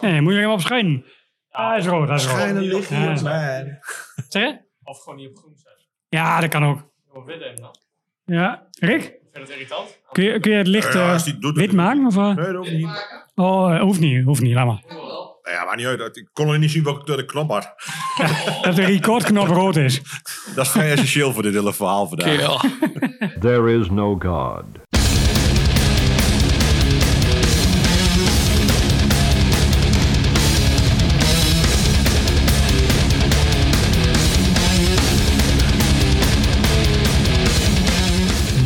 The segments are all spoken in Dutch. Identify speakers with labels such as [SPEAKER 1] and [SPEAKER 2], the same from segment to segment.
[SPEAKER 1] Nee, moet je helemaal op schijnen. Ah, hij is rood, hij is rood.
[SPEAKER 2] Schijnen liggen hier,
[SPEAKER 1] Ja.
[SPEAKER 2] man.
[SPEAKER 1] Zeg je?
[SPEAKER 3] Of gewoon niet op groen zijn.
[SPEAKER 1] Ja, dat kan ook.
[SPEAKER 3] Gewoon wit hebben dan.
[SPEAKER 1] Ja. Rick,
[SPEAKER 3] Vind je dat irritant?
[SPEAKER 1] kun je, kun je het licht
[SPEAKER 4] Ja,
[SPEAKER 1] eh,
[SPEAKER 4] als die doet,
[SPEAKER 1] wit
[SPEAKER 4] dan-
[SPEAKER 1] maken? Of, eh?
[SPEAKER 2] Nee, dat hoeft niet.
[SPEAKER 1] Oh, eh, hoeft niet, hoeft niet, laat maar.
[SPEAKER 4] Nou ja, maar niet uit. Ik kon nog niet zien welke kleur de knop had.
[SPEAKER 1] Dat de recordknop rood is.
[SPEAKER 4] Dat is vrij essentieel voor dit hele verhaal vandaag.
[SPEAKER 5] There is no God.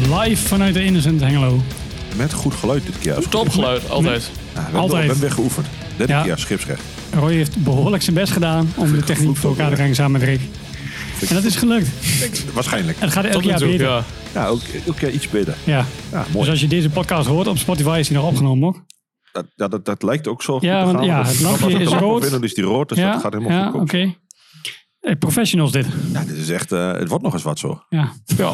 [SPEAKER 1] Live vanuit de Innocent Hengelo.
[SPEAKER 4] Met goed geluid dit keer.
[SPEAKER 3] Topgeluid, altijd.
[SPEAKER 4] Ja, we
[SPEAKER 1] Altijd.
[SPEAKER 4] hebben we weer geoefend. Derde
[SPEAKER 1] Ja.
[SPEAKER 4] keer schipsrecht.
[SPEAKER 1] Roy heeft behoorlijk zijn best gedaan om de techniek voor elkaar te krijgen samen met Rick. En dat is gelukt.
[SPEAKER 4] Waarschijnlijk.
[SPEAKER 1] Het gaat elk
[SPEAKER 3] Tot nu
[SPEAKER 1] jaar
[SPEAKER 3] toe,
[SPEAKER 1] beter.
[SPEAKER 3] ja.
[SPEAKER 4] Ja, ook, ook eh, iets beter.
[SPEAKER 1] Ja.
[SPEAKER 4] Ja,
[SPEAKER 1] Dus
[SPEAKER 4] mooi.
[SPEAKER 1] als je deze podcast hoort, op Spotify is die nog opgenomen ook.
[SPEAKER 4] Dat, dat, dat, dat lijkt ook zo
[SPEAKER 1] Ja,
[SPEAKER 4] goed te
[SPEAKER 1] want
[SPEAKER 4] gaan.
[SPEAKER 1] ja,
[SPEAKER 4] Dat-
[SPEAKER 1] het lampje
[SPEAKER 4] dat- dat-
[SPEAKER 1] is
[SPEAKER 4] dat-
[SPEAKER 1] rood.
[SPEAKER 4] binnen is die rood, dus
[SPEAKER 1] ja,
[SPEAKER 4] dat gaat helemaal
[SPEAKER 1] ja,
[SPEAKER 4] goed
[SPEAKER 1] oké.
[SPEAKER 4] komen.
[SPEAKER 1] Eh, professionals dit.
[SPEAKER 4] Ja, dit is echt, eh, het wordt nog eens wat zo.
[SPEAKER 1] Ja. ja.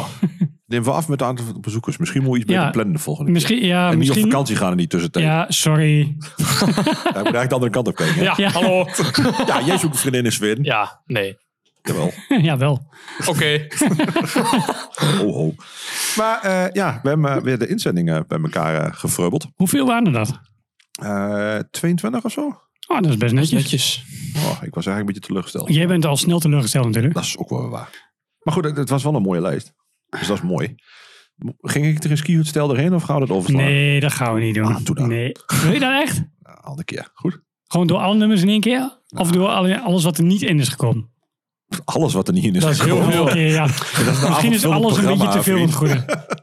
[SPEAKER 4] Neem we af met het aantal bezoekers. Misschien moet je iets beter
[SPEAKER 1] Ja.
[SPEAKER 4] plannen de volgende keer.
[SPEAKER 1] Misschien, ja,
[SPEAKER 4] En niet op
[SPEAKER 1] misschien.
[SPEAKER 4] vakantie gaan in die tussentijd. Ja.
[SPEAKER 1] Ja, sorry.
[SPEAKER 4] Daar moet je eigenlijk de andere kant op kijken. hè?
[SPEAKER 3] Ja,
[SPEAKER 1] Ja.
[SPEAKER 3] hallo.
[SPEAKER 4] Ja, jij zoekt een vriendin in Zweden.
[SPEAKER 3] Ja, nee.
[SPEAKER 4] Jawel.
[SPEAKER 1] ja, wel.
[SPEAKER 3] Oké.
[SPEAKER 4] Ho, ho. Maar eh, ja, we hebben eh, weer de inzendingen bij elkaar eh, gevreubeld.
[SPEAKER 1] Hoeveel waren er dat?
[SPEAKER 4] Eh, 22 of zo?
[SPEAKER 1] Oh, dat is best netjes.
[SPEAKER 3] Netjes.
[SPEAKER 4] Oh, ik was eigenlijk een beetje teleurgesteld.
[SPEAKER 1] Jij bent al snel teleurgesteld natuurlijk.
[SPEAKER 4] Dat is ook wel waar. Maar goed, het, het was wel een mooie lijst. Dus dat is mooi. Mo- Ging ik er een skihutstijl doorheen of gaan we dat overslaan?
[SPEAKER 1] Nee, dat gaan we niet doen.
[SPEAKER 4] Ah, doe dat.
[SPEAKER 1] Nee. Wil je dat echt?
[SPEAKER 4] Nou, andere keer. Goed. Nou.
[SPEAKER 1] Gewoon door alle nummers in één keer? Of door alle- alles wat er niet in is gekomen?
[SPEAKER 4] Alles wat er niet in is
[SPEAKER 1] Dat is heel
[SPEAKER 4] gekomen.
[SPEAKER 1] veel. ja.
[SPEAKER 4] Dat is een
[SPEAKER 1] Misschien is
[SPEAKER 4] avond van
[SPEAKER 1] alles
[SPEAKER 4] het
[SPEAKER 1] een beetje te veel van het
[SPEAKER 4] programma,
[SPEAKER 1] goede.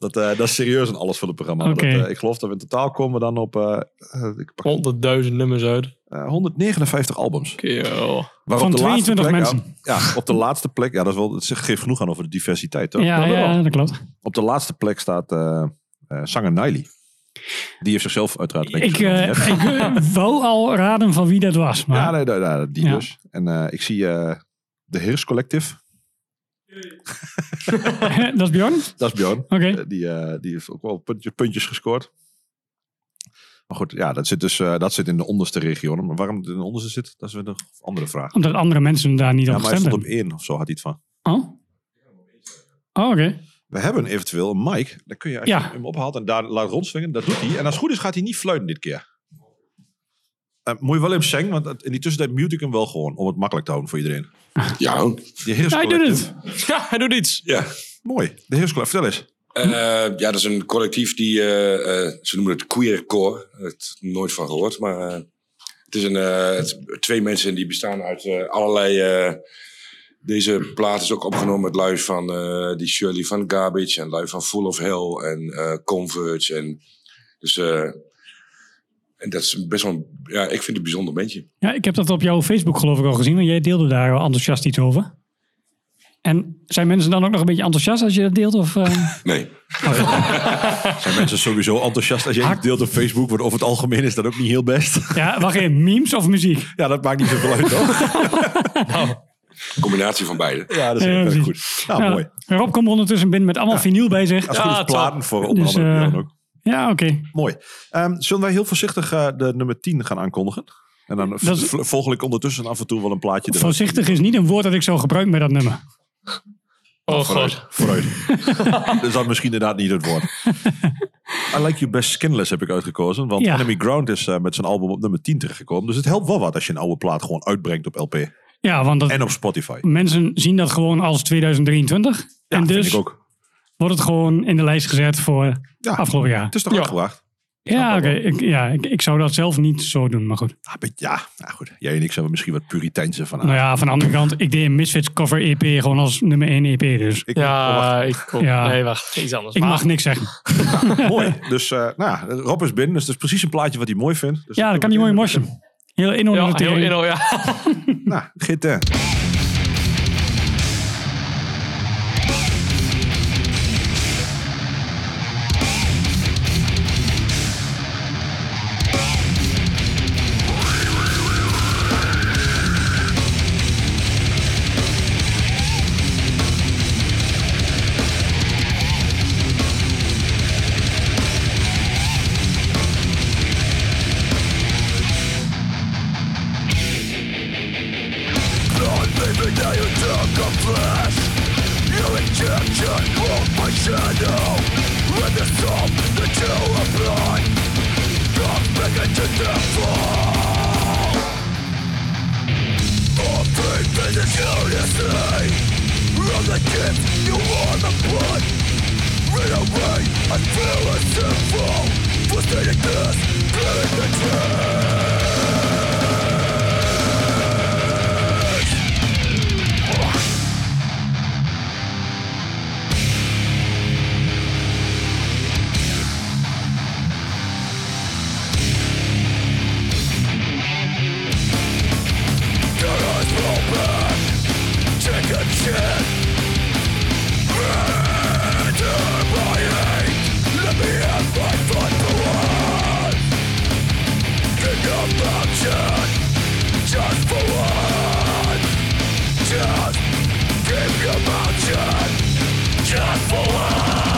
[SPEAKER 4] Dat, eh, dat is serieus een alles van het programma.
[SPEAKER 1] Oké.
[SPEAKER 4] Dat, eh, ik geloof dat we in totaal komen dan op eh, eh, ik pak,
[SPEAKER 3] Honderdduizend nummers uit. Oh.
[SPEAKER 4] eh, 159 albums.
[SPEAKER 3] Kill.
[SPEAKER 4] Waarop
[SPEAKER 1] Van
[SPEAKER 4] de laatste
[SPEAKER 1] 22
[SPEAKER 4] plek-
[SPEAKER 1] mensen.
[SPEAKER 4] Ja, ja, op de laatste plek. Ja, dat, is wel, dat geeft genoeg aan over de diversiteit. Toch?
[SPEAKER 1] Ja,
[SPEAKER 3] dat wel.
[SPEAKER 1] ja, dat klopt.
[SPEAKER 4] Op de laatste plek staat eh eh zanger Niley. Die heeft zichzelf uiteraard... een
[SPEAKER 1] Ik,
[SPEAKER 4] beetje
[SPEAKER 1] eh
[SPEAKER 4] genomineerd.
[SPEAKER 1] ik eh, wou al raden van wie dat was. Maar
[SPEAKER 4] Ja, nee, nee, nee, die
[SPEAKER 1] Ja.
[SPEAKER 4] dus. En eh, ik zie eh, de Heers Collective.
[SPEAKER 1] dat is Bjorn? Oké.
[SPEAKER 4] Dat is Bjorn. Eh, die, eh, die heeft ook wel puntje, puntjes gescoord. Maar goed, ja, dat zit dus eh, dat zit in de onderste regionen. Maar waarom het in de onderste zit, dat is weer een andere vraag.
[SPEAKER 1] Omdat andere mensen daar niet
[SPEAKER 4] Ja,
[SPEAKER 1] op
[SPEAKER 4] maar hij
[SPEAKER 1] gestemd
[SPEAKER 4] stond op
[SPEAKER 1] hebben.
[SPEAKER 4] één of zo, had hij het van.
[SPEAKER 1] Oh? Oh, oké.
[SPEAKER 4] We hebben eventueel een mic. Dan kun je, als
[SPEAKER 1] Ja.
[SPEAKER 4] je hem ophaalt en daar laat rondzwingen, dat doet hij. En als het goed is, gaat hij niet fluiten dit keer. Eh, moet je wel even zingen, want het- in die tussentijd mute ik hem wel gewoon. Om het makkelijk te houden voor iedereen.
[SPEAKER 6] Ja,
[SPEAKER 4] De Heers
[SPEAKER 1] Ja, hij doet
[SPEAKER 4] Collective.
[SPEAKER 1] het.
[SPEAKER 3] Ja, hij doet iets.
[SPEAKER 6] ja.
[SPEAKER 4] Mooi. De Heers Collective, vertel eens.
[SPEAKER 6] Eh, ja, dat is een collectief die, eh, eh, ze noemen het queer core. Het nooit van gehoord, maar eh, het is een, eh, het- twee mensen die bestaan uit eh, allerlei... eh, deze plaat is ook opgenomen met lui van eh, die Shirley van Garbage en lui van Full of Hell en eh, Converge. En, dus, eh, en dat is best wel, een- ja, ik vind het een bijzonder bandje.
[SPEAKER 1] Ja, ik heb dat op jouw Facebook geloof ik al gezien, want jij deelde daar wel enthousiast iets over. En zijn mensen dan ook nog een beetje enthousiast als je dat deelt? Of, eh?
[SPEAKER 6] Nee.
[SPEAKER 4] Zijn mensen sowieso enthousiast als je
[SPEAKER 1] Hak-
[SPEAKER 4] het deelt op Facebook? Want over het algemeen is dat ook niet heel best.
[SPEAKER 1] ja, wacht even, memes of muziek?
[SPEAKER 4] Ja, dat maakt niet zoveel uit, toch?
[SPEAKER 6] Combinatie van beide.
[SPEAKER 4] Ja, dat is
[SPEAKER 1] Ja,
[SPEAKER 4] heel erg
[SPEAKER 1] precies.
[SPEAKER 4] goed. Nou,
[SPEAKER 1] Ja,
[SPEAKER 4] mooi.
[SPEAKER 1] Rob komt ondertussen binnen met allemaal vinyl bij zich.
[SPEAKER 4] Als het goed
[SPEAKER 3] Ja,
[SPEAKER 4] is,
[SPEAKER 3] top.
[SPEAKER 4] platen voor onder
[SPEAKER 1] Dus,
[SPEAKER 4] andere
[SPEAKER 1] eh,
[SPEAKER 4] Björn ook.
[SPEAKER 1] Ja, oké.
[SPEAKER 4] Mooi. Ehm, zullen wij heel voorzichtig eh, de nummer 10 gaan aankondigen? En dan v-
[SPEAKER 1] Dat is-
[SPEAKER 4] v- volg ik ondertussen af en toe wel een plaatje. eruit.
[SPEAKER 1] Voorzichtig is niet een woord dat ik zou gebruiken bij dat nummer.
[SPEAKER 3] Oh
[SPEAKER 4] Vooruit.
[SPEAKER 3] god.
[SPEAKER 4] Vooruit. dus dat misschien inderdaad niet het woord. I Like You Best Skinless heb ik uitgekozen. Want
[SPEAKER 1] Ja.
[SPEAKER 4] Enemy Ground is eh, met zijn album op nummer 10 terechtgekomen. Dus het helpt wel wat als je een oude plaat gewoon uitbrengt op LP.
[SPEAKER 1] Ja, want dat,
[SPEAKER 4] En op Spotify.
[SPEAKER 1] mensen zien dat gewoon als 2023.
[SPEAKER 4] Ja,
[SPEAKER 1] en dus
[SPEAKER 4] vind ik ook.
[SPEAKER 1] wordt het gewoon in de lijst gezet voor
[SPEAKER 4] Ja.
[SPEAKER 1] afgelopen jaar.
[SPEAKER 4] Het is toch
[SPEAKER 3] Ja.
[SPEAKER 4] uitgebracht?
[SPEAKER 1] Ja, oké. Ik, ja, ik, ik zou dat zelf niet zo doen, maar goed.
[SPEAKER 4] Ah, bet- Ja, nou goed. Jij en ik zijn er misschien wat puriteinse van.
[SPEAKER 1] Nou ja, van de andere kant, ik deed een Misfits cover EP gewoon als nummer 1 EP, dus
[SPEAKER 4] Ik, oh, wacht.
[SPEAKER 3] Ja, ik kom.
[SPEAKER 1] Ja.
[SPEAKER 3] Nee, wacht. Iets anders.
[SPEAKER 1] ik
[SPEAKER 3] Maar-
[SPEAKER 1] mag niks zeggen.
[SPEAKER 4] mooi. Dus eh, nou, Rob is binnen. Dus dat is precies een plaatje wat hij mooi vindt. Dus
[SPEAKER 1] Ja, dan kan die mooi morsen. Heel
[SPEAKER 3] Ja, heel
[SPEAKER 1] inhoudelijk.
[SPEAKER 3] inno, ja.
[SPEAKER 4] Nou, gitaar.
[SPEAKER 2] confess You injection of my shadow With the soul that you are blind Come back into the fall All faith in this unity From the gift you are the blood Rid away, I feel a sinful For stating this, clearing the truth Chicken shit Enter my hate Let me have my fun for once Kingdom action Just for once Just Kingdom action Just for once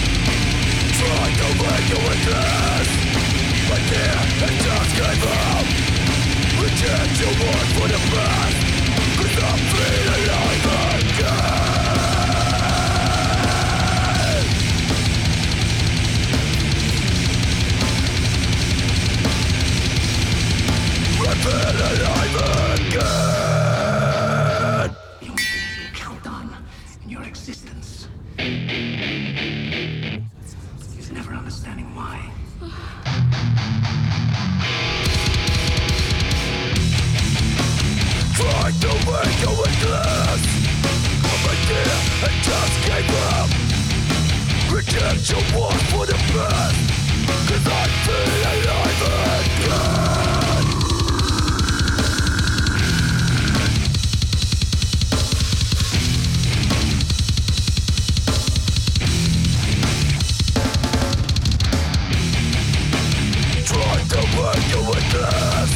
[SPEAKER 2] Try to make you with this But can't and just give up Reject your work for the best Cause I'm feeling alive again I feel alive again
[SPEAKER 7] You can count on in your existence is never understanding why.
[SPEAKER 2] Try to make you with this But can't and just give up Reject your work for the best Cause I feel alive again Try to make you with this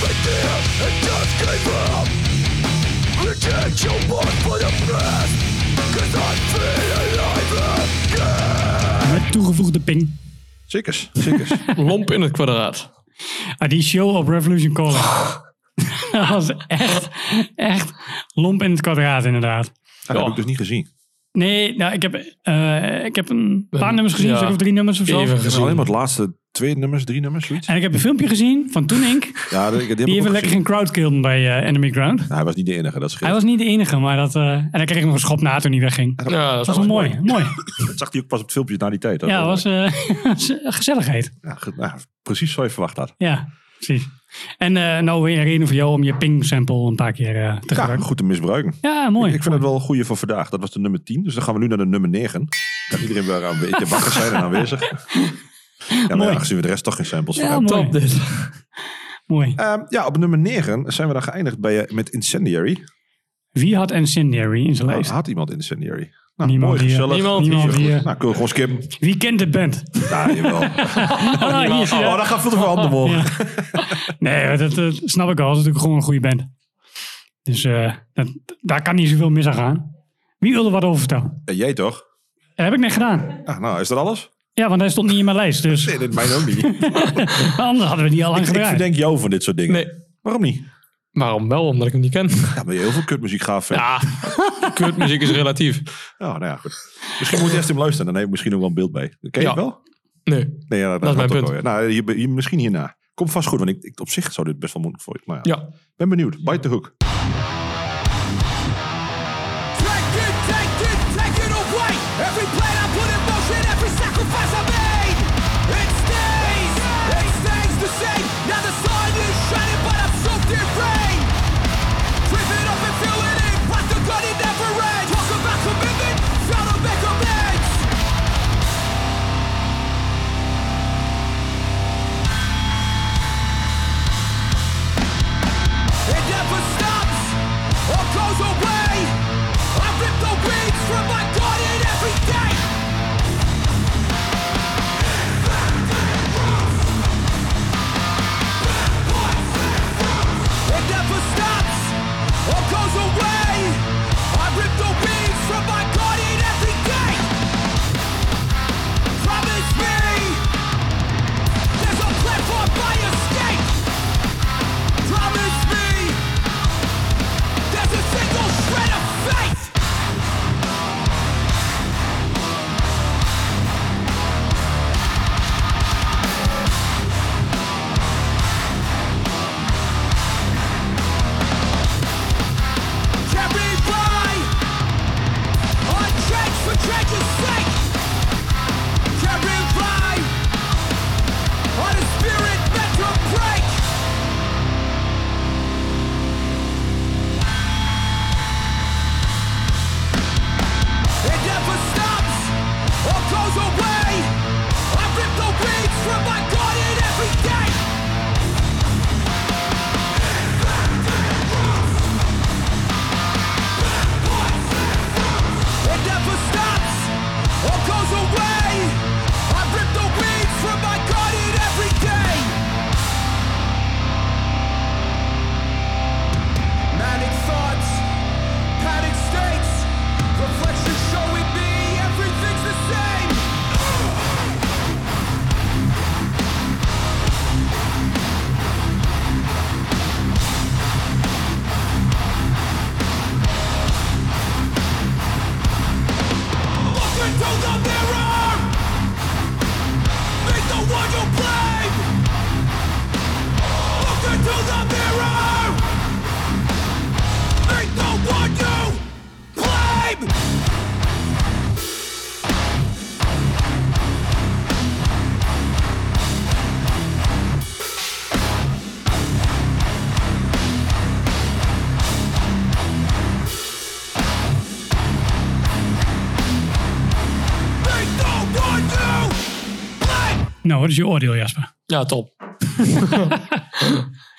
[SPEAKER 2] But can't and just give up Reject your work for the best Cause I feel alive again
[SPEAKER 1] Met toegevoegde ping.
[SPEAKER 4] Zeker, zeker.
[SPEAKER 3] Lomp in het kwadraat.
[SPEAKER 1] Ah, die show op Revolution Calling. dat was echt, echt lomp in het kwadraat inderdaad.
[SPEAKER 4] Dat heb ik dus niet gezien.
[SPEAKER 1] Nee, nou, ik heb, eh, ik heb een paar
[SPEAKER 3] Een-
[SPEAKER 1] nummers gezien,
[SPEAKER 3] ja.
[SPEAKER 1] zeg of drie nummers of zo.
[SPEAKER 3] Even
[SPEAKER 4] Ik heb alleen
[SPEAKER 3] gezien.
[SPEAKER 4] maar het laatste twee nummers, drie nummers, zoiets.
[SPEAKER 1] En ik heb een filmpje gezien van Toen Inc.
[SPEAKER 4] Ja, die, die heb ik
[SPEAKER 1] Die
[SPEAKER 4] ook
[SPEAKER 1] even lekker
[SPEAKER 4] gezien.
[SPEAKER 1] geen crowd killed bij eh, Enemy Ground.
[SPEAKER 4] Nou, hij was niet de enige, dat scheelt.
[SPEAKER 1] Hij was niet de enige, maar dat... eh, en dan kreeg ik nog een schop na toen hij wegging. Dat
[SPEAKER 3] Ja, dat
[SPEAKER 1] was
[SPEAKER 3] is
[SPEAKER 1] wel mooi, mooi.
[SPEAKER 4] Dat zag hij ook pas op het filmpje na die tijd. Dat
[SPEAKER 1] Ja,
[SPEAKER 4] wel-
[SPEAKER 1] dat was eh, gezelligheid.
[SPEAKER 4] ja, ge- nou, precies zoals je verwacht had.
[SPEAKER 1] Ja, precies. En eh, nou weer een reden voor jou om je ping sample een paar keer eh,
[SPEAKER 4] Ja,
[SPEAKER 1] te gebruiken.
[SPEAKER 4] goed te misbruiken.
[SPEAKER 1] Ja, mooi.
[SPEAKER 4] Ik, ik vind het wel een goeie voor vandaag. Dat was de nummer 10. Dus dan gaan we nu naar de nummer 9. Dat iedereen weer een beetje wakker zijn en aanwezig. Ja, maar
[SPEAKER 1] Mooi.
[SPEAKER 4] ja, gezien we de rest toch geen samples van
[SPEAKER 1] Ja,
[SPEAKER 4] hebben.
[SPEAKER 1] mooi.
[SPEAKER 3] Top dit.
[SPEAKER 1] mooi.
[SPEAKER 4] Ehm, ja, op nummer 9 zijn we dan geëindigd bij, eh, met Incendiary. Nou,
[SPEAKER 1] Wie had Incendiary in zijn lijst?
[SPEAKER 4] Had iemand Incendiary? Nou,
[SPEAKER 1] Niemand
[SPEAKER 4] mooi,
[SPEAKER 1] die, eh,
[SPEAKER 4] gezellig.
[SPEAKER 3] niemand
[SPEAKER 4] Is
[SPEAKER 1] die,
[SPEAKER 4] goed. Nou,
[SPEAKER 1] eh,
[SPEAKER 4] kunnen we gewoon skippen.
[SPEAKER 1] Wie kent de band?
[SPEAKER 4] Ja, jawel.
[SPEAKER 1] Ah, hier is hij, ja.
[SPEAKER 4] Oh, daar gaat veel te veel handen omhoog.
[SPEAKER 1] Ja. Nee, maar dat, dat snap ik al. Dat is natuurlijk gewoon een goede band. Dus eh, dat, daar kan niet zoveel mis aan gaan. Wie wilde wat over vertellen?
[SPEAKER 4] En Eh, jij toch?
[SPEAKER 1] Dat heb ik net gedaan.
[SPEAKER 4] Ah, nou, is dat alles?
[SPEAKER 1] Ja, want hij stond niet in mijn lijst. Dus
[SPEAKER 4] Nee, dit mijn ook niet. ik,
[SPEAKER 1] anders hadden we die al lang
[SPEAKER 4] ik
[SPEAKER 1] gedaan.
[SPEAKER 4] verdenk jou van dit soort dingen.
[SPEAKER 3] Nee.
[SPEAKER 4] Waarom niet?
[SPEAKER 3] Waarom wel? Omdat ik hem niet ken.
[SPEAKER 4] Ja, ben je heel veel kutmuziek gaaf. Ja.
[SPEAKER 3] Ja, kutmuziek is relatief.
[SPEAKER 4] Oh, nou ja, goed. Misschien moet je eerst hem luisteren. Dan heb ik misschien ook wel een beeld bij. Ken je
[SPEAKER 3] Ja.
[SPEAKER 4] het wel?
[SPEAKER 3] Nee.
[SPEAKER 4] Nee, ja, dat,
[SPEAKER 3] Dat is
[SPEAKER 4] gaat
[SPEAKER 3] mijn
[SPEAKER 4] ook
[SPEAKER 3] punt.
[SPEAKER 4] wel, ja. Nou, hier- hier- misschien hierna. Komt vast goed, want ik, ik, op zich zou dit best wel moeilijk voor je. Nou, ja.
[SPEAKER 3] Ja.
[SPEAKER 4] Ben benieuwd. Bite de hoek.
[SPEAKER 2] Take it, take it, take it away. Every plan I put in motion, every sacrifice I made. It stays, it stays the same. Now the sun is shining, but I'm soaked in rain. Driven up and feeling it, like the gun it never ends. Talk about commitment, fail to make amends. It never stops.
[SPEAKER 8] rip the wings from my garden every day. Promise me there's a platform by escape. Promise me there's a single shred of faith. Carry by on change for change's sake. Carry by on a spirit meant to break. It never stops or goes away. I rip the weeds from my garden every day. It never stops or goes away. I rip the weeds from my garden every day. Manic thoughts, panic states, reflection showing me everything's the same. Look into the mirror. Meet the one you blame. Look into the mirror. Meet the one you blame. Meet the one you blame.
[SPEAKER 1] Nou, wat is je oordeel, Jasper?
[SPEAKER 3] Ja, top.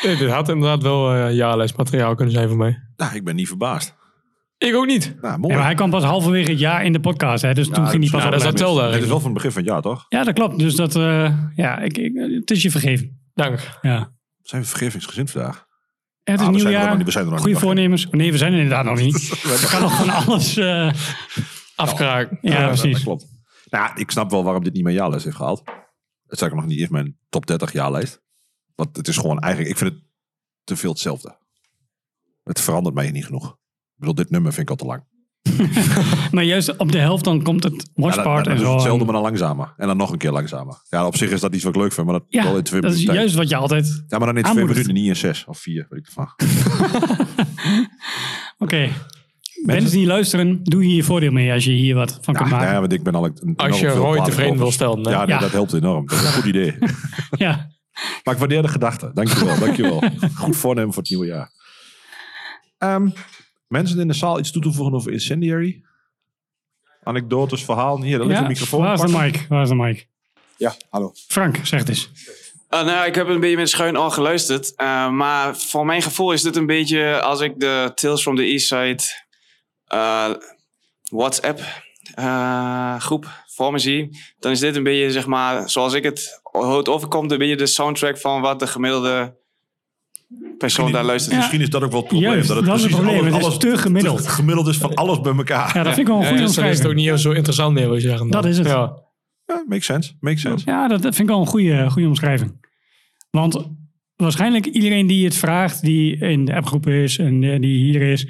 [SPEAKER 3] nee, dit had inderdaad wel eh jaarlijstmateriaal kunnen zijn voor mij.
[SPEAKER 4] Nou, ik ben niet verbaasd.
[SPEAKER 3] Ik ook niet.
[SPEAKER 4] Nou,
[SPEAKER 1] Ja,
[SPEAKER 4] mooi. Nou,
[SPEAKER 1] maar hij kwam pas halverwege het jaar in de podcast, hè, dus toen ging hij pas
[SPEAKER 3] ja, dat is
[SPEAKER 1] opletten.
[SPEAKER 3] dat wel daar.
[SPEAKER 4] Het is wel van het begin van het jaar, toch?
[SPEAKER 1] Ja, dat klopt. Dus dat, eh, ja, ik, ik- het is je vergeven.
[SPEAKER 3] Dank.
[SPEAKER 1] Ja.
[SPEAKER 4] Zijn we vergevingsgezind vandaag?
[SPEAKER 1] Ja, Het is
[SPEAKER 4] Ah, we
[SPEAKER 1] nieuw
[SPEAKER 4] zijn er nog
[SPEAKER 1] jaar.
[SPEAKER 4] niet, we zijn er nog
[SPEAKER 1] Goede
[SPEAKER 4] niet, wacht.
[SPEAKER 1] voornemens. Oh, Nee, we zijn er inderdaad nog niet. Er kan nog van alles. eh,
[SPEAKER 3] Afkraak.
[SPEAKER 1] ja,
[SPEAKER 4] Dat
[SPEAKER 1] precies.
[SPEAKER 4] klopt. Nou, ja, ik snap wel waarom dit niet mijn jaarlijst heeft gehaald. Het staat ook nog niet in mijn top 30 jaarlijst. Want het is gewoon eigenlijk, ik vind het te veel hetzelfde. Het verandert mij niet genoeg. Ik bedoel, dit nummer vind ik al te lang.
[SPEAKER 1] Maar juist op de helft dan komt het
[SPEAKER 4] Ja, dat-
[SPEAKER 1] watchpart
[SPEAKER 4] dat
[SPEAKER 1] en
[SPEAKER 4] is
[SPEAKER 1] zo.
[SPEAKER 4] hetzelfde, maar dan langzamer. En dan nog een keer langzamer. Ja, op zich is dat iets wat ik leuk vind, maar dat
[SPEAKER 1] ja,
[SPEAKER 4] wel in twee
[SPEAKER 1] dat is
[SPEAKER 4] minuten tijd.
[SPEAKER 1] juist wat je altijd...
[SPEAKER 4] Ja, maar dan in twee
[SPEAKER 1] aanmoedigt.
[SPEAKER 4] minuten, niet in zes of vier, weet ik ervan.
[SPEAKER 1] Oké. Mensen die luisteren, doe hier je voordeel mee als je hier wat van
[SPEAKER 4] Ja,
[SPEAKER 1] kan
[SPEAKER 4] nou
[SPEAKER 1] maken.
[SPEAKER 4] ja, want ik ben al een enorm
[SPEAKER 3] Als je
[SPEAKER 4] veel
[SPEAKER 3] Roy
[SPEAKER 4] platen
[SPEAKER 3] tevreden wil
[SPEAKER 4] kopers.
[SPEAKER 3] stellen. hè?
[SPEAKER 4] Ja, nee,
[SPEAKER 1] Ja.
[SPEAKER 4] dat helpt enorm. Dat is een goed idee.
[SPEAKER 1] Ja.
[SPEAKER 4] Maar ik waardeer de gedachte. Dankjewel, dankjewel. Goed voornemen voor het nieuwe jaar. Ehm, mensen in de zaal iets toe te voegen over Incendiary? Anekdotes, verhaal? Hier, daar ligt
[SPEAKER 1] Ja,
[SPEAKER 4] een microfoon.
[SPEAKER 1] Waar is de
[SPEAKER 4] Pak hem.
[SPEAKER 1] mic? Waar is de mic?
[SPEAKER 9] Ja, hallo.
[SPEAKER 1] Frank, zeg het eens.
[SPEAKER 10] Ah, nou, ja, ik heb een beetje met schuin al geluisterd. eh, maar voor mijn gevoel is dit een beetje als ik de Tales from the East Side eh, WhatsApp eh, groep voor me zie. Dan is dit een beetje, zeg maar, zoals ik het, hoe het overkomt, een beetje de soundtrack van wat de gemiddelde persoon daar luistert.
[SPEAKER 1] Ja.
[SPEAKER 4] Misschien is dat ook wel het probleem.
[SPEAKER 1] Juist,
[SPEAKER 4] dat het
[SPEAKER 1] dat is het
[SPEAKER 4] precies
[SPEAKER 1] probleem.
[SPEAKER 4] Alles,
[SPEAKER 1] Het is
[SPEAKER 4] alles
[SPEAKER 1] te gemiddeld.
[SPEAKER 4] te gemiddeld is van alles bij elkaar.
[SPEAKER 1] Ja, dat vind ik wel een goede
[SPEAKER 3] dus dan is het ook
[SPEAKER 1] omschrijving.
[SPEAKER 3] niet zo interessant meer, wil je zeggen. dan.
[SPEAKER 1] Dat is het.
[SPEAKER 3] Ja.
[SPEAKER 4] Ja, makes sense. Makes sense.
[SPEAKER 1] Ja, dat dat vind ik wel een goede, goede omschrijving. Want waarschijnlijk iedereen die het vraagt, die in de appgroep is en eh, die hier is.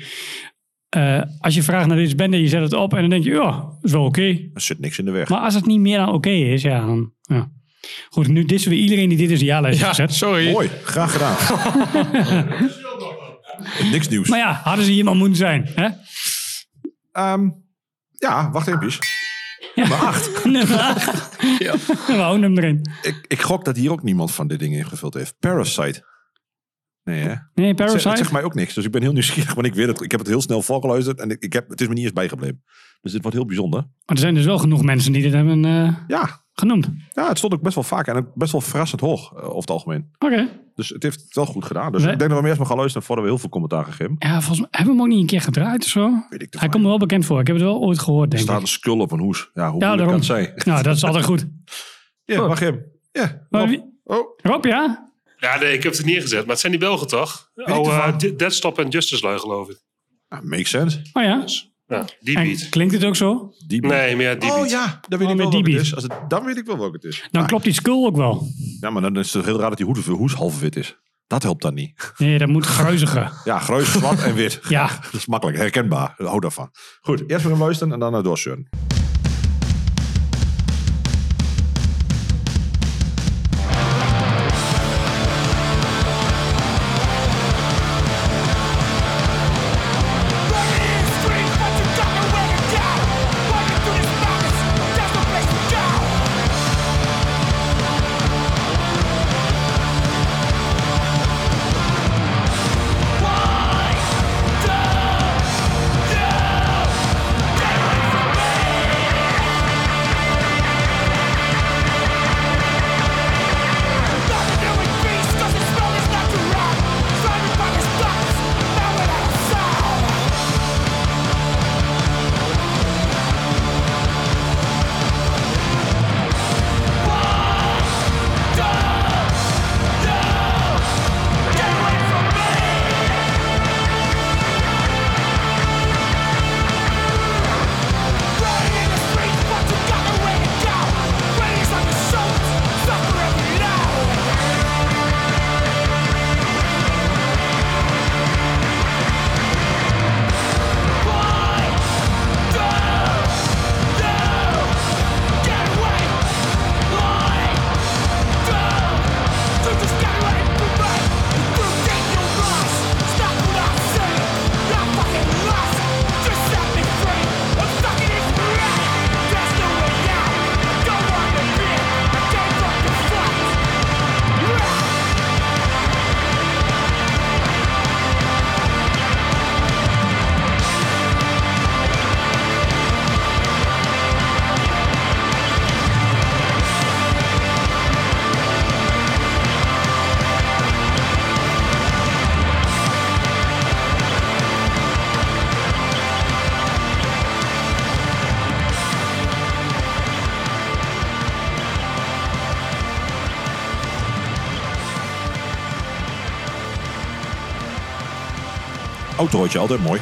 [SPEAKER 1] eh, als je vraagt naar deze band en je zet het op en dan denk je, ja, is wel oké.
[SPEAKER 4] Er zit niks in de weg.
[SPEAKER 1] Maar als het niet meer dan oké is, ja, dan... Ja. Goed, nu dissen we iedereen die dit is jaarlijst heeft
[SPEAKER 3] ja,
[SPEAKER 1] gezet.
[SPEAKER 3] sorry.
[SPEAKER 4] Mooi, graag gedaan. niks nieuws.
[SPEAKER 1] Maar ja, hadden ze iemand moeten zijn, hè?
[SPEAKER 4] Ehm, ja, wacht even. Nummer 8.
[SPEAKER 1] Nummer acht. We houden hem erin.
[SPEAKER 4] Ik, ik gok dat hier ook niemand van dit ding ingevuld heeft. Parasite. Nee, hè?
[SPEAKER 1] Nee,
[SPEAKER 4] Het zegt,
[SPEAKER 1] Parasite?
[SPEAKER 4] het zegt mij ook niks. Dus ik ben heel nieuwsgierig, want ik weet het. Ik heb het heel snel voorgeluisterd en ik, ik heb, het is me niet eens bijgebleven. Dus dit wordt heel bijzonder.
[SPEAKER 1] Maar er zijn dus wel genoeg mensen die dit hebben eh,
[SPEAKER 4] Ja,
[SPEAKER 1] genoemd.
[SPEAKER 4] ja het stond ook best wel vaak en ook best wel verrassend hoog eh, over het algemeen.
[SPEAKER 1] Oké.
[SPEAKER 4] Dus het heeft het wel goed gedaan. Dus
[SPEAKER 1] Nee.
[SPEAKER 4] ik denk dat we hem eerst maar gaan luisteren voordat we heel veel commentaar gaan geven.
[SPEAKER 1] Ja, volgens mij hebben we hem ook niet een keer gedraaid of zo.
[SPEAKER 4] Weet ik te
[SPEAKER 1] Hij
[SPEAKER 4] veel.
[SPEAKER 1] komt me wel bekend voor. Ik heb het wel ooit gehoord,
[SPEAKER 4] Er
[SPEAKER 1] denk
[SPEAKER 4] staat
[SPEAKER 1] ik.
[SPEAKER 4] een skul op een hoes. Ja, hoe moeilijk kan
[SPEAKER 1] daarom.
[SPEAKER 4] het zijn?
[SPEAKER 1] Nou, dat is altijd goed.
[SPEAKER 4] Ja, wacht even. Ja,
[SPEAKER 1] Maar
[SPEAKER 4] Rob.
[SPEAKER 1] wie-
[SPEAKER 4] Oh.
[SPEAKER 1] Rob, ja?
[SPEAKER 11] Ja, nee, ik heb het neergezet. Maar het zijn die Belgen, toch?
[SPEAKER 4] ik
[SPEAKER 11] Oh,
[SPEAKER 4] ervan.
[SPEAKER 11] eh, Deadstop en Justice Line, geloof ik.
[SPEAKER 4] Ah, makes sense.
[SPEAKER 1] Oh ja.
[SPEAKER 11] Ja, die
[SPEAKER 1] En
[SPEAKER 11] beat.
[SPEAKER 1] klinkt het ook zo?
[SPEAKER 4] Die
[SPEAKER 11] Nee, maar ja, die
[SPEAKER 4] oh
[SPEAKER 11] beat.
[SPEAKER 4] ja, dan weet
[SPEAKER 1] Oh,
[SPEAKER 4] ik wel
[SPEAKER 1] met
[SPEAKER 4] wat
[SPEAKER 1] die
[SPEAKER 4] het
[SPEAKER 1] beat.
[SPEAKER 4] is. Als het, dan weet ik wel welke het is.
[SPEAKER 1] Dan
[SPEAKER 4] Ah,
[SPEAKER 1] klopt die skull ook wel.
[SPEAKER 4] Ja, maar dan is het heel raar dat die hoed, hoes half wit is. Dat helpt dan niet.
[SPEAKER 1] Nee, dat moet gruiziger.
[SPEAKER 4] Ja, groot, zwart en wit.
[SPEAKER 1] Ja.
[SPEAKER 4] Dat is makkelijk, herkenbaar. Hou daarvan. Goed, eerst we gaan luisteren en dan naar doorsturen. Autootje, altijd mooi.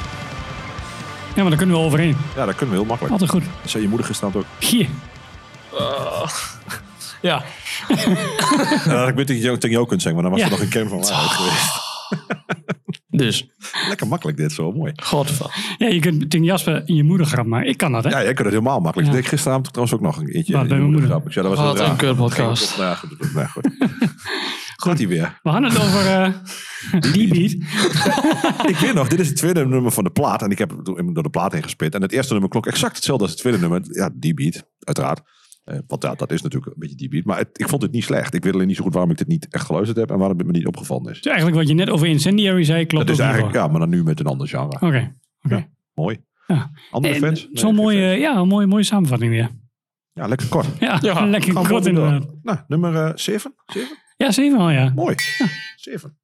[SPEAKER 1] Ja, maar daar kunnen we overheen.
[SPEAKER 4] Ja, dat kunnen we heel makkelijk.
[SPEAKER 1] Altijd goed.
[SPEAKER 4] Dat zei je moeder gestaan ook.
[SPEAKER 1] Hier.
[SPEAKER 3] Ja.
[SPEAKER 4] En dat had ik weer tegen jou, tegen jou kunnen zeggen, maar dan was
[SPEAKER 1] Ja.
[SPEAKER 4] er nog een kern van waarheid geweest.
[SPEAKER 3] Dus.
[SPEAKER 4] Lekker makkelijk dit, zo mooi.
[SPEAKER 3] Godver.
[SPEAKER 1] Ja, je kunt tegen Jasper in je moeder grap maken. Ik kan dat, hè?
[SPEAKER 4] Ja, jij kunt het helemaal makkelijk.
[SPEAKER 1] Ja.
[SPEAKER 4] Ik deed gisteravond trouwens ook nog een eentje.
[SPEAKER 1] Wat,
[SPEAKER 4] in
[SPEAKER 1] bij
[SPEAKER 4] je
[SPEAKER 1] mijn moeder?
[SPEAKER 4] grap. Ja, dat was
[SPEAKER 3] Wat
[SPEAKER 4] heel
[SPEAKER 3] een
[SPEAKER 4] raar.
[SPEAKER 3] kutpodcast.
[SPEAKER 4] Geen- Nou, goed, goed, nou, goed. Gaat hij weer.
[SPEAKER 1] We hadden het over eh die beat.
[SPEAKER 4] Ik weet nog, dit is het tweede nummer van de plaat. En ik heb hem door de plaat heen gespit. En het eerste nummer klonk exact hetzelfde als het tweede nummer. Ja, die beat, uiteraard. Eh, want ja, dat is natuurlijk een beetje die beat. Maar het- ik vond het niet slecht. Ik weet alleen niet zo goed waarom ik dit niet echt geluisterd heb. En waarom het me niet opgevallen is.
[SPEAKER 1] Dus eigenlijk wat je net over Incendiary zei, klopt
[SPEAKER 4] Dat is
[SPEAKER 1] ook hiervoor.
[SPEAKER 4] eigenlijk, ja, maar dan nu met een ander genre.
[SPEAKER 1] Oké.
[SPEAKER 4] Mooi.
[SPEAKER 1] Ja.
[SPEAKER 4] Andere
[SPEAKER 1] Eh,
[SPEAKER 4] fans? Nee,
[SPEAKER 1] Zo'n
[SPEAKER 4] geen
[SPEAKER 1] mooie,
[SPEAKER 4] fans.
[SPEAKER 1] ja, een mooie, mooie samenvatting weer.
[SPEAKER 4] Ja, lekker kort.
[SPEAKER 1] Ja,
[SPEAKER 3] Ja,
[SPEAKER 1] lekker
[SPEAKER 4] Gaan we
[SPEAKER 1] kort
[SPEAKER 4] door.
[SPEAKER 1] inderdaad.
[SPEAKER 4] Nou, nummer 7.
[SPEAKER 1] Ja, zeven al, ja.
[SPEAKER 4] Mooi. 7.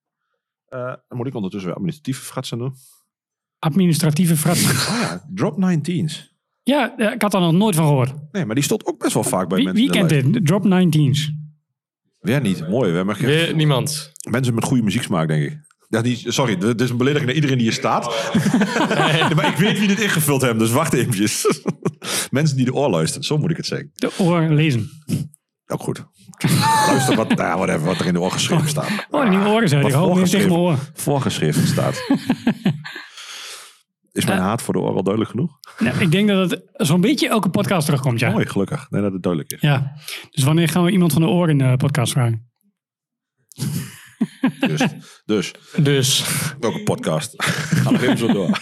[SPEAKER 4] Eh, dan moet ik ondertussen weer administratieve fratsen doen.
[SPEAKER 1] Administratieve frat.
[SPEAKER 4] Oh ja, Drop 19's.
[SPEAKER 1] ja, eh, ik had daar nog nooit van gehoord.
[SPEAKER 4] Nee, maar die stond ook best wel vaak bij
[SPEAKER 1] Wie,
[SPEAKER 4] mensen.
[SPEAKER 1] wie
[SPEAKER 4] in de
[SPEAKER 1] kent
[SPEAKER 4] lijst.
[SPEAKER 1] dit? Drop 19's.
[SPEAKER 4] Weer niet. Mooi. We hebben geen-
[SPEAKER 3] Weer niemand.
[SPEAKER 4] mensen met goede muzieksmaak, denk ik. Ja, die, sorry, d- dit is een belediging naar iedereen die hier staat. Nee, maar ik weet wie dit ingevuld hebben, dus wacht eventjes. mensen die de oor luisteren, zo moet ik het zeggen.
[SPEAKER 1] De oor lezen.
[SPEAKER 4] Ook goed. Luister wat, nou, whatever, wat er in de oorgeschrift staat.
[SPEAKER 1] Oh, die oren zijn.
[SPEAKER 4] Ah, Wat
[SPEAKER 1] Ik hoop niet tegen mijn oor.
[SPEAKER 4] Voorgeschrift staat. Is mijn haat voor de oor al duidelijk genoeg?
[SPEAKER 1] Eh. Nou, ik denk dat het zo'n beetje elke podcast terugkomt, ja.
[SPEAKER 4] Mooi, gelukkig. Nee, dat het duidelijk is.
[SPEAKER 1] Ja. Dus wanneer gaan we iemand van de oor in de podcast vragen?
[SPEAKER 4] Dus, dus
[SPEAKER 3] Dus.
[SPEAKER 4] welke podcast? Ga nog even zo door.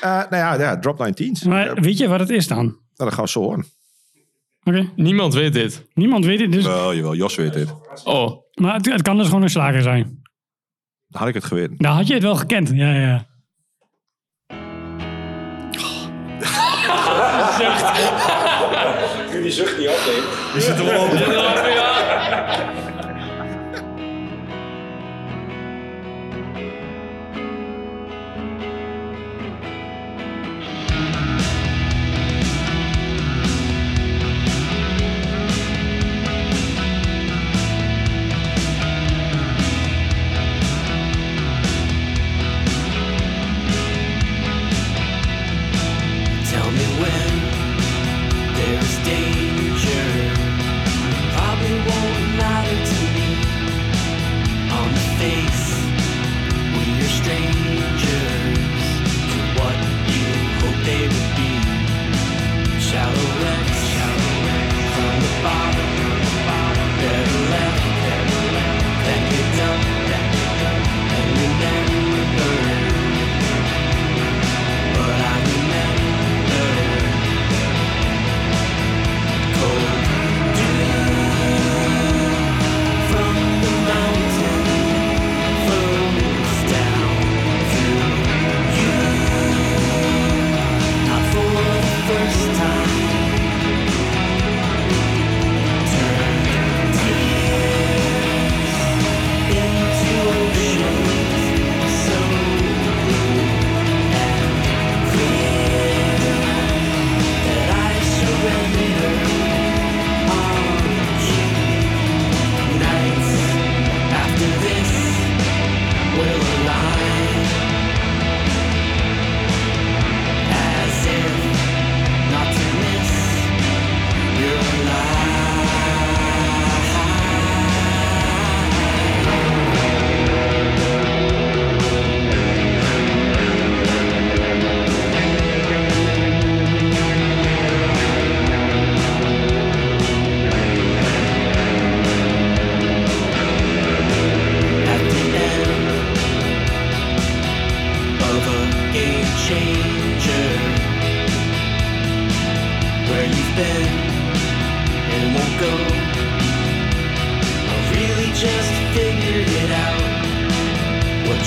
[SPEAKER 4] Eh, nou ja, ja Drop 19.
[SPEAKER 1] Maar
[SPEAKER 4] Ja, nou,
[SPEAKER 1] weet je wat het is dan? Oké.
[SPEAKER 4] dat gaan we zo horen.
[SPEAKER 3] Niemand weet dit.
[SPEAKER 1] Niemand weet het dus.
[SPEAKER 4] Wel, jawel, Jos weet dit. Dan
[SPEAKER 3] Oh.
[SPEAKER 1] Maar het, het kan dus gewoon een slager zijn.
[SPEAKER 4] had ik het geweten.
[SPEAKER 1] Nou, had je het wel gekend. Ja, ja.
[SPEAKER 6] Kun je die zucht niet afnemen?
[SPEAKER 2] Why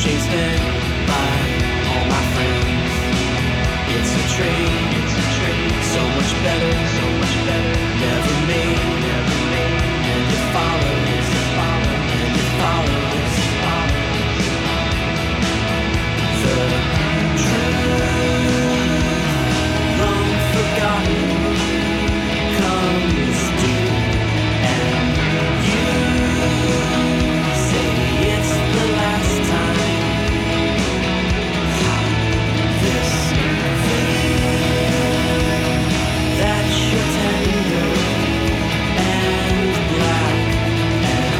[SPEAKER 8] chased by all my friends. It's a train, it's a train, so much better, so much better. Never me, never me, and it follows, it follows, and it follows, it follows. The train, long forgotten, comes due, and you say it's the last time. This that's your tender and black and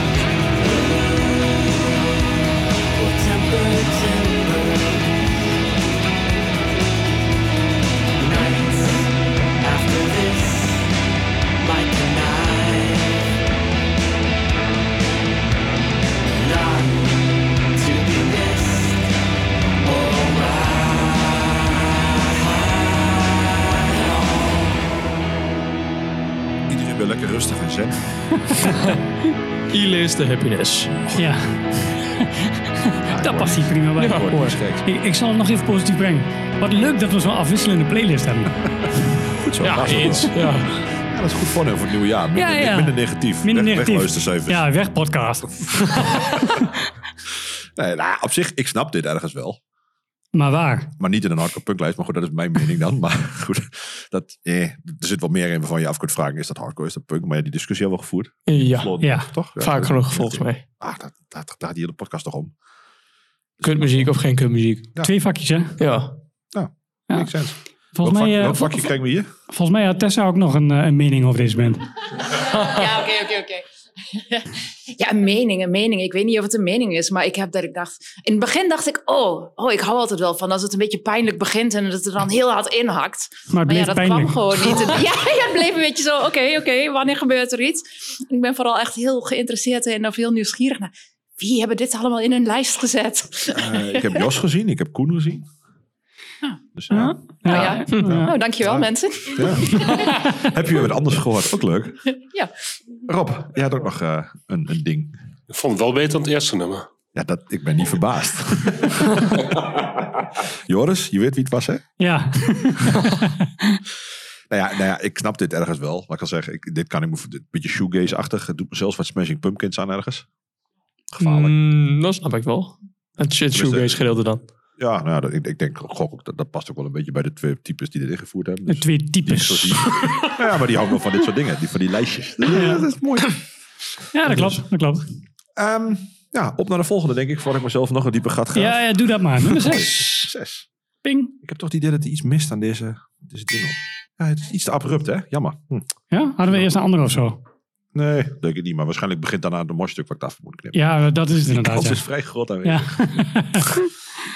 [SPEAKER 8] blue will temper timber nights after this like a knife not to be missed
[SPEAKER 4] Iedereen weer lekker rustig en zen.
[SPEAKER 3] E-list de happiness.
[SPEAKER 1] Ja. Daar past hij prima bij.
[SPEAKER 4] Ja, wordt niet gek.
[SPEAKER 1] ik, ik zal hem nog even positief brengen. Wat leuk dat we zo'n afwisselende playlist hebben.
[SPEAKER 4] Goed zo.
[SPEAKER 3] Ja,
[SPEAKER 4] hartstikke
[SPEAKER 3] eens.
[SPEAKER 4] goed.
[SPEAKER 3] Ja.
[SPEAKER 4] Ja, dat is goed voor hem voor het nieuwe jaar. Minder,
[SPEAKER 1] Ja, ja.
[SPEAKER 4] minder negatief.
[SPEAKER 1] Minder
[SPEAKER 4] Weg-
[SPEAKER 1] negatief.
[SPEAKER 4] Wegluistercijfers.
[SPEAKER 1] Ja, weg podcast.
[SPEAKER 4] Nee, nou, op zich, ik snap dit ergens wel.
[SPEAKER 1] Maar waar?
[SPEAKER 4] Maar niet in een hardcore punklijst. Maar goed, dat is mijn mening dan. Maar goed, dat, eh, er zit wel meer in waarvan je af kunt vragen. Is dat hardcore, is dat punk? Maar ja, die discussie hebben we gevoerd.
[SPEAKER 3] ja.
[SPEAKER 4] Vlot,
[SPEAKER 1] Ja.
[SPEAKER 4] Toch? Ja,
[SPEAKER 3] Vaak
[SPEAKER 4] dat-
[SPEAKER 3] genoeg, volgens mij.
[SPEAKER 4] Ah, dat, dat, daar gaat die hele podcast toch om.
[SPEAKER 3] Kutmuziek of geen kutmuziek.
[SPEAKER 4] Ja.
[SPEAKER 1] Twee vakjes, hè?
[SPEAKER 3] Ja.
[SPEAKER 1] Ja.
[SPEAKER 4] Makes sense. Welk,
[SPEAKER 1] Volgens mij,
[SPEAKER 4] vak-
[SPEAKER 1] eh,
[SPEAKER 4] welk
[SPEAKER 1] vol-
[SPEAKER 4] vakje krijgen we hier?
[SPEAKER 1] volgens mij had Tessa ook nog een, eh, een mening over deze band.
[SPEAKER 12] Ja, oké, oké, oké. Ja, een mening, een mening. Ik weet niet of het een mening is, maar ik heb dat ik dacht... In het begin dacht ik, oh, oh ik hou altijd wel van als het een beetje pijnlijk begint en dat het er dan heel hard inhakt.
[SPEAKER 1] Maar het
[SPEAKER 12] Maar ja,
[SPEAKER 1] bleef
[SPEAKER 12] dat
[SPEAKER 1] pijnlijk.
[SPEAKER 12] kwam gewoon niet. En- Ja, ja, het bleef een beetje zo, oké, oké, wanneer gebeurt er iets? Ik ben vooral echt heel geïnteresseerd en of heel nieuwsgierig naar... Wie hebben dit allemaal in hun lijst gezet?
[SPEAKER 4] Eh, ik heb Jos gezien, ik heb Koen gezien. Dus, ja.
[SPEAKER 1] Ja.
[SPEAKER 12] Ja.
[SPEAKER 1] Ja.
[SPEAKER 12] Oh, dankjewel mensen.
[SPEAKER 4] Ja. heb je wat anders gehoord? Ook leuk.
[SPEAKER 12] Ja.
[SPEAKER 4] Rob, jij had ook nog eh, een, een ding.
[SPEAKER 11] Ik vond het wel beter dan het eerste nummer.
[SPEAKER 4] Ja, dat, ik ben niet verbaasd. Joris, je weet wie het was, hè?
[SPEAKER 1] Ja.
[SPEAKER 4] Nou ja, nou ja, ik snap dit ergens wel. Maar ik kan zeggen, ik, dit kan ik me dit- een beetje shoegaze-achtig. Het doet me zelfs wat Smashing Pumpkins aan ergens. Gevaarlijk.
[SPEAKER 3] Mm, dat snap ik wel. Het shit shoegaze gedeelte dan.
[SPEAKER 4] Dus, eh, Ja, nou ja, dat, ik, ik denk, gok, ook dat, dat past ook wel een beetje bij de twee types die dit ingevoerd hebben.
[SPEAKER 1] De
[SPEAKER 4] Dus
[SPEAKER 1] twee
[SPEAKER 4] die is zo
[SPEAKER 1] types.
[SPEAKER 4] die- ja, maar die houden wel van dit soort dingen. Die, van die lijstjes. Dat, dat is mooi.
[SPEAKER 1] Ja, dat klopt. Dat klopt.
[SPEAKER 4] Dus- Ehm, ja, op naar de volgende, denk ik. Voordat ik mezelf nog een diepe gat ga.
[SPEAKER 1] Ja, ja, doe dat maar. Nummer 6.
[SPEAKER 4] Zes.
[SPEAKER 1] Ping.
[SPEAKER 4] Ik heb toch het idee dat er iets mist aan deze, deze ding. Ja, het is iets te abrupt, hè? Jammer. Hm.
[SPEAKER 1] Ja, hadden we eerst een andere of zo?
[SPEAKER 4] Nee, denk ik niet. Maar waarschijnlijk begint daarna de morstuk wat ik af moet knippen.
[SPEAKER 1] Ja, dat is het inderdaad.
[SPEAKER 4] Kans
[SPEAKER 1] ja.
[SPEAKER 4] is vrij groot aanwezig. Oh.
[SPEAKER 1] Ja.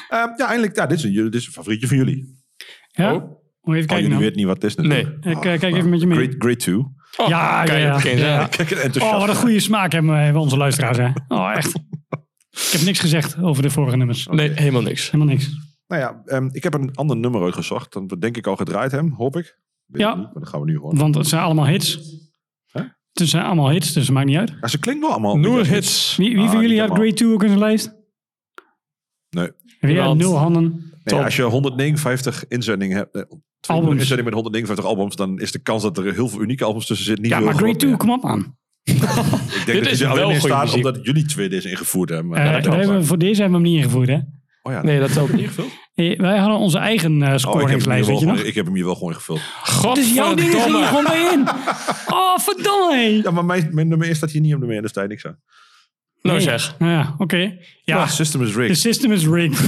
[SPEAKER 4] Ehm, ja, eindelijk. Ja, dit, is een, jullie- dit is een favorietje van jullie. Oh,
[SPEAKER 1] ja? Moet je even kijken
[SPEAKER 4] jullie
[SPEAKER 1] dan.
[SPEAKER 4] weten niet wat het is natuurlijk.
[SPEAKER 1] Nee. Ik, eh, kijk
[SPEAKER 4] nou,
[SPEAKER 1] even met je mee.
[SPEAKER 4] Grade, grade 2.
[SPEAKER 3] Oh,
[SPEAKER 1] Ja,
[SPEAKER 3] kan
[SPEAKER 1] ja,
[SPEAKER 3] je
[SPEAKER 1] ja.
[SPEAKER 3] geen zeggen.
[SPEAKER 4] Kijk, het enthousiasme.
[SPEAKER 1] Oh, wat een goede smaak hebben hebben onze luisteraars, hè? Oh, echt. Ik heb niks gezegd over de vorige nummers.
[SPEAKER 3] Nee, helemaal niks.
[SPEAKER 1] Helemaal niks.
[SPEAKER 4] Nou ja, ehm, ik heb een ander nummer uitgezocht. Dan denk ik al gedraaid hem, hoop ik. Weet
[SPEAKER 1] Ja.
[SPEAKER 4] ik niet, maar dat gaan we nu horen.
[SPEAKER 1] Want het zijn allemaal hits.
[SPEAKER 4] Huh?
[SPEAKER 1] Het zijn allemaal hits, dus het maakt niet uit.
[SPEAKER 4] Ja, ze klinken wel allemaal...
[SPEAKER 3] Noem eens
[SPEAKER 4] beetje-
[SPEAKER 3] hits.
[SPEAKER 1] Wie, wie
[SPEAKER 4] Ah,
[SPEAKER 1] van
[SPEAKER 4] niet
[SPEAKER 1] jullie had
[SPEAKER 4] allemaal.
[SPEAKER 1] Grade 2 ook in zijn lijst?
[SPEAKER 4] Nee.
[SPEAKER 1] Weer
[SPEAKER 3] Niemand.
[SPEAKER 1] nul handen.
[SPEAKER 4] Nee, als je 159 inzendingen hebt... eh, twee
[SPEAKER 1] Albums.
[SPEAKER 4] inzendingen met 159 albums, dan is de kans dat er heel veel unieke albums tussen zitten niet
[SPEAKER 1] Ja,
[SPEAKER 4] heel
[SPEAKER 1] maar Grade
[SPEAKER 4] groot
[SPEAKER 1] 2,
[SPEAKER 4] meer.
[SPEAKER 1] kom op aan.
[SPEAKER 4] Ik denk
[SPEAKER 3] Dit
[SPEAKER 4] dat
[SPEAKER 3] is
[SPEAKER 4] je
[SPEAKER 3] wel
[SPEAKER 4] alleen in
[SPEAKER 3] goede
[SPEAKER 4] staat
[SPEAKER 3] muziek.
[SPEAKER 4] omdat jullie twee deze ingevoerd hebben. maar
[SPEAKER 1] Eh,
[SPEAKER 4] dat
[SPEAKER 1] daar
[SPEAKER 4] kan
[SPEAKER 1] hebben we-
[SPEAKER 4] zijn.
[SPEAKER 1] voor deze hebben we hem niet ingevoerd, hè?
[SPEAKER 4] Oh ja,
[SPEAKER 3] Nee, dat telt niet.
[SPEAKER 4] ingevuld?
[SPEAKER 1] Eh, Wij hadden onze eigen
[SPEAKER 4] Oh,
[SPEAKER 1] eh
[SPEAKER 4] ik heb, hem hier
[SPEAKER 1] scoringslijst,
[SPEAKER 4] wel
[SPEAKER 1] weet je nog?
[SPEAKER 4] gewoon, ik heb hem hier wel gewoon ingevuld.
[SPEAKER 3] God,
[SPEAKER 1] Dus jouw dingen gingen er gewoon bij in. Oh, verdomme, hé.
[SPEAKER 4] Ja, maar mijn, mijn nummer 1 staat hier niet op nummer 1, dus daar niks aan.
[SPEAKER 3] Nou
[SPEAKER 1] Nee.
[SPEAKER 3] zeg.
[SPEAKER 1] Nou ja, oké. Ja,
[SPEAKER 4] Ah, System is
[SPEAKER 1] de
[SPEAKER 4] rigged.
[SPEAKER 1] system is rigged.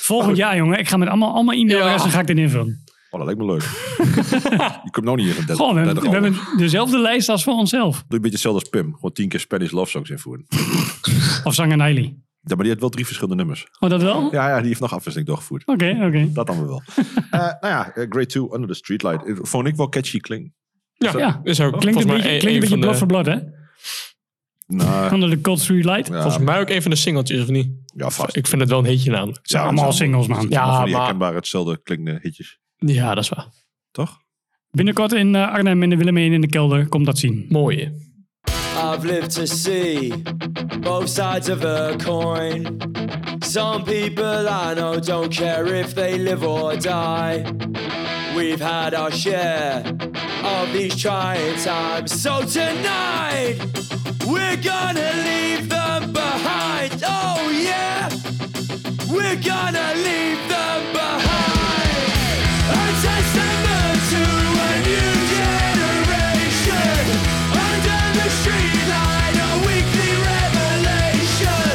[SPEAKER 1] Volgend jaar, jongen. Ik ga met allemaal, allemaal e-mailadressen ga ik dit invullen.
[SPEAKER 4] Oh, dat lijkt me leuk. je komt nou niet hier van 30.
[SPEAKER 1] Goh, we hebben,
[SPEAKER 4] 30
[SPEAKER 1] we hebben
[SPEAKER 4] albums.
[SPEAKER 1] dezelfde lijst als voor onszelf.
[SPEAKER 4] Doe een beetje hetzelfde als Pim. Gewoon 10 keer Spanish Love Songs invoeren.
[SPEAKER 1] Of Zanger Niley.
[SPEAKER 4] Ja, maar die heeft wel drie verschillende nummers.
[SPEAKER 1] Oh, dat wel? Oké,
[SPEAKER 4] Ja, ja die heeft nog afwisseling doorgevoerd.
[SPEAKER 1] oké.
[SPEAKER 4] Dat dan weer wel. Eh, nou ja, eh, Grade 2, Under the Streetlight. Eh, Vond ik wel catchy klinken.
[SPEAKER 3] Ja,
[SPEAKER 1] Ja.
[SPEAKER 3] is ook
[SPEAKER 1] Klinkt
[SPEAKER 3] volgens
[SPEAKER 1] een
[SPEAKER 3] mij
[SPEAKER 1] beetje,
[SPEAKER 3] een-
[SPEAKER 1] klinkt een
[SPEAKER 3] een
[SPEAKER 1] beetje
[SPEAKER 3] van de-
[SPEAKER 1] blad voor blad, hè?
[SPEAKER 4] Nou,
[SPEAKER 1] Onder de Cold Street Light.
[SPEAKER 4] ja,
[SPEAKER 3] Volgens mij ook een van de singeltjes, of niet?
[SPEAKER 4] ja, vast.
[SPEAKER 3] Ik vind het wel een hitje namelijk.
[SPEAKER 1] zijn allemaal singles, man.
[SPEAKER 4] Ja,
[SPEAKER 3] Ja,
[SPEAKER 4] van die
[SPEAKER 3] maar-
[SPEAKER 4] herkenbare hetzelfde klinkende hitjes.
[SPEAKER 3] Ja, dat is waar.
[SPEAKER 4] Toch?
[SPEAKER 1] Binnenkort in eh, Arnhem en de Willemijn in de kelder. Kom dat zien.
[SPEAKER 3] Mooi.
[SPEAKER 8] I've lived to see both sides of a coin. Some people I know don't care if they live or die. We've had our share of these trying times. So tonight, we're gonna leave them behind. Oh yeah, we're gonna leave them behind. And take them to a new generation. Under the streetlight, a weekly revelation.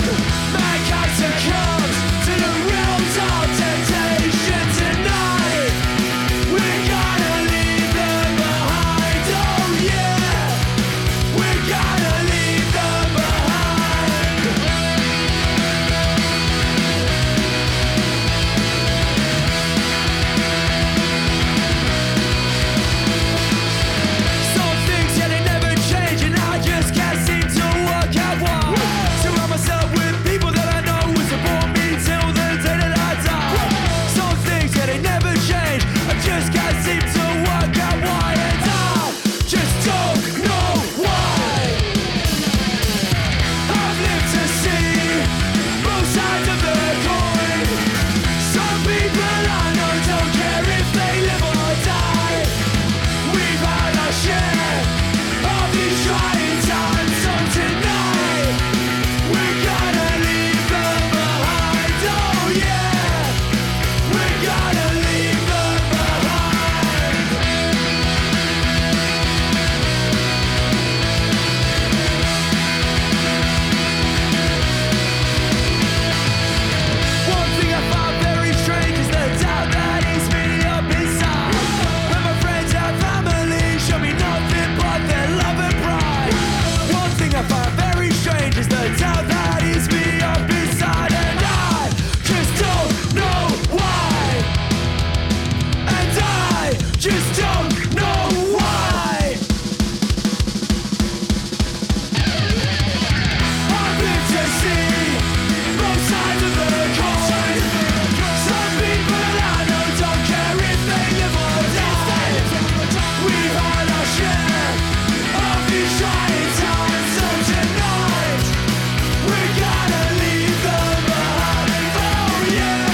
[SPEAKER 8] Mankind succumbs to the realms of temptation tonight. We're gonna leave them behind. Oh yeah, we're gonna leave them behind. Some things that they never change, and I just can't seem to work out why. Surround myself with people that I know will support me till the day that I die. Some things that they never change, I just can't seem to work out why, and I just don't know why. I've lived to see both sides of the coin. Some people I know don't care if they live or die. We've had our share of these trying times, so tonight we're gonna leave them behind. Oh yeah, we're gonna leave them behind. One thing I find very strange is the doubt that eats me up inside. When my friends and family show me nothing but their love and pride. One thing I find very strange is the doubt that eats me up inside, and I just don't know why. And I just don't know why. I've lived to see. Both sides of the coin. Some people I know don't care if they live or die. We've had our share of these trying times, so tonight we're gonna leave them behind. Oh yeah,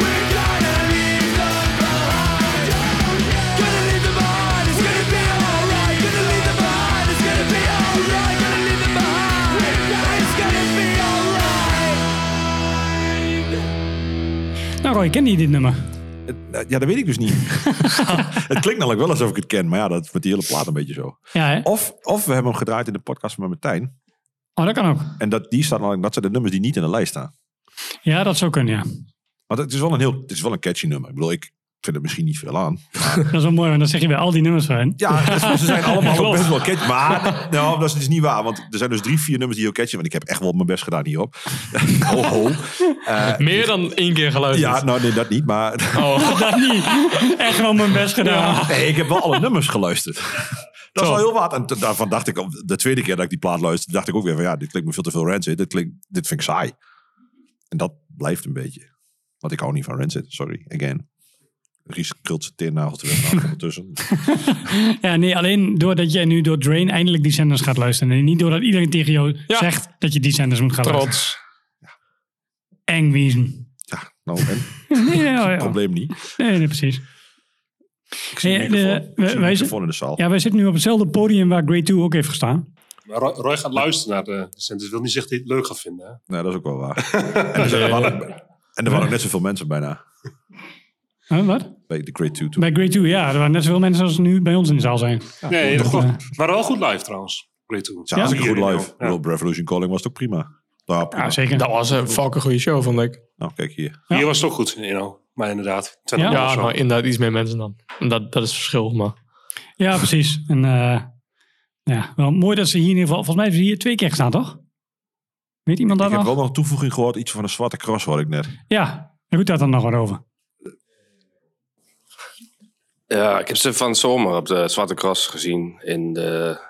[SPEAKER 8] we're gonna leave them behind. Gonna leave them behind. It's gonna be alright. Gonna leave them behind. It's gonna be alright. Gonna leave them behind. It's gonna be alright.
[SPEAKER 1] Nou Roy, ken je dit nummer?
[SPEAKER 4] Ja, dat weet ik dus niet. het klinkt namelijk wel alsof ik het ken, maar ja, dat wordt die hele plaat een beetje zo.
[SPEAKER 1] Ja, hè?
[SPEAKER 4] Of, of we hebben hem gedraaid in de podcast met Martijn.
[SPEAKER 1] Oh, dat kan ook.
[SPEAKER 4] En dat, die staat, namelijk- dat zijn de nummers die niet in de lijst staan.
[SPEAKER 1] Ja, dat zou kunnen, ja.
[SPEAKER 4] Want het is wel een heel, het is wel een catchy nummer. Ik bedoel, ik vind er misschien niet veel aan.
[SPEAKER 1] Dat is wel mooi, want dan zeg je bij al die nummers van.
[SPEAKER 4] Ja, Dus ze zijn allemaal ook
[SPEAKER 1] Klopt.
[SPEAKER 4] best wel catchy. Maar nou, dat is dus niet waar. Want er zijn dus drie, vier nummers die heel catchy zijn. Want ik heb echt wel mijn best gedaan hierop. ho, ho. Eh,
[SPEAKER 3] Meer dan één keer geluisterd.
[SPEAKER 4] Ja, nou nee, dat niet. Maar...
[SPEAKER 1] Oh, dat niet. Echt wel mijn best gedaan.
[SPEAKER 4] Nee, ik heb wel alle nummers geluisterd. Dat is wel heel wat. En t- daarvan dacht ik, op de tweede keer dat ik die plaat luisterde, dacht ik ook weer van ja, dit klinkt me veel te veel Rancid. Dit, klinkt, dit vind ik saai. En dat blijft een beetje. Want ik hou niet van Rancid, sorry, again. Ries krult zijn teernagel terug naar ondertussen.
[SPEAKER 1] Ja, nee, alleen doordat jij nu door Drain eindelijk die zenders gaat luisteren. En niet doordat iedereen tegen jou zegt dat je die zenders moet gaan
[SPEAKER 3] Trots.
[SPEAKER 1] luisteren. Trots. Eng wiezen.
[SPEAKER 4] Nou, en?
[SPEAKER 1] Nee, ja, ja.
[SPEAKER 4] Probleem niet.
[SPEAKER 1] Nee, nee, precies.
[SPEAKER 4] Ik zie
[SPEAKER 1] Nee,
[SPEAKER 4] een microfoon,
[SPEAKER 1] de-
[SPEAKER 4] ik zie een
[SPEAKER 1] wij-
[SPEAKER 4] microfoon in de zaal.
[SPEAKER 1] Ja, wij zitten nu op hetzelfde podium waar Grade 2 ook heeft gestaan.
[SPEAKER 11] Maar Roy, Roy gaat luisteren naar de recensent. Dat wil niet zeggen dat hij het leuk gaat vinden. Hè?
[SPEAKER 4] Nou, dat is ook wel waar. en dus er, zijn, er waren, en er waren ook net zoveel mensen bijna.
[SPEAKER 1] Huh, wat?
[SPEAKER 4] Bij de Great Two.
[SPEAKER 1] Bij Grade 2, ja. Er waren net zoveel mensen als er nu bij ons in de zaal zijn.
[SPEAKER 11] nee, dat
[SPEAKER 1] Eh,
[SPEAKER 11] klopt. Maar wel goed live trouwens. Great Tour.
[SPEAKER 4] Ja, hartstikke goed live. Ik bedoel, Revolution Calling was het ook prima. Ja, prima.
[SPEAKER 1] zeker.
[SPEAKER 3] Dat was een fucking goede show, vond ik.
[SPEAKER 4] Nou, kijk hier.
[SPEAKER 11] Hier was het ook goed in inhoud. Maar inderdaad.
[SPEAKER 3] Ja, nou, inderdaad iets meer mensen dan. En Dat, dat is het verschil, maar...
[SPEAKER 1] Ja, precies. En eh, ja, wel mooi dat ze hier in ieder geval... Volgens mij hebben ze hier twee keer gestaan, toch? Weet iemand dat
[SPEAKER 4] Ik heb
[SPEAKER 1] nog?
[SPEAKER 4] wel nog een toevoeging gehoord, iets van een zwarte cross hoor ik net.
[SPEAKER 1] Ja, daar moet dat dan nog wat over.
[SPEAKER 13] Ja, ik heb ze van zomer op de Zwarte Cross gezien. In de...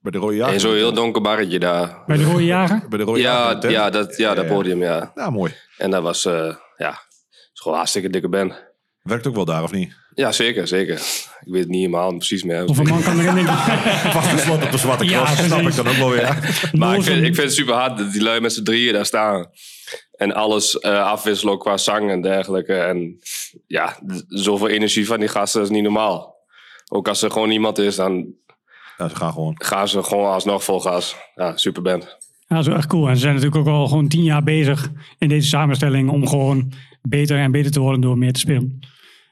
[SPEAKER 4] Bij de Rode Jager?
[SPEAKER 13] In zo'n heel donker barretje daar.
[SPEAKER 1] Bij de Rode Jager?
[SPEAKER 4] Bij de
[SPEAKER 13] ja, ja, dat, ja, dat
[SPEAKER 4] ja.
[SPEAKER 13] podium, ja.
[SPEAKER 4] Ja, mooi.
[SPEAKER 13] En dat was, eh ja, is gewoon een hartstikke dikke band.
[SPEAKER 4] Werkt ook wel daar, of niet?
[SPEAKER 13] Ja, zeker, zeker. Ik weet het niet helemaal precies meer.
[SPEAKER 4] Of een man kan erin, denk
[SPEAKER 13] ik.
[SPEAKER 4] Wacht, de slot op de zwarte Ja, cross, snap precies. ik dan ook wel weer.
[SPEAKER 13] maar ik vind, ik vind het super hard dat die lui met z'n drieën daar staan. En alles eh, afwisselen ook qua zang en dergelijke. En ja, d- zoveel energie van die gasten is niet normaal. Ook als er gewoon iemand is, dan...
[SPEAKER 4] ze gaan gewoon.
[SPEAKER 13] Gaan ze gewoon alsnog vol gas. Ja, super band.
[SPEAKER 1] Ja, dat is wel echt cool. En ze zijn natuurlijk ook al gewoon tien jaar bezig in deze samenstelling om gewoon beter en beter te worden door meer te spelen.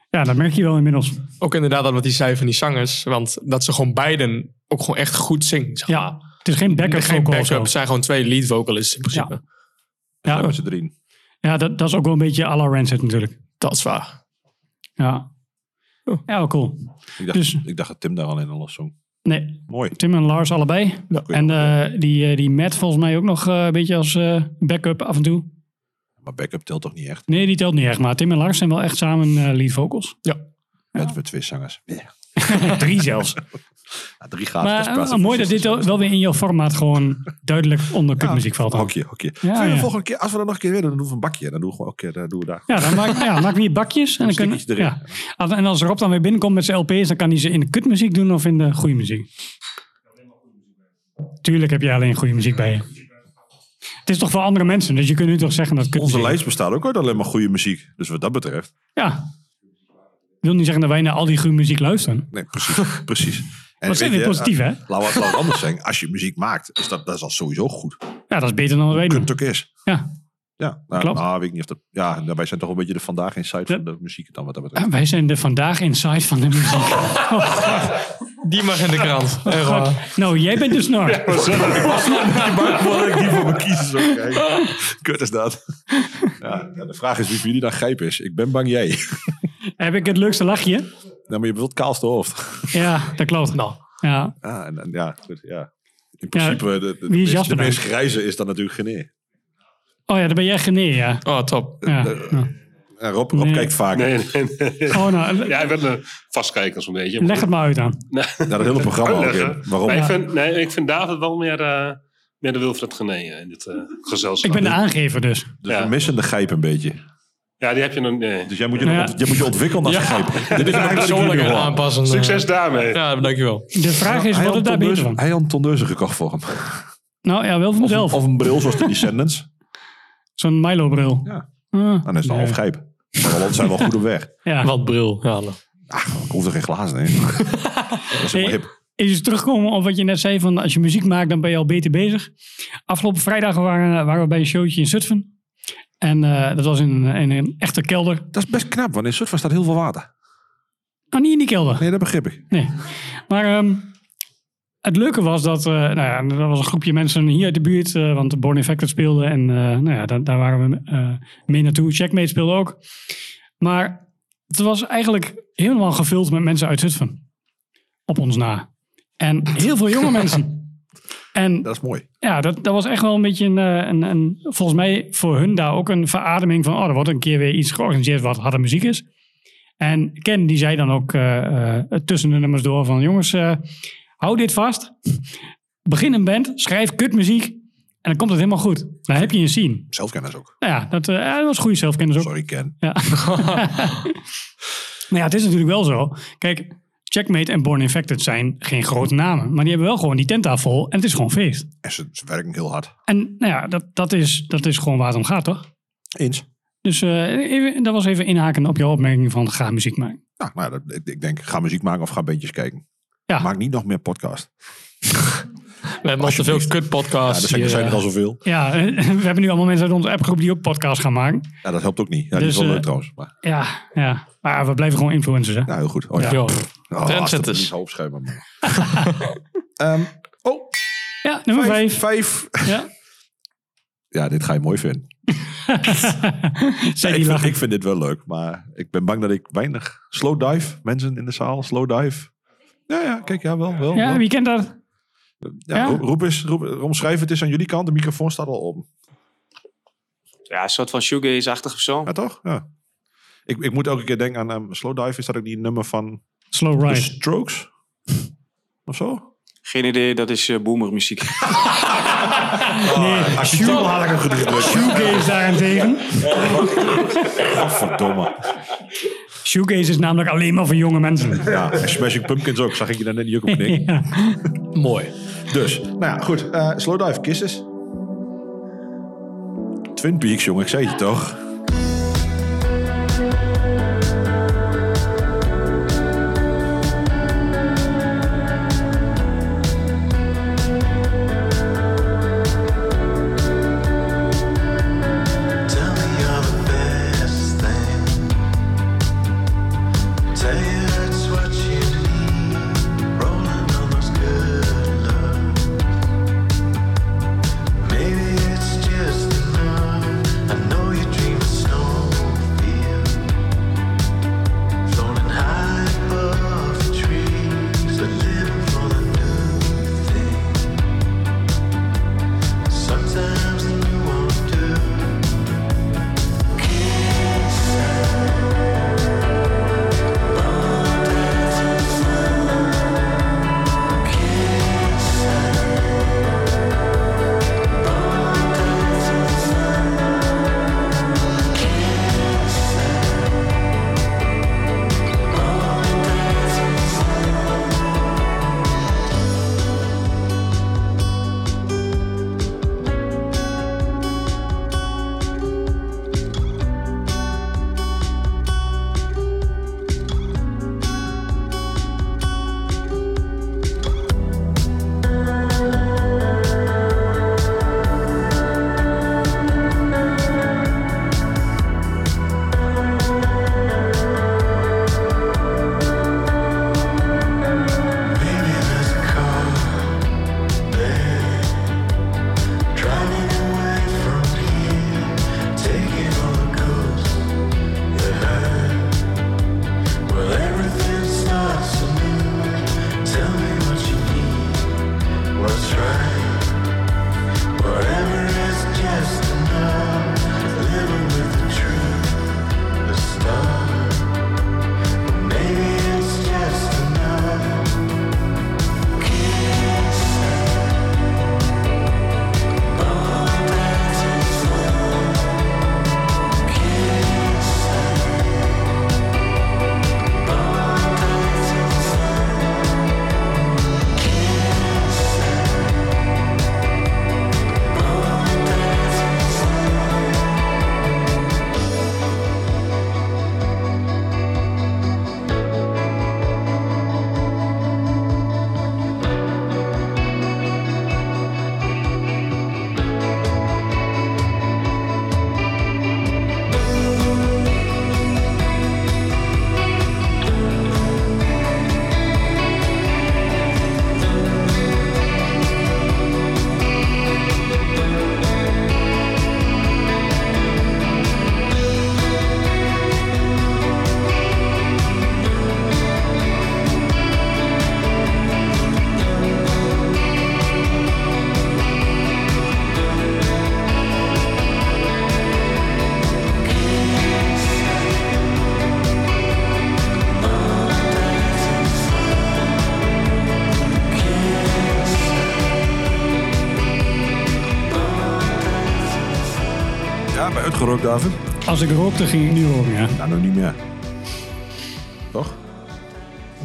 [SPEAKER 1] Ja, dat merk je wel inmiddels.
[SPEAKER 3] Ook inderdaad dat wat hij zei van die zangers. Want dat ze gewoon beiden ook gewoon echt goed zingen. Zeg maar.
[SPEAKER 1] Ja, het is geen backup
[SPEAKER 3] Geen
[SPEAKER 1] vocal of
[SPEAKER 3] backup,
[SPEAKER 1] zo.
[SPEAKER 3] het zijn gewoon twee lead vocalists in principe.
[SPEAKER 1] Ja.
[SPEAKER 4] met z'n drieën.
[SPEAKER 1] Ja, dat, dat is ook wel een beetje à la Rancid natuurlijk.
[SPEAKER 3] Dat is waar. Oh.
[SPEAKER 1] Ja. Ja, wel cool.
[SPEAKER 4] Ik dacht,
[SPEAKER 1] Dus-
[SPEAKER 4] ik dacht dat Tim daar alleen al los zong.
[SPEAKER 1] Nee.
[SPEAKER 4] Mooi.
[SPEAKER 1] Tim en Lars allebei. En eh, die, eh, die Matt volgens mij ook nog eh, een beetje als eh, backup af en toe.
[SPEAKER 4] Maar backup telt toch niet echt?
[SPEAKER 1] Nee, die telt niet echt. Maar Tim en Lars zijn wel echt samen eh, lead vocals.
[SPEAKER 3] Ja.
[SPEAKER 4] Met, met twee zangers. Ja.
[SPEAKER 1] Drie zelfs.
[SPEAKER 4] Ja, drie gaat.
[SPEAKER 1] maar eh, mooi dat dit wel wel weer in jouw formaat gewoon duidelijk onder kutmuziek valt. dan.
[SPEAKER 4] Hokje, hokje.
[SPEAKER 1] Ja,
[SPEAKER 4] Vind je de
[SPEAKER 1] ja.
[SPEAKER 4] volgende keer, als we dat nog een keer willen, dan doen we een bakje. Dan doen we gewoon, oké, dan doen we daar.
[SPEAKER 1] Ja, dan maak, ja, maak we hier bakjes. En, dan kunnen,
[SPEAKER 4] stickertje
[SPEAKER 1] ja. Als- en als Rob dan weer binnenkomt met zijn LP's, dan kan hij ze in de kutmuziek doen of in de goede muziek. Tuurlijk heb jij alleen goede muziek bij je. Het is toch voor andere mensen, dus je kunt nu toch zeggen dat kutmuziek...
[SPEAKER 4] Onze lijst bestaat ook uit alleen maar goede muziek. Dus wat dat betreft.
[SPEAKER 1] Ja. Ik wil niet zeggen dat wij naar al die goede muziek luisteren.
[SPEAKER 4] Nee, precies. precies.
[SPEAKER 1] Wat zijn
[SPEAKER 4] weet
[SPEAKER 1] weer
[SPEAKER 4] je,
[SPEAKER 1] positief,
[SPEAKER 4] eh,
[SPEAKER 1] hè?
[SPEAKER 4] Laten we laten we het anders zeggen. Als je muziek maakt, is dat, dat is al sowieso goed.
[SPEAKER 1] Ja, dat is beter dan wat wij doen.
[SPEAKER 4] Het ook is.
[SPEAKER 1] Ja.
[SPEAKER 4] Ja, nou,
[SPEAKER 1] Klopt.
[SPEAKER 4] nou, weet ik niet of dat... Ja, nou, wij zijn toch een beetje de vandaag in site van de muziek dan wat dat betreft.
[SPEAKER 1] Ah, Wij zijn de vandaag inside van de muziek.
[SPEAKER 3] Die mag in de krant. Echt waar.
[SPEAKER 1] God. Nou, jij bent de snor.
[SPEAKER 4] die voor me kiezen zou krijgen. Kut is dat. Ja, ja, de vraag is wie van jullie dan grijp is. Ik ben bang jij.
[SPEAKER 1] Heb ik het leukste lachje?
[SPEAKER 4] Nou, maar je bedoelt kaalste hoofd.
[SPEAKER 1] Ja, dat klopt. Ja.
[SPEAKER 4] Ja, en, en ja, goed, ja. In principe, de, de, de
[SPEAKER 1] wie is
[SPEAKER 4] meest,
[SPEAKER 1] Jasper
[SPEAKER 4] de
[SPEAKER 1] dan?
[SPEAKER 4] meest grijze is dan natuurlijk Geneer.
[SPEAKER 1] Oh ja, dan ben jij geneer, ja.
[SPEAKER 3] Oh, top.
[SPEAKER 1] Ja.
[SPEAKER 4] En Rob, Rob kijkt vaak.
[SPEAKER 11] Nee, nee, nee.
[SPEAKER 1] Oh, nou,
[SPEAKER 11] ja, ik ben een vastkijker zo'n beetje.
[SPEAKER 1] Leg het maar uit aan.
[SPEAKER 4] Ja, dat hele programma ook
[SPEAKER 11] Uitleggen.
[SPEAKER 4] in. Waarom?
[SPEAKER 11] Maar
[SPEAKER 4] Ja.
[SPEAKER 11] ik, vind, nee, ik vind David wel meer, eh, meer de Wilfred Genee eh, in dit eh, gezelschap.
[SPEAKER 1] Ik ben de aangever dus.
[SPEAKER 4] Dus we missen de grijp een beetje.
[SPEAKER 11] Ja, die heb je nog nee.
[SPEAKER 4] Dus jij moet je,
[SPEAKER 1] Ja.
[SPEAKER 4] nog ont- jij moet je ontwikkelen als grijp. Dit is
[SPEAKER 11] Ja,
[SPEAKER 4] een
[SPEAKER 11] persoonlijk
[SPEAKER 4] persoonlijke
[SPEAKER 11] aanpassen. Succes daarmee.
[SPEAKER 3] Ja, dankjewel.
[SPEAKER 1] De vraag is,
[SPEAKER 4] Hij had
[SPEAKER 1] wat het daar beter
[SPEAKER 4] tondeuzen-
[SPEAKER 1] van?
[SPEAKER 4] Hij had een tondeuzen gekocht voor hem.
[SPEAKER 1] Nou ja, wel van mezelf.
[SPEAKER 4] Of een bril zoals de Descendants.
[SPEAKER 1] Zo'n Milo-bril.
[SPEAKER 4] Ja.
[SPEAKER 1] Ah,
[SPEAKER 4] Dan Nou, is het een
[SPEAKER 1] nee.
[SPEAKER 4] half grijp. Maar we zijn wel goed op weg. Ah,
[SPEAKER 1] Ja.
[SPEAKER 3] Wat bril. Ja, dan.
[SPEAKER 4] Ik hoef er geen glazen in. Dat is helemaal hip.
[SPEAKER 1] Is het terugkomen op wat je net zei van als je muziek maakt, dan ben je al beter bezig. Afgelopen vrijdag waren, waren we bij een showtje in Zutphen. En eh, dat was in, een- in een echte kelder.
[SPEAKER 4] Dat is best knap, want in Zutphen staat heel veel water.
[SPEAKER 1] Nou, niet in die kelder.
[SPEAKER 4] Nee, dat begrijp ik.
[SPEAKER 1] Nee. Maar ehm, het leuke was dat, eh nou ja, er was een groepje mensen hier uit de buurt, eh, want Born Infected speelde en eh, nou ja, daar, daar waren we eh, mee naartoe. Checkmate speelde ook. Maar het was eigenlijk helemaal gevuld met mensen uit Zutphen. Op ons na. En heel veel jonge mensen. En
[SPEAKER 4] Dat is mooi.
[SPEAKER 1] ja, dat, dat was echt wel een beetje een, eh, een, een, volgens mij voor hun daar ook een verademing van, oh, er wordt een keer weer iets georganiseerd wat harde muziek is. En Ken die zei dan ook eh, eh, tussen de nummers door van, jongens, eh, hou dit vast, begin een band, schrijf kutmuziek en dan komt het helemaal goed. Dan heb je een scene.
[SPEAKER 4] Zelfkennis ook.
[SPEAKER 1] Nou ja, dat, eh, ja, dat was goede zelfkennis ook.
[SPEAKER 4] Sorry, Ken.
[SPEAKER 1] Ja. nou ja, het is natuurlijk wel zo. Kijk, Checkmate en Born Infected zijn geen grote namen, maar die hebben wel gewoon die tent daar vol en het is gewoon feest.
[SPEAKER 4] En ze, ze werken heel hard.
[SPEAKER 1] En nou ja, dat, dat, is, dat is gewoon waar het om gaat, toch?
[SPEAKER 4] Eens.
[SPEAKER 1] Dus eh, even, dat was even inhaken op jouw opmerking van ga muziek maken.
[SPEAKER 4] Nou, nou dat, ik, ik denk, ga muziek maken of ga beetjes kijken.
[SPEAKER 1] Ja.
[SPEAKER 4] Maak niet nog meer podcast.
[SPEAKER 3] We hebben al te veel
[SPEAKER 4] Ja,
[SPEAKER 3] kutpodcasts.
[SPEAKER 4] er zijn, er
[SPEAKER 3] hier,
[SPEAKER 4] zijn er
[SPEAKER 3] eh.
[SPEAKER 4] al zoveel.
[SPEAKER 1] Ja, we hebben nu allemaal mensen uit onze appgroep die ook podcasts gaan maken.
[SPEAKER 4] Ja, dat helpt ook niet. Ja, die
[SPEAKER 1] Dus,
[SPEAKER 4] is wel
[SPEAKER 1] eh,
[SPEAKER 4] leuk trouwens. Maar,
[SPEAKER 1] Ja, ja. Maar we blijven gewoon influencers, hè?
[SPEAKER 4] nou, heel goed. Oh, ja.
[SPEAKER 1] Ja.
[SPEAKER 4] Oh, als dat
[SPEAKER 3] Trendsetters.
[SPEAKER 4] niet hoofdschema. Ehm oh,
[SPEAKER 1] Ja, nummer vijf.
[SPEAKER 4] vijf.
[SPEAKER 1] Ja.
[SPEAKER 4] Ja, dit ga je mooi vinden.
[SPEAKER 1] Zij
[SPEAKER 4] ik,
[SPEAKER 1] die
[SPEAKER 4] vind,
[SPEAKER 1] lachen.
[SPEAKER 4] ik vind dit wel leuk, maar ik ben bang dat ik weinig... Slow dive, mensen in de zaal, slow dive. Ja, ja, kijk, ja, wel, wel.
[SPEAKER 1] Ja,
[SPEAKER 4] wel.
[SPEAKER 1] wie kent dat?
[SPEAKER 4] Ja,
[SPEAKER 1] ja.
[SPEAKER 4] ro- Roep eens, roep, omschrijf het eens aan jullie kant. De microfoon staat al om.
[SPEAKER 10] Ja, een soort van shoegaze-achtig of zo.
[SPEAKER 4] Ja, toch? Ja. Ik, ik moet elke keer denken aan ehm, Slow Dive. Is dat ook die nummer van
[SPEAKER 1] Slow
[SPEAKER 4] The
[SPEAKER 1] Ride.
[SPEAKER 4] Strokes? Of zo?
[SPEAKER 10] Geen idee, dat is eh, boomermuziek.
[SPEAKER 4] Ah,
[SPEAKER 1] Nee,
[SPEAKER 4] Shoe had ik hem gedrukt.
[SPEAKER 1] shoegaze daarentegen.
[SPEAKER 4] Godverdomme.
[SPEAKER 1] Shoegaze is namelijk alleen maar voor jonge mensen.
[SPEAKER 4] Ja, en Smashing Pumpkins ook. Zag ik je daar net niet ook op knikken.
[SPEAKER 1] Ja.
[SPEAKER 4] Mooi. Dus, nou ja, goed. Eh, slow dive, kisses. Twin Peaks, jongen, ik zei het je toch?
[SPEAKER 8] Tell me you're the best thing. Tell you it's what you need. Rolling on those good looks. Maybe it's just enough. I know you dream of snowfields, floating high above the trees, but living for the new thing. Sometimes the new won't do. Maybe it's just enough. Kiss.
[SPEAKER 4] Ja, bij uitgerookt, David.
[SPEAKER 1] Als ik rookte, ging ik nu roken, ja.
[SPEAKER 4] Nou, nu niet meer. Toch?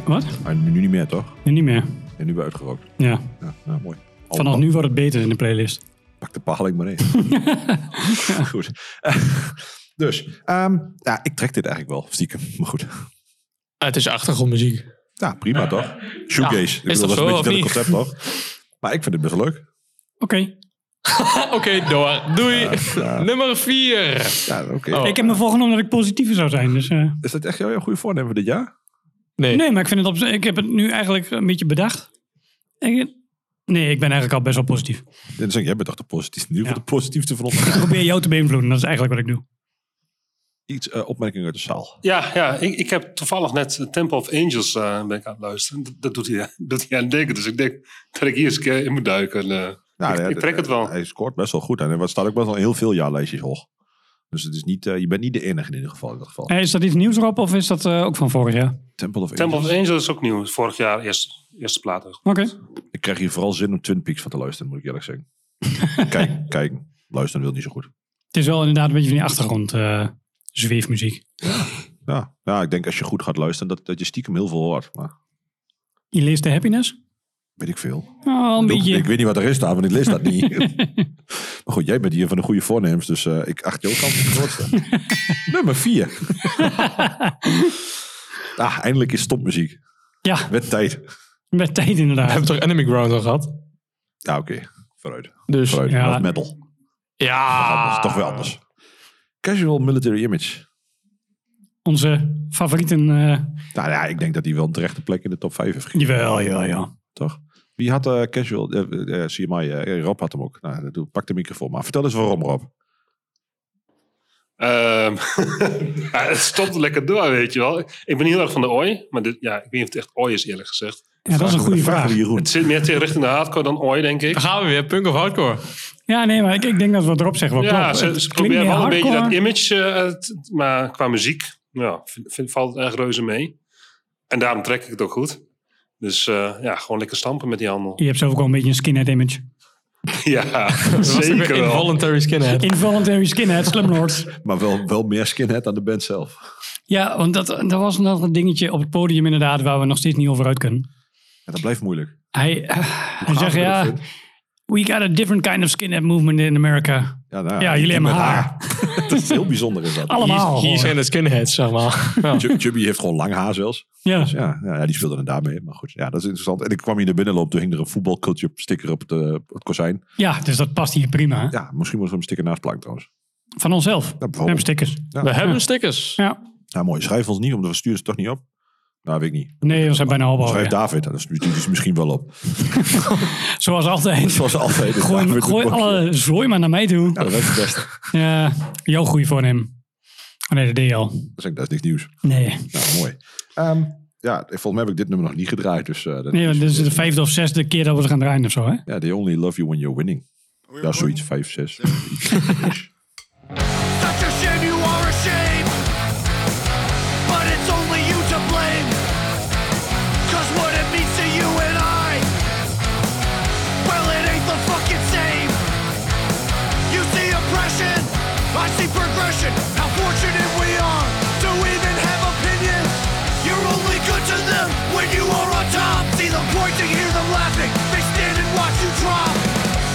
[SPEAKER 1] Wat?
[SPEAKER 4] Maar nu niet meer, toch?
[SPEAKER 1] Nee, niet meer.
[SPEAKER 4] En nu bij uitgerookt.
[SPEAKER 1] Ja.
[SPEAKER 4] Ja, nou, mooi.
[SPEAKER 1] Vanaf nu wordt het beter in de playlist.
[SPEAKER 4] Pak de paling maar in. goed. dus, ehm, ja, ik trek dit eigenlijk wel, stiekem. Maar goed.
[SPEAKER 14] Het is achtergrondmuziek.
[SPEAKER 4] Ja, prima toch? Shoegaze.
[SPEAKER 14] Ja, is
[SPEAKER 4] Ik
[SPEAKER 14] toch
[SPEAKER 4] bedoel, dat is
[SPEAKER 14] zo,
[SPEAKER 4] een beetje
[SPEAKER 14] of
[SPEAKER 4] dat concept toch? Maar ik vind het best wel leuk.
[SPEAKER 1] Oké.
[SPEAKER 14] Oké, door. Doei. Nummer 4.
[SPEAKER 4] Ja, oké.
[SPEAKER 11] Oh.
[SPEAKER 1] Ik heb me voorgenomen dat ik positiever zou zijn. Dus, eh,
[SPEAKER 4] Is dat echt jouw goede voornemen voor dit jaar?
[SPEAKER 1] nee. maar ik, vind het op, ik heb het nu eigenlijk een beetje bedacht. Ik- nee, ik ben eigenlijk al best wel positief.
[SPEAKER 4] Dan zeg ik, jij bent toch de positiefste, in ieder geval de positiefste van ons.
[SPEAKER 1] Ik probeer jou te beïnvloeden, dat is eigenlijk wat ik doe.
[SPEAKER 4] Iets eh, opmerkingen uit de zaal.
[SPEAKER 11] Ja, ja ik, ik heb toevallig net Temple of Angels eh, ben ik aan het luisteren. Dat, dat doet, hij, doet hij aan het denken. Dus ik denk dat ik hier eens een keer in moet duiken. En, eh,
[SPEAKER 4] Nou
[SPEAKER 11] ik, ik trek het wel.
[SPEAKER 4] Hij scoort best wel goed en er staat ook best wel heel veel jaarlijstjes hoog. Dus het is niet, eh, je bent niet de enige in ieder geval. In dat geval.
[SPEAKER 1] Eh, is dat iets nieuws erop of is dat eh, ook van vorig jaar?
[SPEAKER 4] Temple of
[SPEAKER 11] Temple of
[SPEAKER 4] Angels.
[SPEAKER 11] Angels is ook nieuw. Vorig jaar eerste, eerste plaat.
[SPEAKER 1] Oké.
[SPEAKER 4] Ik krijg hier vooral zin om Twin Peaks van te luisteren, moet ik eerlijk zeggen. kijk, kijk, luisteren wil niet zo goed.
[SPEAKER 1] Het is wel inderdaad een beetje van die achtergrond eh, zweefmuziek.
[SPEAKER 4] Ja, ja, ik denk als je goed gaat luisteren, dat, dat je stiekem heel veel hoort. Maar
[SPEAKER 1] Je leest de happiness?
[SPEAKER 4] weet ik veel.
[SPEAKER 1] Oh, een
[SPEAKER 4] Ik bedoel,
[SPEAKER 1] beetje.
[SPEAKER 4] Ik weet niet wat er is daar, want ik lees dat niet. maar goed, jij bent hier van de goede voornemens, dus eh, ik acht jou ook kans de grootste. Nummer vier. ah, eindelijk is stopmuziek.
[SPEAKER 1] Ja.
[SPEAKER 4] Met tijd.
[SPEAKER 1] Met tijd inderdaad. We hebben
[SPEAKER 3] toch Enemy Ground al gehad?
[SPEAKER 4] Ja, oké. Vooruit.
[SPEAKER 3] Dus,
[SPEAKER 4] Vooruit.
[SPEAKER 3] ja.
[SPEAKER 4] Wat metal.
[SPEAKER 3] Ja.
[SPEAKER 4] Dat is toch wel anders. Casual military image.
[SPEAKER 1] Onze favorieten. eh
[SPEAKER 4] Nou ja, ik denk dat hij wel een terechte plek in de top 5 heeft gekregen.
[SPEAKER 1] Jawel, jawel, ja.
[SPEAKER 4] Toch? Wie had eh, casual, eh eh, CMI, eh, Rob had hem ook. Nou, dat doe- pak de microfoon maar. Vertel eens waarom, Rob.
[SPEAKER 11] Ehm, ja, het stopt lekker door, weet je wel. Ik ben heel erg van de ooi, maar dit, ja, ik weet niet of het echt ooi is, eerlijk gezegd.
[SPEAKER 1] Ja, dat is een goede vraag.
[SPEAKER 11] Het zit meer tegen richting de hardcore dan ooi, denk ik.
[SPEAKER 3] gaan we weer, punk of hardcore?
[SPEAKER 1] Ja, nee, maar ik, ik denk dat wat erop zegt wel
[SPEAKER 11] ja,
[SPEAKER 1] klopt.
[SPEAKER 11] ze,
[SPEAKER 1] Het
[SPEAKER 11] ze
[SPEAKER 1] klinkt
[SPEAKER 11] proberen
[SPEAKER 1] meer
[SPEAKER 11] wel een beetje dat
[SPEAKER 1] hardcore.
[SPEAKER 11] image, eh, t- maar qua muziek ja, vind, vind- valt het erg reuze mee. En daarom trek ik het ook goed. Dus eh, ja, gewoon lekker stampen met die handel.
[SPEAKER 1] Je hebt zelf ook wel een beetje een skinhead image.
[SPEAKER 11] ja,
[SPEAKER 1] was
[SPEAKER 11] zeker
[SPEAKER 1] weer
[SPEAKER 11] wel.
[SPEAKER 3] Involuntary skinhead.
[SPEAKER 1] Involuntary skinhead, slumlords.
[SPEAKER 4] Maar wel, wel meer skinhead aan de band zelf.
[SPEAKER 1] Ja, want dat, dat was nog een dingetje op het podium inderdaad waar we nog steeds niet over uit kunnen.
[SPEAKER 4] Ja, dat blijft moeilijk.
[SPEAKER 1] Hij, eh, hij
[SPEAKER 4] gaaf
[SPEAKER 1] zegt
[SPEAKER 4] ik dat
[SPEAKER 1] ja,
[SPEAKER 4] vind.
[SPEAKER 1] we got a different kind of skinhead movement in America.
[SPEAKER 4] Ja, nou,
[SPEAKER 1] Ja, jullie hebben haar.
[SPEAKER 4] dat is heel bijzonder is dat.
[SPEAKER 1] Allemaal.
[SPEAKER 3] Hier, hier zijn de skinheads, zeg maar.
[SPEAKER 4] Chub- Chubby heeft gewoon lang haar zelfs.
[SPEAKER 1] Ja.
[SPEAKER 4] Dus ja, ja, ja, die speelde er daarmee. Maar goed, ja, dat is interessant. En ik kwam hier naar binnen lopen, toen hing er een voetbalculture sticker op, de, op het kozijn.
[SPEAKER 1] Ja, dus dat past hier prima. hè?
[SPEAKER 4] Ja, misschien moeten we hem sticker naast plank trouwens.
[SPEAKER 1] Van onszelf. we hebben stickers.
[SPEAKER 4] We
[SPEAKER 3] hebben stickers.
[SPEAKER 1] Ja.
[SPEAKER 4] Ja, Nou, mooi. Schrijf ons niet, omdat we sturen ze toch niet op. Nou, weet ik niet.
[SPEAKER 1] Nee, we zijn bijna al
[SPEAKER 4] Schrijf
[SPEAKER 1] behouden.
[SPEAKER 4] David, dan stuurt hij ze misschien wel op.
[SPEAKER 1] Zoals altijd.
[SPEAKER 4] Zoals altijd. Dus
[SPEAKER 1] Gooi,
[SPEAKER 4] David
[SPEAKER 1] gooi
[SPEAKER 4] doet ook-
[SPEAKER 1] alle zooi maar naar mij toe.
[SPEAKER 4] Ja, Nou, dat werkt het beste.
[SPEAKER 1] Ja, jouw goede voornemen. Oh nee, dat deed je al.
[SPEAKER 4] Dat is, dat is niks nieuws.
[SPEAKER 1] Nee.
[SPEAKER 4] Nou, mooi. Ehm, ja, volgens mij heb ik dit nummer nog niet gedraaid. Dus, eh, dat
[SPEAKER 1] Nee, want dit is de vijfde of zesde keer dat we ze gaan draaien of zo, hè?
[SPEAKER 4] Ja, they only love you when you're winning. Ja, zoiets. Vijf, zes.
[SPEAKER 8] Such a shame you are ashamed. But it's only you to blame. Cause what it means to you and I, well, it ain't the fucking same. You see oppression, I see progression. How fortunate we are to even have opinions. You're only good to them when you are on top. See them pointing, hear them laughing. They stand and watch you drop.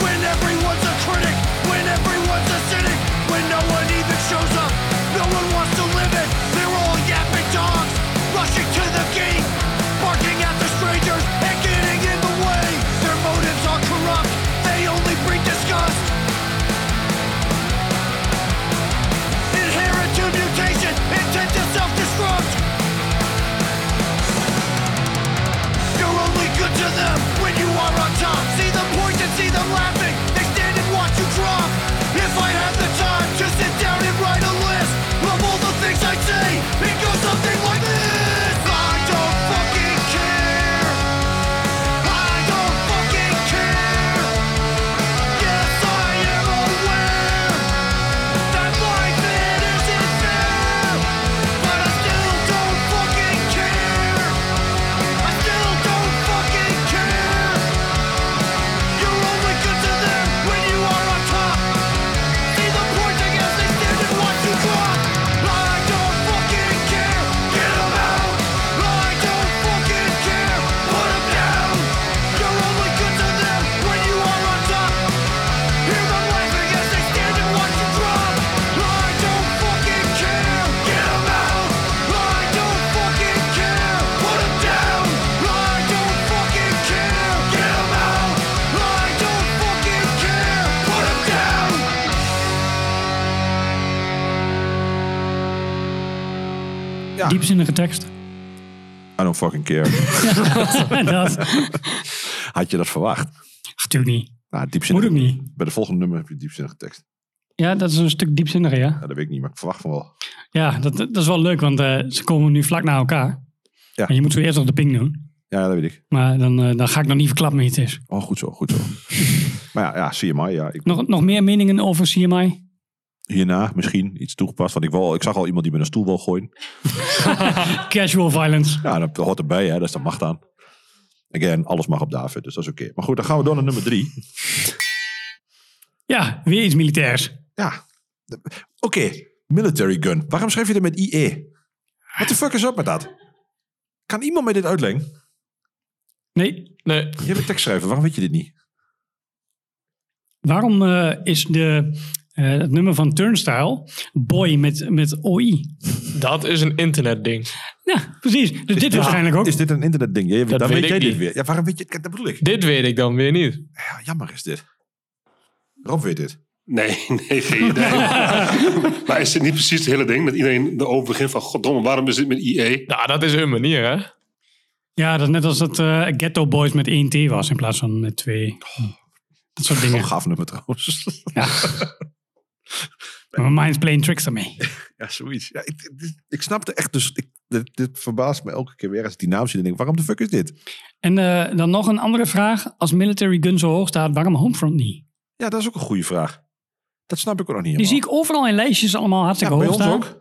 [SPEAKER 8] When everyone's a critic, when everyone's a cynic, when no one even shows up, no one wants to live it. They're all yapping dogs, rushing to the gate, barking at the strangers and getting in the way. Their motives are corrupt, they only breed disgust. Inherent to mutation, intent to self-destruct. You're only good to them when you are on top. See them point and see them laughing. They stand and watch you drop. If I had the time to sit down and write a list of all the things I'd say, it goes something like this. I don't fucking care. I don't fucking care. Yes, I am aware that life it isn't fair, but I still don't fucking care. I still don't fucking care. You're only good to them when you are on top. See the pointing as they stand and watch you drop. I don't fucking care. Get 'em out. I don't fucking care. Put 'em down. You're only good to them when you are on top. Hear them laughing as they stand and watch you drop. I don't fucking care. Get 'em out. I don't fucking care. Put 'em down. I don't fucking care. Get 'em out. I don't fucking care. Put 'em down.
[SPEAKER 1] Diepzinnige tekst.
[SPEAKER 4] I don't fucking care.
[SPEAKER 1] dat.
[SPEAKER 4] Had je dat verwacht?
[SPEAKER 1] Natuurlijk niet.
[SPEAKER 4] Nou,
[SPEAKER 1] Moet
[SPEAKER 4] diepzinnig.
[SPEAKER 1] ook niet.
[SPEAKER 4] Bij de volgende nummer heb je diepzinnige tekst.
[SPEAKER 1] Ja, dat is een stuk diepzinniger, ja.
[SPEAKER 4] Ja, dat weet ik niet, maar ik verwacht van wel.
[SPEAKER 1] Ja, dat, dat is wel leuk, want eh, ze komen nu vlak na elkaar.
[SPEAKER 4] Ja.
[SPEAKER 1] En je moet zo eerst nog de ping doen.
[SPEAKER 4] Ja, dat weet ik.
[SPEAKER 1] Maar dan, eh, dan ga ik nog niet verklappen wie het is.
[SPEAKER 4] Oh, goed zo, goed zo. maar ja, ja CMI, ja. Ik,
[SPEAKER 1] Nog, nog meer meningen over CMI?
[SPEAKER 4] hierna misschien iets toegepast. Want ik, wou, ik zag al iemand die met een stoel wil gooien.
[SPEAKER 1] Casual violence.
[SPEAKER 4] Ja, dat hoort erbij, hè. Dus dat mag dan. Again, alles mag op David, dus dat is oké. Maar goed, dan gaan we door naar nummer drie.
[SPEAKER 1] Ja, weer iets militairs.
[SPEAKER 4] Ja. Oké, military gun. Waarom schrijf je dat met IE? E? What the fuck is up met dat? Kan iemand mij dit uitleggen?
[SPEAKER 1] Nee.
[SPEAKER 4] Nee. Je bent tekstschrijver, waarom weet je dit niet?
[SPEAKER 1] Waarom eh, is de, eh, het nummer van Turnstile Boy met, met OI?
[SPEAKER 14] Dat is een internetding.
[SPEAKER 1] Ja, precies. Dus dit
[SPEAKER 4] dit-
[SPEAKER 1] waarschijnlijk ook.
[SPEAKER 4] Is dit een internetding? Ja,
[SPEAKER 14] Dat
[SPEAKER 4] dan
[SPEAKER 14] weet
[SPEAKER 4] weet,
[SPEAKER 14] ik
[SPEAKER 4] jij dit
[SPEAKER 14] niet.
[SPEAKER 4] weer. Ja, waarom weet je Kijk, Dat bedoel ik.
[SPEAKER 14] Dit weet ik dan weer niet.
[SPEAKER 4] Ja, jammer is dit. Rob weet dit.
[SPEAKER 11] Nee, nee, geen idee. maar is dit niet precies het hele ding? Dat iedereen erover begint van... Goddomme, waarom is dit met E?" IE?
[SPEAKER 14] Nou, dat is hun manier, hè?
[SPEAKER 1] Ja, dat is net als dat eh, Ghetto Boys met 1T was in plaats van met 2. Dat soort dingen.
[SPEAKER 4] gaaf nummer trouwens.
[SPEAKER 1] Ja. Maar Mind's playing tricks daarmee.
[SPEAKER 4] Ja, zoiets. Ja, ik, dit- ik snapte echt dus... Ik, dit, dit verbaast me elke keer weer als ik die naam zie. Dan denk ik, waarom de fuck is dit?
[SPEAKER 1] En eh, dan nog een andere vraag. Als military gun zo hoog staat, waarom Homefront niet?
[SPEAKER 4] Ja, dat is ook een goede vraag. Dat snap ik ook nog niet
[SPEAKER 1] Die
[SPEAKER 4] helemaal.
[SPEAKER 1] zie ik overal in lijstjes allemaal hartstikke
[SPEAKER 4] Ja, bij
[SPEAKER 1] hoog
[SPEAKER 4] ons
[SPEAKER 1] staan.
[SPEAKER 4] ook.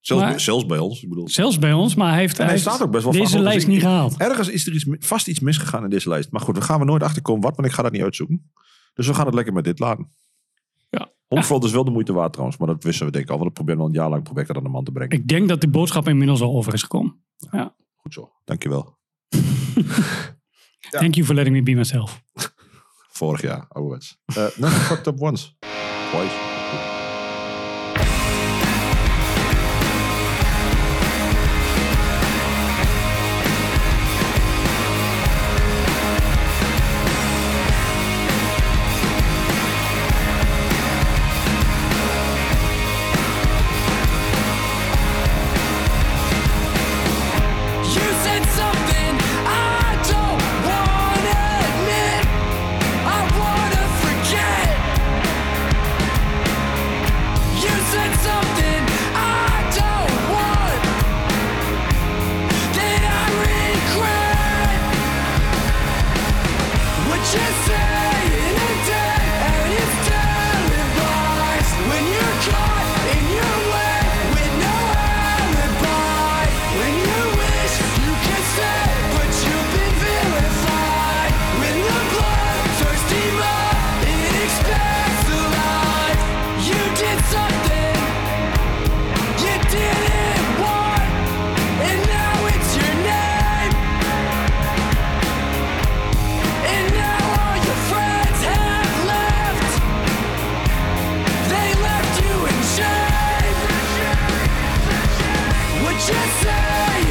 [SPEAKER 4] Zelfs,
[SPEAKER 1] Maar-
[SPEAKER 4] bij, zelfs bij ons. Ik bedoel.
[SPEAKER 1] Zelfs bij ons, maar hij heeft,
[SPEAKER 4] En hij
[SPEAKER 1] hij
[SPEAKER 4] staat
[SPEAKER 1] heeft
[SPEAKER 4] ook best wel vaak
[SPEAKER 1] deze
[SPEAKER 4] op, dus
[SPEAKER 1] lijst
[SPEAKER 4] ik-
[SPEAKER 1] niet gehaald.
[SPEAKER 4] Ergens is er iets, mi- vast iets misgegaan in deze lijst. Maar goed, daar gaan we nooit achterkomen wat, want ik ga dat niet uitzoeken. Dus we gaan het lekker met dit laten.
[SPEAKER 1] Ja.
[SPEAKER 4] Homefront is wel de moeite waard trouwens, maar dat wisten we denk ik al. Want we proberen al een jaar lang proberen dat aan de man te brengen.
[SPEAKER 1] Ik denk dat de boodschap inmiddels al over is gekomen. Ja.
[SPEAKER 4] Goed zo. Dankjewel.
[SPEAKER 1] Thank you for letting me be myself.
[SPEAKER 4] Vorig jaar, ouderwets. Eh never fucked up once. Twice.
[SPEAKER 8] You said something I don't wanna admit. I wanna forget. You said something I don't want that I regret. What you say in a day and it's telling lies when you're caught in your way with no alibi. When you wish you could stay, but you've been vilified. When the bloodthirsty mob it expects the light. You did something you didn't want, and now it's your name. And now all your friends have left. They left you in shame. What you say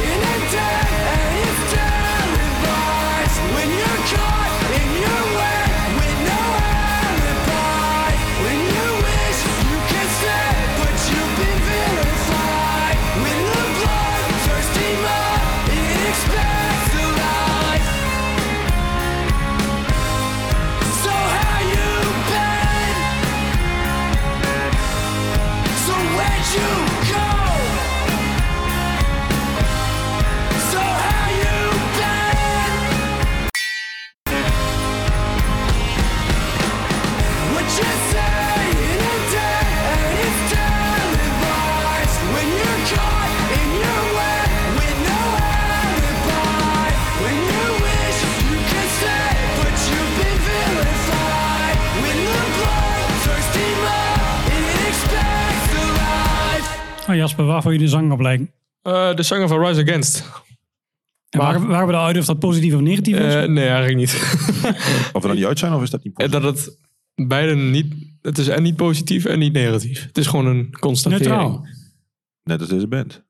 [SPEAKER 8] in a day and it's telling lies when you're caught in your way with no alibi. When you wish you could stay, but you've been vilified. When the bloodthirsty mob it expects the lies. So how you been? So where'd you go? So how you been? What you say in a day and it's telling lies when you're caught in your way with no alibi. When you wish you could stay, but you've been vilified. When the bloodthirsty mob it expects the life.
[SPEAKER 1] Oh Jasper, waar vond je de zang op lijken?
[SPEAKER 14] Eh, de zanger van Rise Against.
[SPEAKER 1] En waren, waren we eruit of dat positief of negatief is?
[SPEAKER 14] Eh, nee, eigenlijk niet.
[SPEAKER 4] Of we dan niet uit zijn of is dat niet
[SPEAKER 14] Eh, Dat het beide niet... Het is en niet positief en niet negatief. Het is gewoon een constatering.
[SPEAKER 1] Neutraal.
[SPEAKER 4] Net als deze band.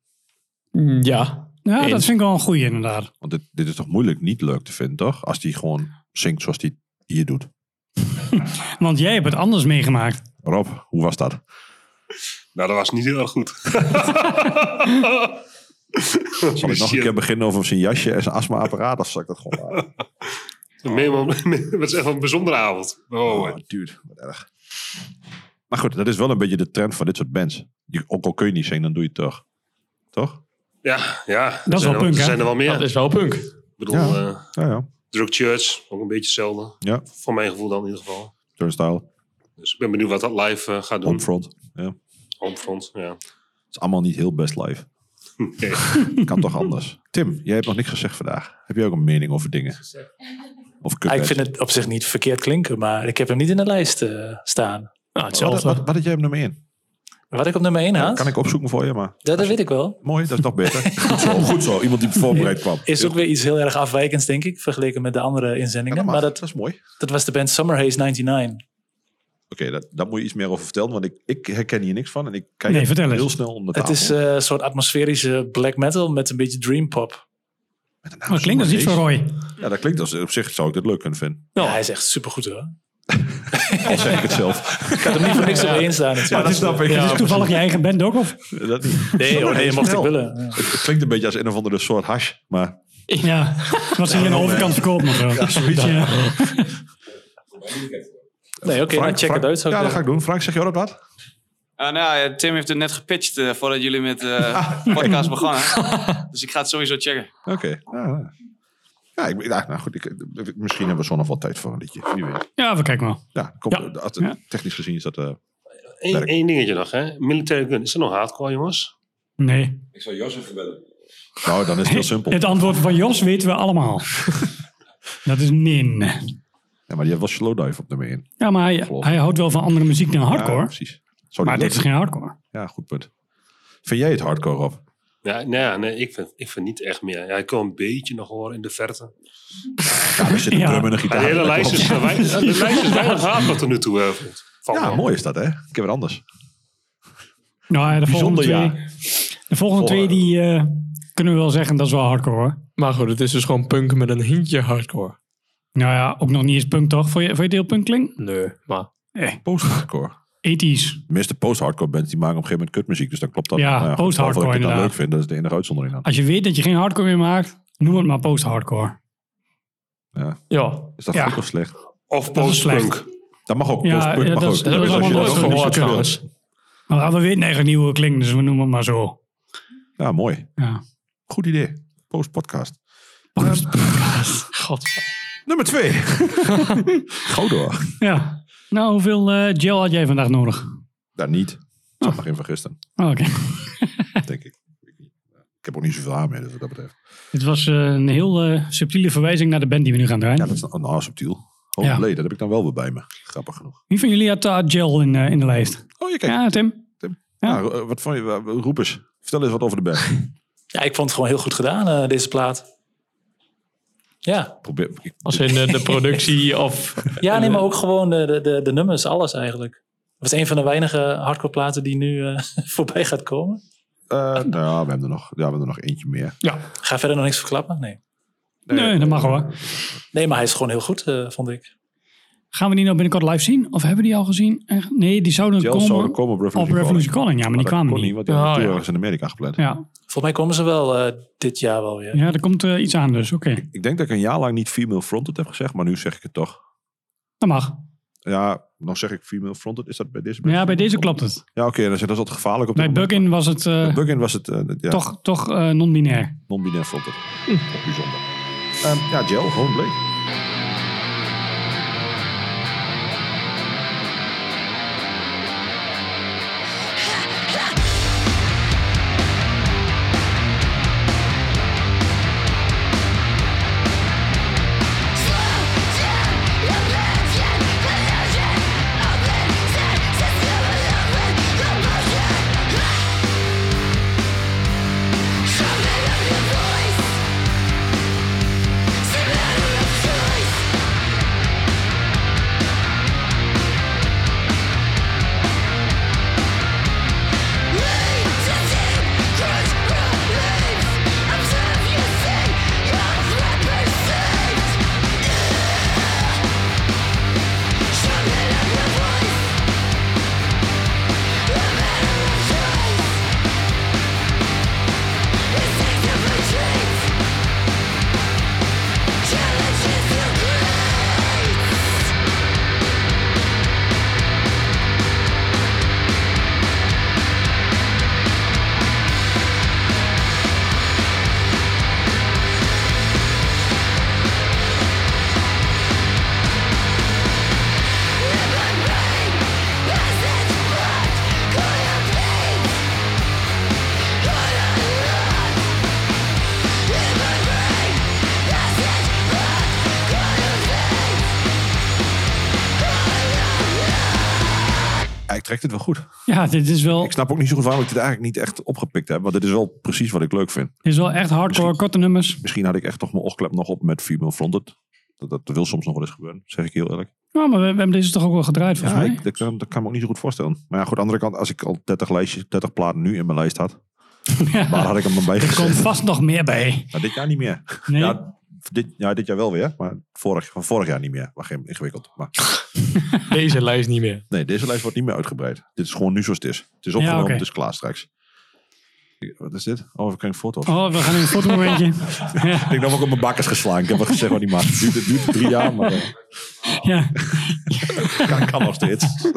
[SPEAKER 14] Mm, Ja.
[SPEAKER 1] ja,
[SPEAKER 14] Eens.
[SPEAKER 1] dat vind ik wel een goeie inderdaad.
[SPEAKER 4] Want dit, dit is toch moeilijk niet leuk te vinden, toch? Als die gewoon zingt zoals die hier doet.
[SPEAKER 1] Want jij hebt het anders meegemaakt.
[SPEAKER 4] Rob, hoe was dat?
[SPEAKER 11] Nou, dat was niet heel erg goed.
[SPEAKER 4] Zal ik nog een
[SPEAKER 11] Oh, Shit.
[SPEAKER 4] keer beginnen over zijn jasje en zijn astma-apparaat? Of zal ik dat gewoon laten?
[SPEAKER 11] Meenemen- Het was echt wel een bijzondere avond. Oh,
[SPEAKER 4] dude, wat erg. Maar goed, dat is wel een beetje de trend van dit soort bands. Je, ook al kun je niet zingen, dan doe je het toch. Toch?
[SPEAKER 11] Ja, ja. er
[SPEAKER 4] wel
[SPEAKER 11] zijn er,
[SPEAKER 4] punk, hè?
[SPEAKER 11] Er zijn er wel meer.
[SPEAKER 4] Dat
[SPEAKER 14] is wel punk.
[SPEAKER 11] Ik bedoel,
[SPEAKER 4] Ja.
[SPEAKER 11] eh,
[SPEAKER 4] Ja, ja.
[SPEAKER 11] Drug Church, ook een beetje hetzelfde.
[SPEAKER 4] Ja.
[SPEAKER 11] Voor mijn gevoel dan in ieder geval.
[SPEAKER 4] Turnstile,
[SPEAKER 11] Dus ik ben benieuwd wat dat live eh, gaat doen.
[SPEAKER 4] Homefront. Ja. Het
[SPEAKER 11] Homefront, ja.
[SPEAKER 4] is allemaal niet heel best live. kan toch anders. Tim, jij hebt nog niks gezegd vandaag. Heb jij ook een mening over dingen?
[SPEAKER 15] Ah,
[SPEAKER 4] Of
[SPEAKER 15] ik
[SPEAKER 4] Cuphead?
[SPEAKER 15] vind het op zich niet verkeerd klinken, maar ik heb hem niet in de lijst eh, staan.
[SPEAKER 4] wat, wat, wat had jij hem nummer 1?
[SPEAKER 15] Wat ik op nummer 1 had?
[SPEAKER 4] Kan ik opzoeken voor je, maar...
[SPEAKER 15] dat, dat weet ik wel.
[SPEAKER 4] Mooi, dat is nog beter. goed, zo, goed zo, iemand die voorbereid kwam.
[SPEAKER 15] Is ook weer iets heel erg afwijkends, denk ik, vergeleken met de andere inzendingen. maar dat,
[SPEAKER 4] is mooi.
[SPEAKER 15] Dat was de band Summer Haze 99.
[SPEAKER 4] Oké, dat- daar moet je iets meer over vertellen, want ik, ik herken hier niks van. En ik kijk
[SPEAKER 15] Nee, vertel
[SPEAKER 4] heel
[SPEAKER 15] eens.
[SPEAKER 4] snel om de
[SPEAKER 15] Het
[SPEAKER 4] tafel.
[SPEAKER 15] is eh, een soort atmosferische black metal met een beetje dream pop.
[SPEAKER 4] Oh, dat klinkt als iets van
[SPEAKER 1] Roy.
[SPEAKER 4] Ja, dat klinkt als... Op zich zou ik dat leuk kunnen vinden.
[SPEAKER 15] Nou, hij is echt supergoed hoor.
[SPEAKER 4] Al zeg ik het zelf.
[SPEAKER 15] Ik had hem niet voor niks op één staan natuurlijk.
[SPEAKER 4] Ja, dat snap ik.
[SPEAKER 1] het is toevallig je eigen band ook, of?
[SPEAKER 4] Dat niet.
[SPEAKER 15] Nee, hoor, nee, je mocht
[SPEAKER 4] Snel.
[SPEAKER 15] ik willen.
[SPEAKER 4] Het, het klinkt een beetje als een of andere soort hash, maar...
[SPEAKER 1] Ja, wat ze hier aan de overkant verkopen. of zo. Een beetje-
[SPEAKER 15] Nee, oké,
[SPEAKER 4] Frank,
[SPEAKER 15] nou, check het uit.
[SPEAKER 4] Frank-
[SPEAKER 15] zou ik
[SPEAKER 4] Ja, dat
[SPEAKER 15] zeggen.
[SPEAKER 4] ga ik doen. Frank, zeg je ook wat?
[SPEAKER 10] Eh, nou ja, Tim heeft het net gepitcht eh, voordat jullie met de podcast begonnen. dus ik ga het sowieso checken.
[SPEAKER 4] Oké. Ja, ja, ik, ja, nou goed. Ik, ik- misschien hebben we zo nog wel tijd voor een liedje. Wie weet.
[SPEAKER 1] Ja, we kijken wel.
[SPEAKER 4] Ja, komt, als het- technisch gezien is dat... eh,
[SPEAKER 11] Eén één dingetje nog, hè? Militaire gun. Is dat nog hardcore, jongens?
[SPEAKER 1] Nee.
[SPEAKER 11] Ik zou Jozef bellen.
[SPEAKER 4] nou, dan is het heel simpel.
[SPEAKER 1] Het antwoord van Jos weten we allemaal. dat is nin.
[SPEAKER 4] Ja, maar die had wel slowdive op nummer 1.
[SPEAKER 1] Ja, maar hij, hij houdt wel van andere muziek dan hardcore.
[SPEAKER 4] Ja, precies. Zou die
[SPEAKER 1] maar dit
[SPEAKER 4] lukken?
[SPEAKER 1] is geen hardcore.
[SPEAKER 4] Ja, goed punt. Vind jij het hardcore, Rob?
[SPEAKER 11] Ja, nou ja, nee, ik vind, ik vind niet echt meer. Ja, ik kan een beetje nog horen in de verte.
[SPEAKER 4] Ja, er zit een drum en een gitaar.
[SPEAKER 11] De hele
[SPEAKER 4] Dat
[SPEAKER 11] lijst is,
[SPEAKER 4] klopt.
[SPEAKER 11] de wij- de lijst is weinig hardcore tot nu toe. eh, valt
[SPEAKER 4] dus- Ja,
[SPEAKER 11] wel.
[SPEAKER 4] mooi is dat, hè? Ik heb het anders.
[SPEAKER 1] Nou, ja, de volgende
[SPEAKER 4] Bijzonder
[SPEAKER 1] twee,
[SPEAKER 4] jaar.
[SPEAKER 1] de volgende twee die, eh, kunnen we wel zeggen, dat is wel hardcore hoor.
[SPEAKER 14] Maar goed, het is dus gewoon punk met een hintje hardcore.
[SPEAKER 1] Nou ja, ook nog niet eens punk toch? Vond je, vond je het heel punk klinken?
[SPEAKER 14] Nee, maar...
[SPEAKER 1] Nee.
[SPEAKER 4] Post-hardcore.
[SPEAKER 1] Ethisch.
[SPEAKER 4] De meeste post-hardcore bands die maken op een gegeven moment kutmuziek. Dus dan klopt dat.
[SPEAKER 1] Ja,
[SPEAKER 4] Nou goed, behalve
[SPEAKER 1] post-hardcore
[SPEAKER 4] dat ik het dan
[SPEAKER 1] inderdaad.
[SPEAKER 4] leuk vind, dat is de enige uitzondering dan.
[SPEAKER 1] Als je weet dat je geen hardcore meer maakt, noem het maar post-hardcore.
[SPEAKER 4] Ja.
[SPEAKER 1] Ja.
[SPEAKER 4] Is dat
[SPEAKER 1] Ja.
[SPEAKER 4] goed of slecht?
[SPEAKER 11] Of
[SPEAKER 1] Dat is slecht.
[SPEAKER 4] post-punk. Dat mag ook.
[SPEAKER 1] Ja,
[SPEAKER 4] post-punk
[SPEAKER 1] ja,
[SPEAKER 4] mag
[SPEAKER 1] dat
[SPEAKER 4] ook.
[SPEAKER 1] is- dat is
[SPEAKER 4] als je
[SPEAKER 1] allemaal
[SPEAKER 4] dat
[SPEAKER 1] nooit
[SPEAKER 4] ook
[SPEAKER 1] gehoord
[SPEAKER 4] niet zo
[SPEAKER 1] trouwens.
[SPEAKER 4] wil.
[SPEAKER 1] Maar we weten eigenlijk niet hoe het klinkt, dus we noemen het maar zo.
[SPEAKER 4] Ja, mooi.
[SPEAKER 1] Ja.
[SPEAKER 4] Goed idee. Post-podcast.
[SPEAKER 1] God.
[SPEAKER 4] Nummer twee. Godor.
[SPEAKER 1] Ja. Nou, hoeveel eh, gel had jij vandaag nodig?
[SPEAKER 4] Daar niet. Ik zat nog in vergisten.
[SPEAKER 1] Oh, Oké.
[SPEAKER 4] Denk ik. Ik heb ook niet zoveel aan meer, dus wat dat betreft.
[SPEAKER 1] Dit was eh, een heel eh, subtiele verwijzing naar de band die we nu gaan draaien.
[SPEAKER 4] Ja, dat is een nou, subtiel. Oh,
[SPEAKER 1] Ja.
[SPEAKER 4] nee, dat heb ik dan wel weer bij me. Grappig genoeg.
[SPEAKER 1] Wie van jullie had uh, gel in, eh, in de lijst?
[SPEAKER 4] Oh, je kijkt.
[SPEAKER 1] Ja, Tim.
[SPEAKER 4] Ja. Nou, eh, wat vond je? eh, Roep eens. Vertel eens wat over de band.
[SPEAKER 15] Ja, ik vond het gewoon heel goed gedaan, eh, deze plaat. Ja.
[SPEAKER 4] Probeer, ik-
[SPEAKER 14] Als in eh, de productie of...
[SPEAKER 15] Ja, nee, maar
[SPEAKER 1] eh,
[SPEAKER 15] ook gewoon de, de- de, de nummers, alles eigenlijk. Het is een van de weinige hardcore platen die nu eh, voorbij gaat komen.
[SPEAKER 4] Eh, nou, ja, we hebben, er nog, ja, we hebben er nog eentje meer.
[SPEAKER 1] Ja.
[SPEAKER 15] Ga verder nog niks verklappen? Nee.
[SPEAKER 1] Nee, dat mag hoor.
[SPEAKER 15] Nee, maar hij is gewoon heel goed, eh, vond ik.
[SPEAKER 1] Gaan we die nou binnenkort live zien? Of hebben we die al gezien? Echt? Nee, die zouden
[SPEAKER 4] Gel
[SPEAKER 1] komen,
[SPEAKER 4] zouden komen op Revolution
[SPEAKER 1] op Revolution
[SPEAKER 4] Calling.
[SPEAKER 1] Calling. Ja, maar,
[SPEAKER 4] Maar
[SPEAKER 1] die
[SPEAKER 4] dat
[SPEAKER 1] kwamen
[SPEAKER 4] kon
[SPEAKER 1] niet.
[SPEAKER 4] niet, want die hadden
[SPEAKER 1] Ah,
[SPEAKER 4] toen
[SPEAKER 1] ja.
[SPEAKER 4] ergens in Amerika gepland.
[SPEAKER 1] Ja.
[SPEAKER 15] Volgens mij komen ze wel eh, dit jaar wel weer.
[SPEAKER 1] ja, er komt eh, iets aan dus. Oké,
[SPEAKER 4] Ik denk dat ik een jaar lang niet female fronted heb gezegd, maar nu zeg ik het toch.
[SPEAKER 1] dat mag.
[SPEAKER 4] Ja, dan zeg ik female fronted. Is dat bij deze
[SPEAKER 1] Ja, bij deze klopt het.
[SPEAKER 4] Ja, oké, dan is dat is altijd gevaarlijk op dit
[SPEAKER 1] Bij
[SPEAKER 4] moment.
[SPEAKER 1] Buggin was het eh,
[SPEAKER 4] Bij Bugin was het eh, ja,
[SPEAKER 1] toch, toch eh, non-binair.
[SPEAKER 4] non-binair fronted. Ook Bijzonder. Ehm, ja, Gel, gewoon bleek.
[SPEAKER 2] Show me your voice. Surrender of choice.
[SPEAKER 4] trekt het wel goed.
[SPEAKER 1] Ja, dit is wel,
[SPEAKER 4] Ik snap ook niet zo goed waarom ik dit eigenlijk niet echt opgepikt heb. Want dit is wel precies wat ik leuk vind.
[SPEAKER 1] dit is wel echt hardcore, korte nummers.
[SPEAKER 4] Misschien had ik echt toch mijn oogklep nog op met Female Fronted. Dat, dat wil soms nog wel eens gebeuren, zeg ik heel eerlijk.
[SPEAKER 1] Nou, maar we, we hebben deze toch ook wel gedraaid, volgens
[SPEAKER 4] Ja,
[SPEAKER 1] mij.
[SPEAKER 4] ik, dat, kan, dat kan me ook niet zo goed voorstellen. Maar ja, goed, aan de andere kant, als ik al 30, lijstjes, 30 platen nu in mijn lijst had, waar had ik hem dan bij
[SPEAKER 1] Er
[SPEAKER 4] gezet?
[SPEAKER 1] komt vast nog meer bij.
[SPEAKER 4] Nou, dit jaar niet meer. Ja, dit, ja, dit jaar wel weer, maar vorig, van vorig jaar niet meer. Maar geen ingewikkeld. Maar.
[SPEAKER 14] Deze lijst niet meer.
[SPEAKER 4] Nee, deze lijst wordt niet meer uitgebreid. Dit is gewoon nu zoals het is. Het is
[SPEAKER 1] Ja,
[SPEAKER 4] opgenomen,
[SPEAKER 1] oké.
[SPEAKER 4] het is klaar straks. Ik- Wat is dit? Oh, we krijgen foto's.
[SPEAKER 1] Oh, we gaan in een fotomomentje.
[SPEAKER 4] Ik heb hem ook op mijn bakkers geslaan. Ik heb al gezegd wat niet maakt. Het duurt, het duurt drie jaar, maar eh,
[SPEAKER 1] ja.
[SPEAKER 4] kan, kan nog steeds.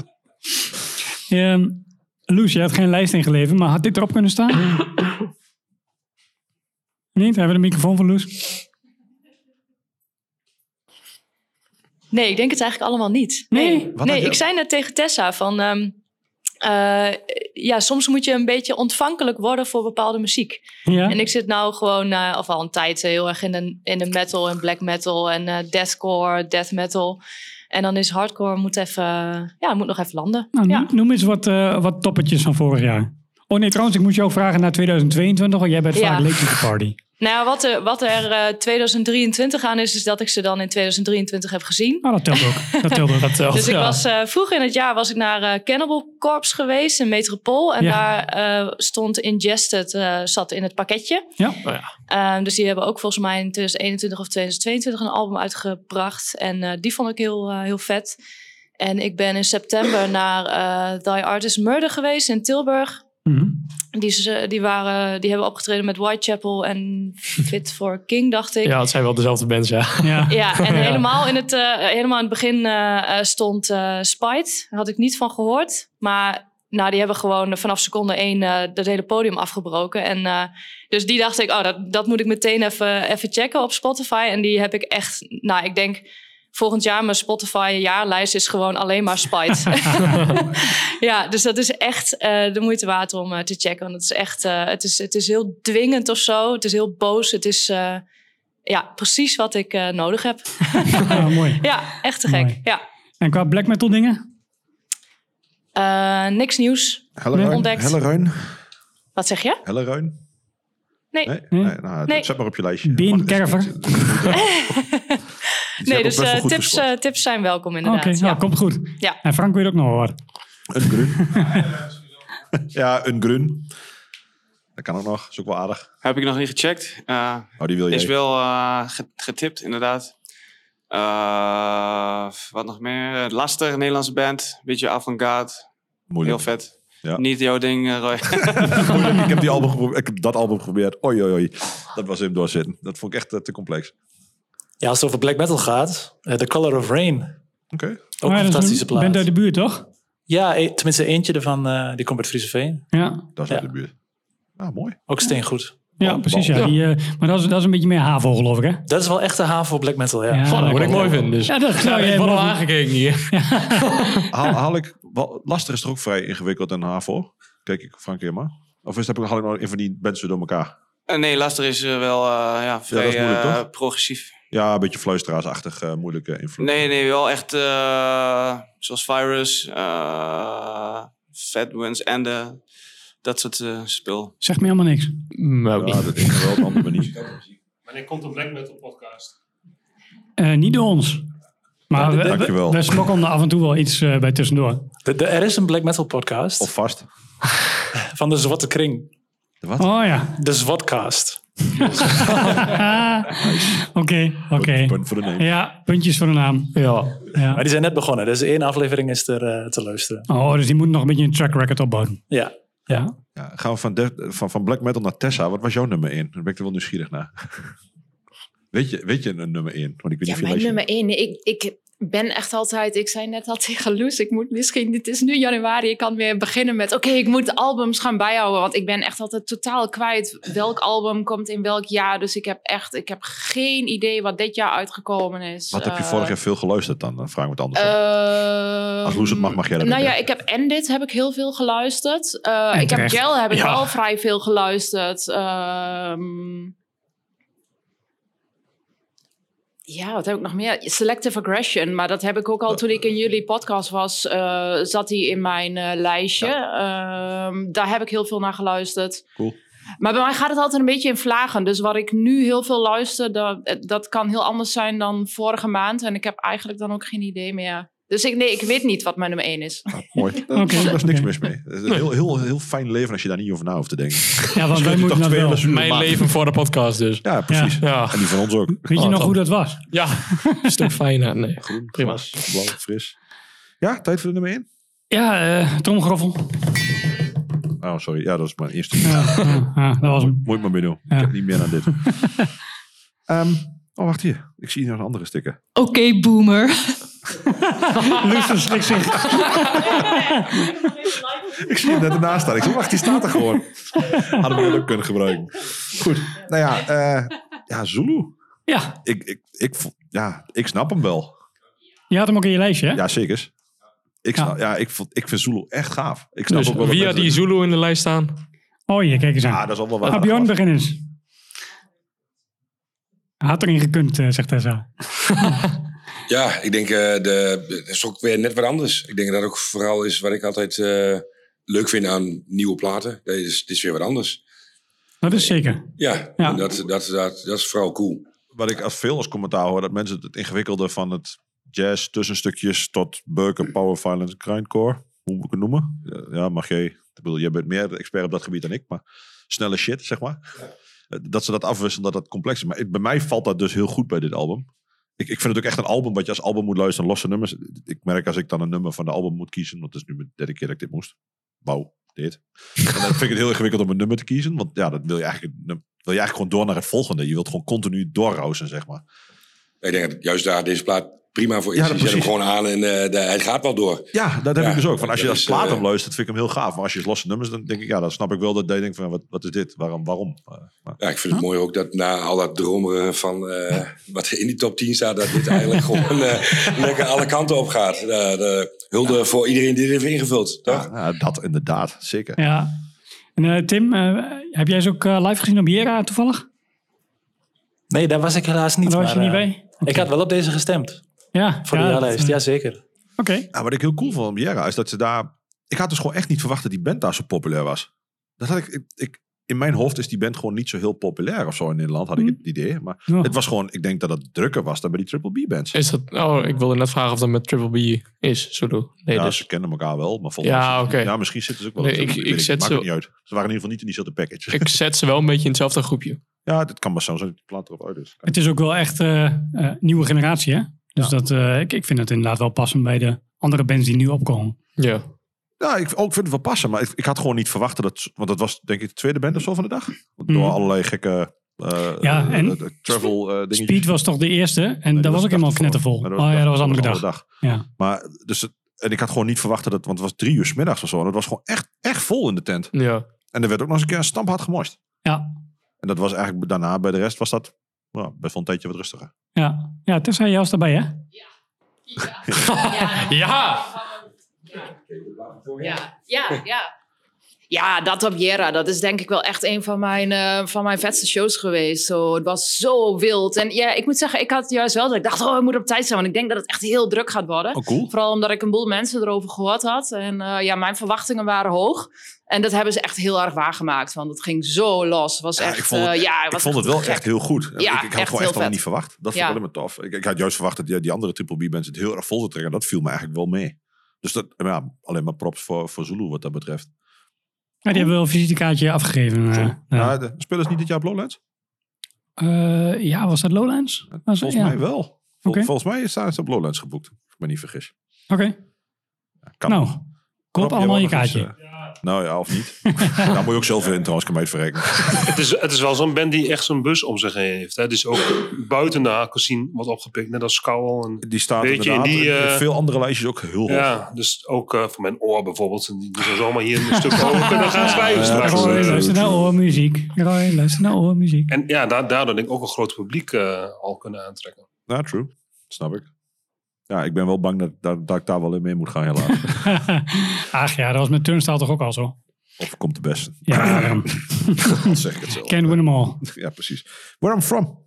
[SPEAKER 1] Ehm Loes, je had geen lijst ingeleverd, maar had dit erop kunnen staan? Niet? Hebben we de microfoon van Loes?
[SPEAKER 16] Nee, ik denk het eigenlijk allemaal niet.
[SPEAKER 1] Nee? Wat had
[SPEAKER 16] nee
[SPEAKER 1] je-
[SPEAKER 16] ik zei net tegen Tessa van... ehm, eh, ja, soms moet je een beetje ontvankelijk worden voor bepaalde muziek.
[SPEAKER 1] Ja.
[SPEAKER 16] En ik zit nou gewoon, eh, of al een tijd, eh, heel erg in de, in de metal en black metal en eh, deathcore, death metal. En dan is hardcore, moet, even, ja, moet nog even landen.
[SPEAKER 1] Nou, Noem eens wat, eh, wat toppetjes van vorig jaar. Oh nee, trouwens, ik moet jou vragen naar 2022, want jij bent
[SPEAKER 16] Ja.
[SPEAKER 1] vaak late to the party.
[SPEAKER 16] Nou, ja, wat er, wat er eh, 2023 aan is, is dat ik ze dan in 2023 heb gezien.
[SPEAKER 1] Oh, dat telt ook. Dat telt ook. dat telt,
[SPEAKER 16] Dus ik was, eh, vroeg in het jaar was ik naar eh Cannibal Corpse geweest in Metropool. En
[SPEAKER 1] Ja.
[SPEAKER 16] daar eh, stond Ingested, eh, zat in het pakketje.
[SPEAKER 1] Ja? Oh, ja.
[SPEAKER 16] Ehm, dus die hebben ook volgens mij in 2021 of 2022 een album uitgebracht. En eh, die vond ik heel, eh, heel vet. En ik ben in september naar eh Thy Artist Murder geweest in Tilburg.
[SPEAKER 1] Mhm.
[SPEAKER 16] Die, ze- die, waren, die hebben opgetreden met Whitechapel en Fit for King, dacht ik.
[SPEAKER 14] Ja, het zijn wel dezelfde bands, ja.
[SPEAKER 16] Ja, en
[SPEAKER 14] Ja.
[SPEAKER 16] helemaal in het, eh, helemaal in het begin eh, eh, stond eh, Spite. Daar had ik niet van gehoord. Maar nou, die hebben gewoon eh, vanaf seconde één eh dat hele podium afgebroken. En, eh, dus die dacht ik, oh, dat, dat moet ik meteen even, even checken op Spotify. En die heb ik echt, nou, ik denk volgend jaar mijn Spotify jaarlijst is gewoon alleen maar Spite. ja, dus dat is echt eh, de moeite waard om eh, te checken. Want het is echt, eh, het, is, het is heel dwingend of zo. Het is heel boos. Het is... eh, ja, precies wat ik eh, nodig heb.
[SPEAKER 1] Ah, mooi.
[SPEAKER 16] Ja, echt te gek.
[SPEAKER 1] Mooi.
[SPEAKER 16] Ja.
[SPEAKER 1] En qua black metal dingen?
[SPEAKER 16] Eh, niks nieuws. ontdekt.
[SPEAKER 4] Helleruin.
[SPEAKER 16] Wat zeg je?
[SPEAKER 4] Helleruin.
[SPEAKER 16] Nee.
[SPEAKER 4] Nee? dus
[SPEAKER 16] Nee,
[SPEAKER 4] nee? nou,
[SPEAKER 16] Nee.
[SPEAKER 4] Zet maar op je lijstje.
[SPEAKER 1] Bin Kerver.
[SPEAKER 4] ook
[SPEAKER 16] dus
[SPEAKER 4] best wel
[SPEAKER 16] eh,
[SPEAKER 4] goed
[SPEAKER 16] tips, eh, tips zijn welkom
[SPEAKER 1] Oké,
[SPEAKER 16] inderdaad.
[SPEAKER 1] nou, komt goed.
[SPEAKER 16] Ja.
[SPEAKER 1] En Frank wil je het ook nog wel horen.
[SPEAKER 4] Een grun. ja, een grun. Dat kan ook nog. Is ook wel aardig.
[SPEAKER 10] Heb ik nog niet gecheckt. Eh,
[SPEAKER 4] Oh, die wil jij.
[SPEAKER 10] Is wel eh, ge- getipt, inderdaad. Eh, wat nog meer? Lastig, Nederlandse band. Beetje avant-garde.
[SPEAKER 4] Moeilijk.
[SPEAKER 10] Heel vet.
[SPEAKER 4] Ja.
[SPEAKER 10] Niet jouw ding, eh, Roy.
[SPEAKER 4] Moeilijk. ik, heb die album geprobeerd, ik heb dat album geprobeerd. Oei, oei, oei. Dat was hem doorzitten. Dat vond ik echt eh, te complex.
[SPEAKER 15] Ja, als het over black metal gaat, eh, The Color of Rain.
[SPEAKER 4] Oké.
[SPEAKER 15] Ook
[SPEAKER 1] Oh
[SPEAKER 15] een fantastische plaat.
[SPEAKER 1] bent uit de buurt, toch?
[SPEAKER 15] Ja, e- tenminste eentje ervan, eh, die komt uit Friese Veen.
[SPEAKER 1] Ja.
[SPEAKER 4] Dat is uit de buurt. Ah, mooi.
[SPEAKER 15] Ook steengoed.
[SPEAKER 1] Ja, precies. Ja. Die, eh, maar dat is, dat is een beetje meer havo, geloof ik, hè?
[SPEAKER 15] Dat is wel echt de haven voor black metal, ja.
[SPEAKER 1] Ja,
[SPEAKER 15] Goh,
[SPEAKER 1] dat kan wel.
[SPEAKER 4] dus.
[SPEAKER 1] Ja, dat zou jij wel
[SPEAKER 14] aangekeken hier.
[SPEAKER 4] Haal, haal ik... wel- Laster is toch ook vrij ingewikkeld en HAVO? Kijk ik Frank hier maar. Of is, heb ik, haal ik nog een van die mensen door elkaar?
[SPEAKER 10] Eh, nee, Laster is eh, wel eh, ja, vrij
[SPEAKER 4] dat is moeilijk,
[SPEAKER 10] eh,
[SPEAKER 4] toch?
[SPEAKER 10] progressief.
[SPEAKER 4] Ja, een beetje fluisteraarsachtig, eh, moeilijke invloed.
[SPEAKER 10] Nee, nee, wel echt eh, zoals Virus, eh Fat Wins en de, dat soort eh, spul.
[SPEAKER 1] Zegt me helemaal niks.
[SPEAKER 14] ja,
[SPEAKER 4] dat is wel op een andere manier.
[SPEAKER 11] Wanneer komt een Black Metal podcast?
[SPEAKER 1] Eh, niet door ons. Maar we- we,
[SPEAKER 4] Dankjewel.
[SPEAKER 1] we, smokkelden er af en toe wel iets eh, bij tussendoor.
[SPEAKER 15] De- de- er is een black metal podcast. Of
[SPEAKER 4] vast.
[SPEAKER 15] Van de Zwarte Kring.
[SPEAKER 4] wat?
[SPEAKER 1] Oh ja.
[SPEAKER 15] De Zwatcast.
[SPEAKER 1] Oké, oké.
[SPEAKER 4] Punt voor de naam.
[SPEAKER 1] Ja, puntjes voor de naam.
[SPEAKER 15] Ja.
[SPEAKER 1] Ja.
[SPEAKER 15] Maar die zijn net begonnen, dus één aflevering is er eh, te luisteren.
[SPEAKER 1] Oh, dus die moet nog een beetje een track record opbouwen.
[SPEAKER 15] Ja.
[SPEAKER 1] Ja.
[SPEAKER 4] Ja, gaan we van, Def- van, van Black Metal naar Tessa. Wat was jouw nummer 1? Daar ben ik er wel nieuwsgierig naar. weet, je, weet je een nummer 1? Want ik weet
[SPEAKER 12] Ja,
[SPEAKER 4] niet of je
[SPEAKER 12] mijn
[SPEAKER 4] lijstje-
[SPEAKER 12] nummer één. Ik, ik ben echt altijd... Ik zei net al tegen Loes, ik moet misschien... Het is nu januari, ik kan weer beginnen met... Oké, ik moet albums gaan bijhouden. Want ik ben echt altijd totaal kwijt welk album komt in welk jaar. Dus ik heb echt... Ik heb geen idee wat dit jaar uitgekomen is.
[SPEAKER 4] Wat heb je
[SPEAKER 12] Eh,
[SPEAKER 4] vorig jaar veel geluisterd dan? Dan vraag ik me het anders. af.
[SPEAKER 12] ehm,
[SPEAKER 4] Als Loes het mag, mag jij dat
[SPEAKER 12] Nou
[SPEAKER 4] ook
[SPEAKER 12] ja, ik heb en dit heb ik heel veel geluisterd. Eh,
[SPEAKER 4] En
[SPEAKER 12] ik heb
[SPEAKER 4] terecht.
[SPEAKER 12] Gel heb ik
[SPEAKER 4] Ja.
[SPEAKER 12] al vrij veel geluisterd. Ehm, Ja, wat heb ik nog meer? Selective aggression, maar dat heb ik ook al toen ik in jullie podcast was, eh, zat die in mijn eh, lijstje. Ehm, daar heb ik heel veel naar geluisterd.
[SPEAKER 4] Cool.
[SPEAKER 12] Maar bij mij gaat het altijd een beetje in vlagen. Dus wat ik nu heel veel luister, dat, eh, dat kan heel anders zijn dan vorige maand. En ik heb eigenlijk dan ook geen idee meer. Dus ik, nee, ik weet niet wat mijn nummer één is.
[SPEAKER 4] Mooi. Daar is- daar is niks mis mee. Het is een heel, heel, heel fijn leven als je daar niet over na hoeft te denken.
[SPEAKER 1] Ja, want wij moeten dat wel.
[SPEAKER 3] Mijn leven voor de podcast dus.
[SPEAKER 4] Ja, precies. En die van ons ook. Oh,
[SPEAKER 1] Weet je nog hoe dat was?
[SPEAKER 3] Ja, een stuk fijner. Nee, prima.
[SPEAKER 4] Blauw, fris. Ja, tijd voor de nummer 1?
[SPEAKER 1] Ja, eh tromgeroffel.
[SPEAKER 4] Oh, sorry. Ja, dat is mijn eerste.
[SPEAKER 1] ja, dat was hem.
[SPEAKER 4] Moet ik maar mee doen. Ik heb niet meer aan dit. Ehm, oh, wacht hier. Ik zie hier nog een andere sticker.
[SPEAKER 17] Oké, boomer.
[SPEAKER 1] Luus verslikt zich.
[SPEAKER 4] Ik zie hem net ernaast staan. Ik zeg, wacht, die staat er gewoon. Hadden we dat ook kunnen gebruiken. Goed. Nou ja, eh, ja Zulu.
[SPEAKER 1] Ja.
[SPEAKER 4] Ik, ik, ik, vo- ja, ik snap hem wel.
[SPEAKER 1] Je had hem ook in je lijstje, hè?
[SPEAKER 4] Ja, zeker. Ik, snap, ja. ik, vond, ik vind Zulu echt gaaf. Ik snap
[SPEAKER 3] Dus
[SPEAKER 4] ook wel dat
[SPEAKER 3] wie had
[SPEAKER 4] mensen-
[SPEAKER 3] die Zulu in de lijst staan?
[SPEAKER 1] Oh, je kijk eens aan.
[SPEAKER 4] Ja, dat is allemaal waar.
[SPEAKER 1] Ah, Bjorn, begin eens. Had erin gekund, eh, zegt Tessa.
[SPEAKER 6] Ja, ik denk eh, de, dat is ook weer net wat anders. Ik denk dat ook vooral is wat ik altijd eh, leuk vind aan nieuwe platen. Dat is, dit is weer wat anders.
[SPEAKER 1] Dat is zeker.
[SPEAKER 6] Ja, Dat, dat, dat, dat is vooral cool.
[SPEAKER 4] Wat ik als veel als commentaar hoor, dat mensen het ingewikkelde van het jazz, tussenstukjes tot burger, power violence, grindcore, hoe moet ik het noemen? Ja, Ja, mag jij, ik bedoel, jij bent meer expert op dat gebied dan ik, maar snelle shit, zeg maar. Eh, Dat ze dat afwisselen, dat dat complex is. Maar ik- bij mij valt dat dus heel goed bij dit album. Ik, ik vind het ook echt een album wat je als album moet luisteren, losse nummers. Ik merk als ik dan een nummer van de album moet kiezen, want het is nu de derde keer dat ik dit moest. Wauw, dit. En dan vind ik het heel ingewikkeld om een nummer te kiezen, want ja, dat wil je eigenlijk, wil je eigenlijk gewoon door naar het volgende. Je wilt gewoon continu doorrousen, zeg maar.
[SPEAKER 6] Ik denk dat juist daar deze plaat prima voor is.
[SPEAKER 4] Ja,
[SPEAKER 6] je
[SPEAKER 4] dat
[SPEAKER 6] zet hem
[SPEAKER 4] precies.
[SPEAKER 6] gewoon aan en eh, de- hij gaat wel door.
[SPEAKER 4] Ja, dat heb
[SPEAKER 6] Ja,
[SPEAKER 4] ik dus ook. Van als je
[SPEAKER 6] dat
[SPEAKER 4] als
[SPEAKER 6] is, eh,
[SPEAKER 4] plaat hem luistert, vind ik hem heel gaaf. Maar als je losse nummers, dan denk ik, ja, dan snap ik wel dat je denkt van, wat, wat is dit? Waarom? waarom? Eh,
[SPEAKER 6] Ja, ik vind het mooi ook dat na al dat dromeren van eh, wat in die top 10 staat, dat dit eigenlijk gewoon eh, lekker alle kanten op gaat. Eh, de hulde voor iedereen die dit heeft ingevuld. Toch?
[SPEAKER 4] Ja, dat inderdaad, zeker.
[SPEAKER 1] Ja. En eh, Tim, eh, heb jij ze ook eh, live gezien op Jera toevallig?
[SPEAKER 15] Nee, daar was ik helaas niet.
[SPEAKER 1] Daar was je
[SPEAKER 15] maar,
[SPEAKER 1] niet
[SPEAKER 15] eh,
[SPEAKER 1] bij?
[SPEAKER 15] Ik had wel op deze gestemd.
[SPEAKER 1] Ja.
[SPEAKER 15] Voor de jaarlijst, jazeker.
[SPEAKER 1] Oké.
[SPEAKER 4] Ja, wat ik heel cool vond van Biera is dat ze daar... Ik had dus gewoon echt niet verwacht dat die band daar zo populair was. Dat had ik, ik, ik- in mijn hoofd is die band gewoon niet zo heel populair of zo in Nederland,
[SPEAKER 3] Mhm.
[SPEAKER 4] had ik het idee. Maar het was gewoon, ik denk dat het drukker was dan bij die Triple B bands.
[SPEAKER 3] Is dat, oh, ik wilde net vragen of dat met Triple B is, Zulu. Nee,
[SPEAKER 4] ja,
[SPEAKER 3] dus.
[SPEAKER 4] ze kennen elkaar wel, maar volgens
[SPEAKER 3] Ja, oké.
[SPEAKER 4] ja, misschien zitten ze ook wel.
[SPEAKER 3] Nee,
[SPEAKER 4] in
[SPEAKER 3] ik-
[SPEAKER 4] hetzelfde-
[SPEAKER 3] ik
[SPEAKER 4] weet
[SPEAKER 3] zet
[SPEAKER 4] maakt
[SPEAKER 3] ze-
[SPEAKER 4] het niet uit. Ze waren in ieder geval niet in diezelfde package.
[SPEAKER 3] Ik zet ze wel een beetje in hetzelfde groepje.
[SPEAKER 4] ja, dat kan maar zo zijn dat die plaat erop uit is.
[SPEAKER 1] Het is ook wel echt eh, eh, nieuwe generatie, hè? Dus dat, eh, ik, ik vind het inderdaad wel passend bij de andere bands die nu opkomen.
[SPEAKER 3] Ja.
[SPEAKER 4] Ja, ik, ook vind het wel passen. Maar ik, ik had gewoon niet verwacht dat het... Want dat was denk ik de tweede band of zo van de dag. Door allerlei gekke... eh,
[SPEAKER 1] Mhm. Ja, en-
[SPEAKER 4] eh, eh, travel eh, dingetjes.
[SPEAKER 1] Piet was toch de eerste en daar was ik helemaal knettervol. Oh ja, dat was andere dag. Ja.
[SPEAKER 4] Maar, dus, het- en ik had gewoon niet verwacht dat het... Want het was drie uur 's middags of zo. En het was gewoon echt, echt vol in de tent.
[SPEAKER 3] Ja.
[SPEAKER 4] En er werd ook nog eens een keer een stamphard gemorst.
[SPEAKER 1] Ja.
[SPEAKER 4] En dat was eigenlijk daarna bij de rest was dat... Nou, best wel een tijdje wat rustiger.
[SPEAKER 1] Ja, ja Tessa, jij was daarbij, hè?
[SPEAKER 3] Ja!
[SPEAKER 12] Ja, ja, ja. Ja, dat op Jera, dat is denk ik wel echt een van mijn, eh, van mijn vetste shows geweest. Zo, het was zo wild. En ja, ik moet zeggen, ik had juist wel dat ik dacht, oh, ik moet op tijd zijn. Want ik denk dat het echt heel druk gaat worden.
[SPEAKER 4] Oh, cool.
[SPEAKER 12] Vooral omdat ik een boel mensen erover gehoord had. En eh, ja, mijn verwachtingen waren hoog. En dat hebben ze echt heel erg waargemaakt. Want het ging zo los. Het was
[SPEAKER 4] Ja,
[SPEAKER 12] echt,
[SPEAKER 4] ik vond
[SPEAKER 12] eh,
[SPEAKER 4] het,
[SPEAKER 12] ja,
[SPEAKER 4] ik
[SPEAKER 12] was
[SPEAKER 4] vond het wel
[SPEAKER 12] gek.
[SPEAKER 4] echt heel goed.
[SPEAKER 12] Ja,
[SPEAKER 4] ik, ik had
[SPEAKER 12] echt
[SPEAKER 4] het gewoon
[SPEAKER 12] heel
[SPEAKER 4] echt helemaal
[SPEAKER 12] vet.
[SPEAKER 4] niet verwacht. Dat
[SPEAKER 12] Ja.
[SPEAKER 4] vond ik me tof. Ik, ik had juist verwacht dat die, die andere Triple B-bands het heel erg vol te trekken. Dat viel me eigenlijk wel mee. Dus dat, ja, alleen maar props voor, voor Zulu wat dat betreft.
[SPEAKER 1] Ja, die hebben wel een visitekaartje afgegeven. eh.
[SPEAKER 4] Maar Nou, de spelers niet dit jaar op Lowlands?
[SPEAKER 1] Eh, ja, was dat Lowlands? Was-
[SPEAKER 4] Volgens
[SPEAKER 1] ja.
[SPEAKER 4] mij wel. Vol-
[SPEAKER 1] Oké.
[SPEAKER 4] Volgens mij staan ze op Lowlands geboekt. Als ik me niet vergis.
[SPEAKER 1] Oké.
[SPEAKER 4] kan
[SPEAKER 1] nou,
[SPEAKER 4] nog.
[SPEAKER 1] koop
[SPEAKER 4] Rob,
[SPEAKER 1] allemaal je
[SPEAKER 4] jij wou nog
[SPEAKER 1] kaartje.
[SPEAKER 4] iets, Nou ja, of niet. Daar moet je ook zelf in trouwens, kan mij het verrekenen.
[SPEAKER 11] het, is, het is wel zo'n band die echt zo'n bus om zich heen heeft. Hè. Dus ook buiten de hakelzien wordt opgepikt. Net als Scowl. En
[SPEAKER 4] die staat
[SPEAKER 11] Weet je, in
[SPEAKER 4] inderdaad
[SPEAKER 11] die,
[SPEAKER 4] in- in
[SPEAKER 11] eh,
[SPEAKER 4] veel andere lijstjes ook heel hoog.
[SPEAKER 11] Ja, dus ook eh, van mijn oor bijvoorbeeld. Die die zou zomaar hier een stuk over kunnen gaan schrijven straks.
[SPEAKER 1] Roy, luister naar oormuziek. Roy, luister nou, naar oormuziek.
[SPEAKER 11] En ja, da- daardoor denk ik ook een groot publiek eh, al kunnen aantrekken. Oh,
[SPEAKER 4] Ja, true. Snap ik. Ja, ik ben wel bang dat, dat, dat ik daar wel in mee moet gaan helaas.
[SPEAKER 1] Ach ja, dat was met Turnstile toch ook al zo.
[SPEAKER 4] of komt de beste.
[SPEAKER 1] Ja, daarom.
[SPEAKER 4] Dan zeg ik het zelf.
[SPEAKER 1] Can't win them all.
[SPEAKER 4] Ja, precies. Where I'm from.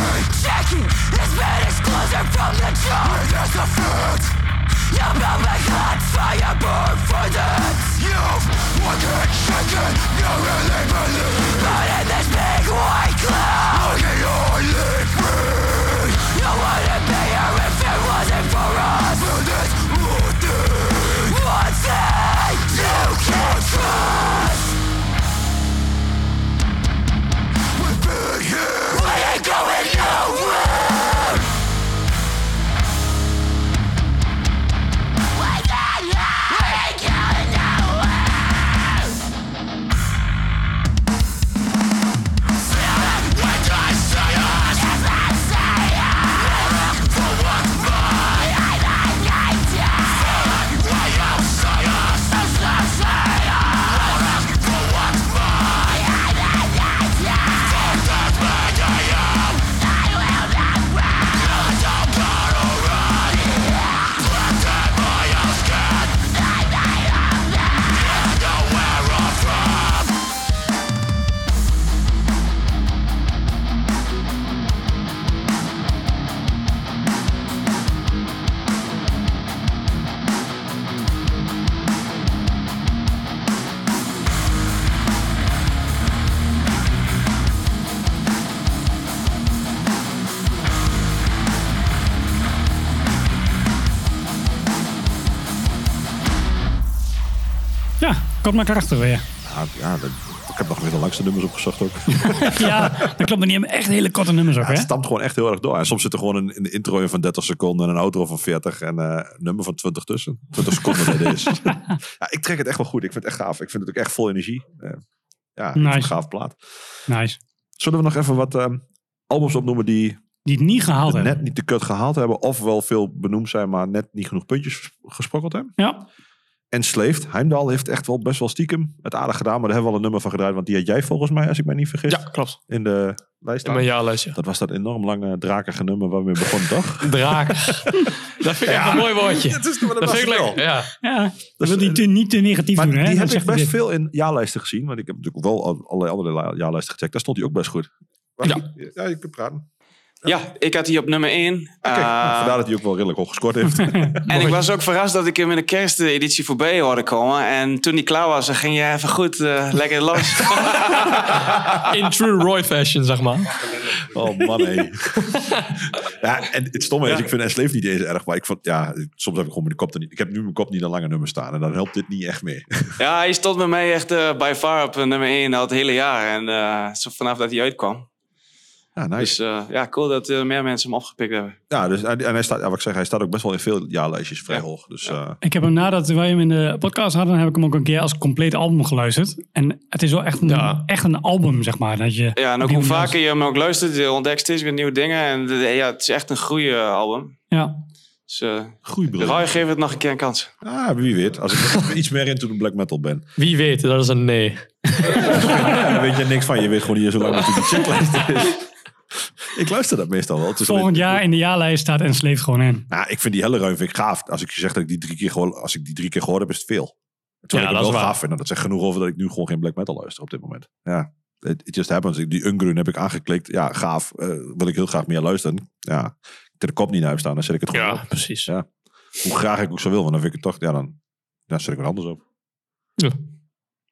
[SPEAKER 8] His bed is closer from the truth. There's the fruit. You build my God, fire burn for that. You wicked chicken, you really believe. But in this big white cloud, I can only breathe. You wouldn't be here if it wasn't for us. For this one thing, one thing you can't trust. We've been here. We ain't going nowhere. We got We ain't going nowhere. Feeling when they see us. If they see us. For what my aim and idea. Feeling when you see us. If they see us. For what my aim and idea. For that medium. They will not win. You're so far already. Planted by a skin. They may have been. You know where I'm from.
[SPEAKER 1] Ja, komt maar krachten weer.
[SPEAKER 4] Ja, Ah, ja, dat- ik heb nog weer de langste nummers opgezocht ook.
[SPEAKER 1] ja, dat klopt. Maar die hebben echt hele korte nummers ook,
[SPEAKER 4] Ja, het
[SPEAKER 1] hè?
[SPEAKER 4] stamt gewoon echt heel erg door. En soms zit er gewoon een, een intro in van 30 seconden, een outro van 40 en eh, een nummer van 20 tussen. 20 seconden bij deze. ja, ik trek het echt wel goed. Ik vind het echt gaaf. Ik vind het ook echt vol energie. Eh, ja, ik vind het
[SPEAKER 1] Nice.
[SPEAKER 4] een gaaf plaat.
[SPEAKER 1] Nice.
[SPEAKER 4] Zullen we nog even wat ehm, albums opnoemen die...
[SPEAKER 1] Die het niet gehaald
[SPEAKER 4] hebben. Net niet de kut gehaald hebben. Of wel veel benoemd zijn, maar net niet genoeg puntjes gesprokkeld hebben.
[SPEAKER 1] Ja.
[SPEAKER 4] En Sleeft. Heimdal heeft echt wel best wel stiekem het aardig gedaan. Maar daar hebben we al een nummer van gedraaid. Want die had jij volgens mij, als ik mij niet vergis. Ja,
[SPEAKER 3] klopt.
[SPEAKER 4] In de lijst.
[SPEAKER 3] In mijn
[SPEAKER 4] Dat was dat enorm lange drakige nummer waar we mee begonnen, toch?
[SPEAKER 3] Drakig. dat vind ik echt een mooi woordje.
[SPEAKER 4] Dat, is, maar dat,
[SPEAKER 3] dat
[SPEAKER 4] was
[SPEAKER 3] vind ik
[SPEAKER 4] het wel.
[SPEAKER 3] lekker. Ja.
[SPEAKER 1] Ja, dat wil die te, niet te negatief doen,
[SPEAKER 4] Die
[SPEAKER 1] hè? Dat
[SPEAKER 4] heb ik
[SPEAKER 1] zegt hij
[SPEAKER 4] best
[SPEAKER 1] dit.
[SPEAKER 4] veel in jaarlijsten gezien. Want ik heb natuurlijk wel al- allerlei andere la- jaarlijsten gecheckt. Daar stond hij ook best goed. Ja. ja, je kunt praten.
[SPEAKER 10] Ja, ik had die op nummer 1.
[SPEAKER 4] Kijk, nou, vandaar dat hij ook wel redelijk hoog gescoord heeft.
[SPEAKER 10] En ik was ook verrast dat ik hem in de kersteditie voorbij hoorde komen. En toen die klaar was, dan ging je even goed eh, lekker los.
[SPEAKER 3] In true Roy fashion, zeg maar.
[SPEAKER 4] Oh man, hé. ja, en het stomme is, ik vind Sleef niet eens erg. Maar ik vond, ja, soms heb ik gewoon mijn kop er niet. Ik heb nu mijn kop niet aan lange nummers staan. En dan helpt dit niet echt mee.
[SPEAKER 10] Ja, hij stond bij mij echt eh by far op eh, nummer 1 al het hele jaar. En eh, zo vanaf dat hij uitkwam.
[SPEAKER 4] Ja, Ah, nice.
[SPEAKER 10] Dus eh, ja, cool dat eh, meer mensen hem opgepikt hebben.
[SPEAKER 4] Ja, dus, en, en hij staat, ja, wat ik zeg, hij staat ook best wel in veel jaarlijstjes vrij hoog. Dus eh,
[SPEAKER 1] Ik heb hem nadat wij hem in de podcast hadden, heb ik hem ook een keer als compleet album geluisterd. En het is wel echt een, echt een album, zeg maar. Dat je
[SPEAKER 10] Ja, en
[SPEAKER 1] op
[SPEAKER 10] ook
[SPEAKER 1] die
[SPEAKER 10] hoe
[SPEAKER 1] manier-
[SPEAKER 10] vaker je hem ook luistert, je ontdekt steeds weer nieuwe dingen. En eh, ja, het is echt een groeialbum.
[SPEAKER 1] Ja.
[SPEAKER 10] Dus eh
[SPEAKER 4] Groeibril.
[SPEAKER 10] Roy, geef het nog een keer een kans.
[SPEAKER 4] ah, wie weet. Als ik iets meer into de black metal ben.
[SPEAKER 3] Wie weet, dat is een nee.
[SPEAKER 4] Ja, daar weet je niks van. Je weet gewoon niet eens hoe lang het in die checklist is. Ik luister dat meestal wel. Het is alleen-
[SPEAKER 1] Volgend jaar in de jaarlijst staat en sleept gewoon in.
[SPEAKER 4] Nou, ik vind die hele ruim vind ik gaaf. Als ik je zeg dat ik die drie keer gehoord, als ik die drie keer gehoord heb, is het veel. Terwijl ik het
[SPEAKER 3] Ja, dat is
[SPEAKER 4] wel
[SPEAKER 3] waar.
[SPEAKER 4] gaaf vind. Nou, dat zegt genoeg over dat ik nu gewoon geen black metal luister op dit moment. Ja, it, it just happens. Ik- Die Ungrun heb ik aangeklikt. Ja, gaaf. Eh, wil ik heel graag meer luisteren. Ja, ik zet de kop niet naar hem staan. Dan zet ik het gewoon Ja,
[SPEAKER 3] precies.
[SPEAKER 4] Ja. Hoe graag ik ook zo wil, want dan vind ik het toch... Ja, dan, dan zet ik het anders op.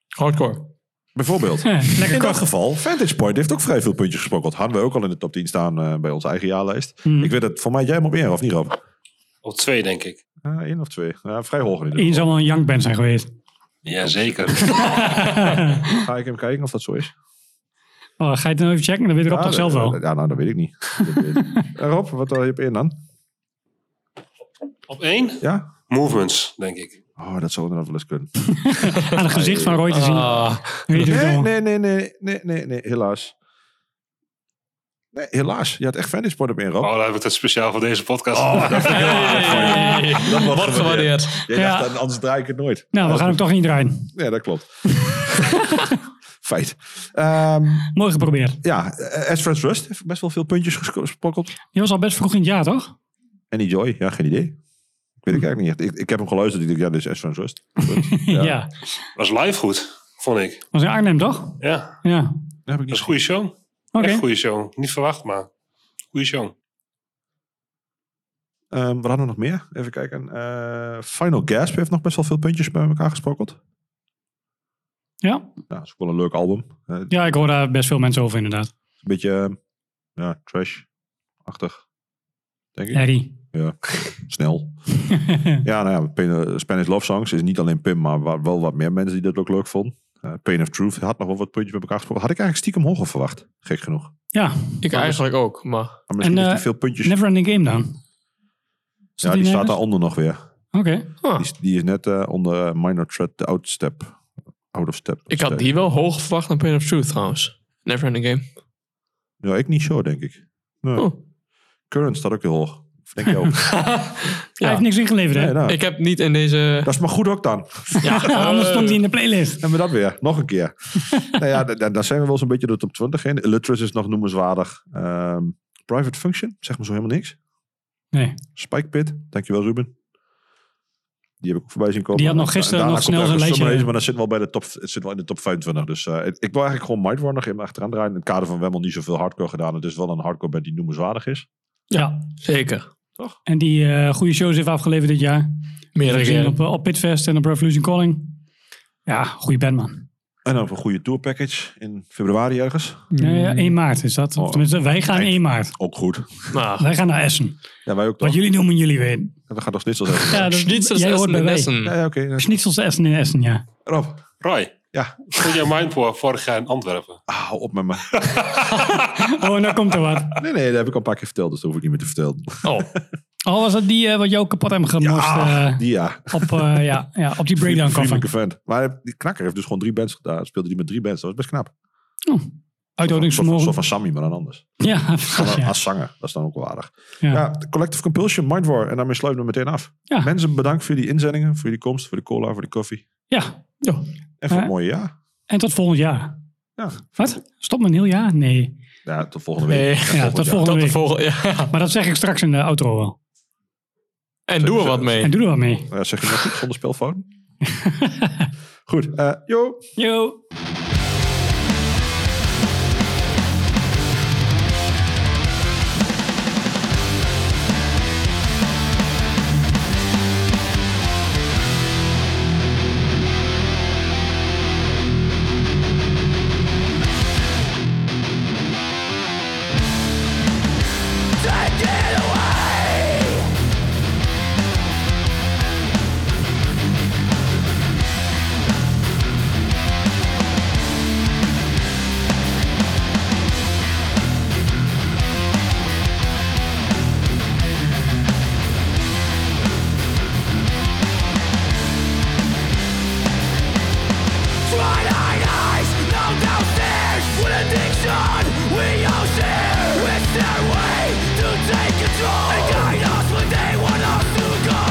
[SPEAKER 3] Hardcore.
[SPEAKER 4] Bijvoorbeeld.
[SPEAKER 3] Ja, lekker
[SPEAKER 4] in dat
[SPEAKER 3] kort.
[SPEAKER 4] geval, Vantage Point heeft ook vrij veel puntjes gesprokkeld. Hadden we ook al in de top 10 staan eh, bij onze eigen jaarlijst.
[SPEAKER 3] Mm.
[SPEAKER 4] Ik weet het, voor mij jij hem op één, of niet Rob?
[SPEAKER 11] Op twee, denk ik.
[SPEAKER 4] Eén of twee. Ja, vrij hoog in ieder
[SPEAKER 1] Eén zou wel een jankband zijn geweest.
[SPEAKER 11] Jazeker.
[SPEAKER 4] Ga ik hem kijken of dat zo is?
[SPEAKER 1] Oh, ga je het nou even checken? Dan weet Rob
[SPEAKER 4] Ja,
[SPEAKER 1] toch zelf
[SPEAKER 4] eh,
[SPEAKER 1] wel.
[SPEAKER 4] eh, Ja, nou, dat weet ik niet. Dat weet ik niet. Eh, Rob, wat eh, heb je in dan?
[SPEAKER 11] Op één?
[SPEAKER 4] Ja?
[SPEAKER 11] Movements, denk ik.
[SPEAKER 4] Oh, dat zou inderdaad wel eens kunnen.
[SPEAKER 1] Aan het gezicht van Roy te zien.
[SPEAKER 11] Ah.
[SPEAKER 1] Weet je het
[SPEAKER 4] nee,
[SPEAKER 1] wel.
[SPEAKER 4] nee, nee, nee, nee, nee, nee, helaas. Nee, helaas. Je had echt Vantage Point op één, Rob.
[SPEAKER 11] Oh, daar heb ik dat speciaal voor deze podcast.
[SPEAKER 4] Oh, dat vind ik heel aardig. Dat wordt gewaardeerd. Jij
[SPEAKER 1] Ja.
[SPEAKER 4] dacht, anders draai ik het nooit.
[SPEAKER 1] Nou, we gaan hem toch niet draaien.
[SPEAKER 4] Ja, dat klopt. Feit. Ehm
[SPEAKER 1] Mooi geprobeerd.
[SPEAKER 4] Ja, eh, As Friends Rust heeft best wel veel puntjes gesco- gesprokkeld.
[SPEAKER 1] Die was al best vroeg in het jaar, toch?
[SPEAKER 4] En die Joy, ja, geen idee. Ik weet ik eigenlijk niet echt. Ik, ik heb hem geluisterd. Ik dacht, ja, dit is As Friends Rust. Punt.
[SPEAKER 1] Ja.
[SPEAKER 11] Was live goed, vond ik.
[SPEAKER 1] Was in Arnhem, toch?
[SPEAKER 11] Ja.
[SPEAKER 1] Ja.
[SPEAKER 4] Dat
[SPEAKER 11] is een goede show.
[SPEAKER 1] Oké.
[SPEAKER 11] Echt goede show. Niet verwacht, maar goede show.
[SPEAKER 4] Ehm, wat hadden we nog meer? Even kijken. Eh, Final Gasp heeft nog best wel veel puntjes bij elkaar gesprokkeld.
[SPEAKER 1] Ja.
[SPEAKER 4] Ja, dat is ook wel een leuk album. Eh, Een
[SPEAKER 1] Ja, ik hoor daar best veel mensen over inderdaad.
[SPEAKER 4] beetje eh, ja, trash-achtig. Denk ik.
[SPEAKER 1] Harry.
[SPEAKER 4] Ja, snel. ja, nou ja, Pain, eh, Spanish Love Songs is niet alleen Pim, maar wa- wel wat meer mensen die dat ook leuk vonden. Eh, Pain of Truth had nog wel wat puntjes bij elkaar gesproken. Had ik eigenlijk stiekem hoger verwacht, gek genoeg.
[SPEAKER 1] Ja.
[SPEAKER 3] Ik eigenlijk ook, maar...
[SPEAKER 4] dus- Maar misschien
[SPEAKER 1] En,
[SPEAKER 4] heeft
[SPEAKER 1] eh,
[SPEAKER 4] hij veel puntjes.
[SPEAKER 1] Neverending Game dan?
[SPEAKER 4] ja, die
[SPEAKER 1] die
[SPEAKER 4] staat
[SPEAKER 1] nergens?
[SPEAKER 4] daaronder nog weer.
[SPEAKER 1] Oké.
[SPEAKER 3] Ah.
[SPEAKER 4] Die, is- die is net eh, onder eh, Minor Threat, de Outstep. Out of Step.
[SPEAKER 3] Ik had die wel hoog verwacht dan Pain of Truth trouwens. Never in the game.
[SPEAKER 4] Ja, ik niet zo, denk ik. Nee. Current staat ook heel hoog. Of Denk je ook?
[SPEAKER 1] Hij heeft niks ingeleverd, hè?
[SPEAKER 4] Nee, nou.
[SPEAKER 3] Ik heb niet in deze... Eh,
[SPEAKER 4] Dat is maar goed ook dan.
[SPEAKER 1] Ja, anders stond hij in de playlist.
[SPEAKER 4] En we eh, dat weer, nog een keer. nou ja, da- da- daar zijn we wel zo'n beetje de top 20 in. Illustrious is nog noemenswaardig. Ehm, private Function, zeg maar zo helemaal niks.
[SPEAKER 1] Nee.
[SPEAKER 4] Spike Pit, dankjewel Ruben. Die heb ik ook voorbij zien komen.
[SPEAKER 1] Die had nog
[SPEAKER 4] En
[SPEAKER 1] gisteren
[SPEAKER 4] daarna
[SPEAKER 1] nog
[SPEAKER 4] komt
[SPEAKER 1] snel
[SPEAKER 4] ergens
[SPEAKER 1] zijn lijstje.
[SPEAKER 4] Summer Haze, Maar dat zit wel, bij de top, het zit wel in de top 25. Dus eh, ik ik wil eigenlijk gewoon Might War nog even achteraan draaien. In het kader van Wemmel niet zoveel hardcore gedaan. Het is wel een hardcore band die noemenswaardig is.
[SPEAKER 1] Ja.
[SPEAKER 3] Zeker.
[SPEAKER 1] En die eh, goede shows heeft afgeleverd dit jaar.
[SPEAKER 3] Meerdere
[SPEAKER 1] gezien
[SPEAKER 3] keren.
[SPEAKER 1] op, eh, op Pitfest en op Revolution Calling. Ja, goede band, man.
[SPEAKER 4] En dan een goede tourpackage in februari ergens.
[SPEAKER 1] Nee, ja, 1 maart is dat. Of tenminste, wij gaan 1 maart.
[SPEAKER 4] Oh, Ook goed.
[SPEAKER 1] Wij gaan naar Essen.
[SPEAKER 4] Ja, wij ook
[SPEAKER 1] Wat
[SPEAKER 4] toch.
[SPEAKER 1] jullie doen, moeten jullie weten.
[SPEAKER 4] Dat gaat nog steeds als even.
[SPEAKER 1] Ja, dat- Schnitzels jij hoort Essen bij in wij. Essen.
[SPEAKER 4] Ja, ja, oké.
[SPEAKER 1] Schnitzels Essen in Essen, ja.
[SPEAKER 4] Rob.
[SPEAKER 11] Roy.
[SPEAKER 4] Ja. Ah,
[SPEAKER 11] Vond jij Mindpoor vorig jaar in Antwerpen?
[SPEAKER 4] Hou op met me.
[SPEAKER 1] Oh, nou komt er wat.
[SPEAKER 4] Nee, nee, dat heb ik al een paar keer verteld. Dus dat hoef ik niet meer te vertellen.
[SPEAKER 3] Oh.
[SPEAKER 1] Oh, was dat die eh, wat jou kapot hebben gemorst? eh,
[SPEAKER 4] die ja.
[SPEAKER 1] op, eh, ja, ja, op die breakdown cover.
[SPEAKER 4] Vriendelijke vent. Maar die knakker heeft dus gewoon drie bands gedaan. Speelde die met drie bands. Dat was best knap. Zo
[SPEAKER 1] Oh. Uithoudingsvermogen.
[SPEAKER 4] van Sammy, maar dan anders.
[SPEAKER 1] Ja,
[SPEAKER 4] Als,
[SPEAKER 1] ja.
[SPEAKER 4] als zanger. Dat is dan ook wel aardig.
[SPEAKER 1] Ja.
[SPEAKER 4] Ja. de Collective Compulsion, Mind War. En daarmee sluiten we meteen af. Mensen, bedankt voor jullie inzendingen. Voor jullie komst. Voor de cola, voor de koffie.
[SPEAKER 1] Ja.
[SPEAKER 4] En voor het
[SPEAKER 1] Eh,
[SPEAKER 4] mooie jaar.
[SPEAKER 1] En tot volgend jaar.
[SPEAKER 4] Ja.
[SPEAKER 1] Wat? Stop met een heel jaar? Nee.
[SPEAKER 4] Ja, tot volgende week. En
[SPEAKER 1] ja, tot
[SPEAKER 4] jaar.
[SPEAKER 1] volgende week. Maar dat zeg ik straks in de outro wel.
[SPEAKER 3] En doe er wat mee.
[SPEAKER 1] En doe er wat mee.
[SPEAKER 4] Ja, zeg je dat goed? Zonder speelfoon? goed. eh, yo.
[SPEAKER 1] Yo.
[SPEAKER 8] Take it away! Twilight eyes, no downstairs With addiction, we all share It's their way to take control And guide us where they want us to go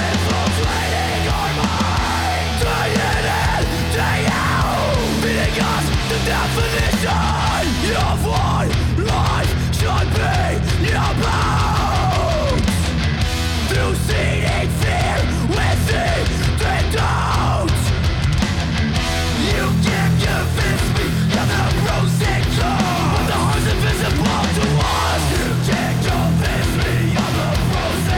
[SPEAKER 8] Infiltrating our minds Day in and day out Feeding us the definition Of what life should be about Through seeding fear within the doubt you can't convince me of the pros and cons But the harm's invisible to us You can't convince me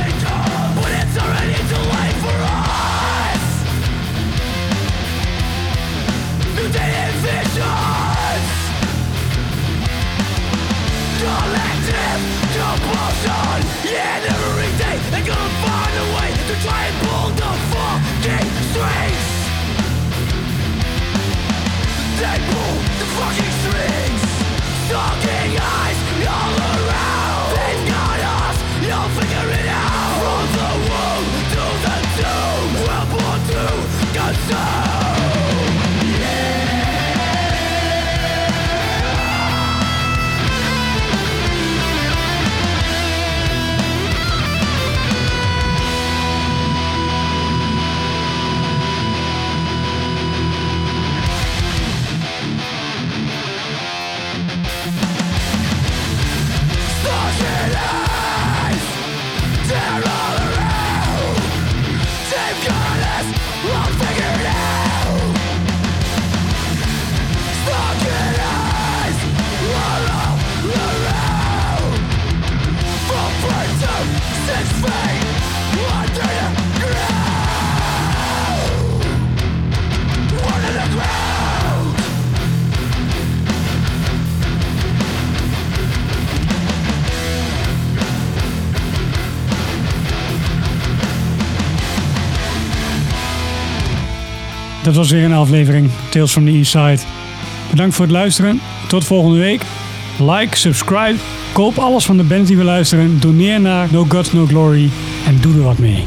[SPEAKER 1] Dat was weer een aflevering Tales from the East Side. Bedankt voor het luisteren. Tot volgende week. Like, subscribe, koop alles van de bands die we luisteren. Doneer naar No God No Glory en doe er wat mee.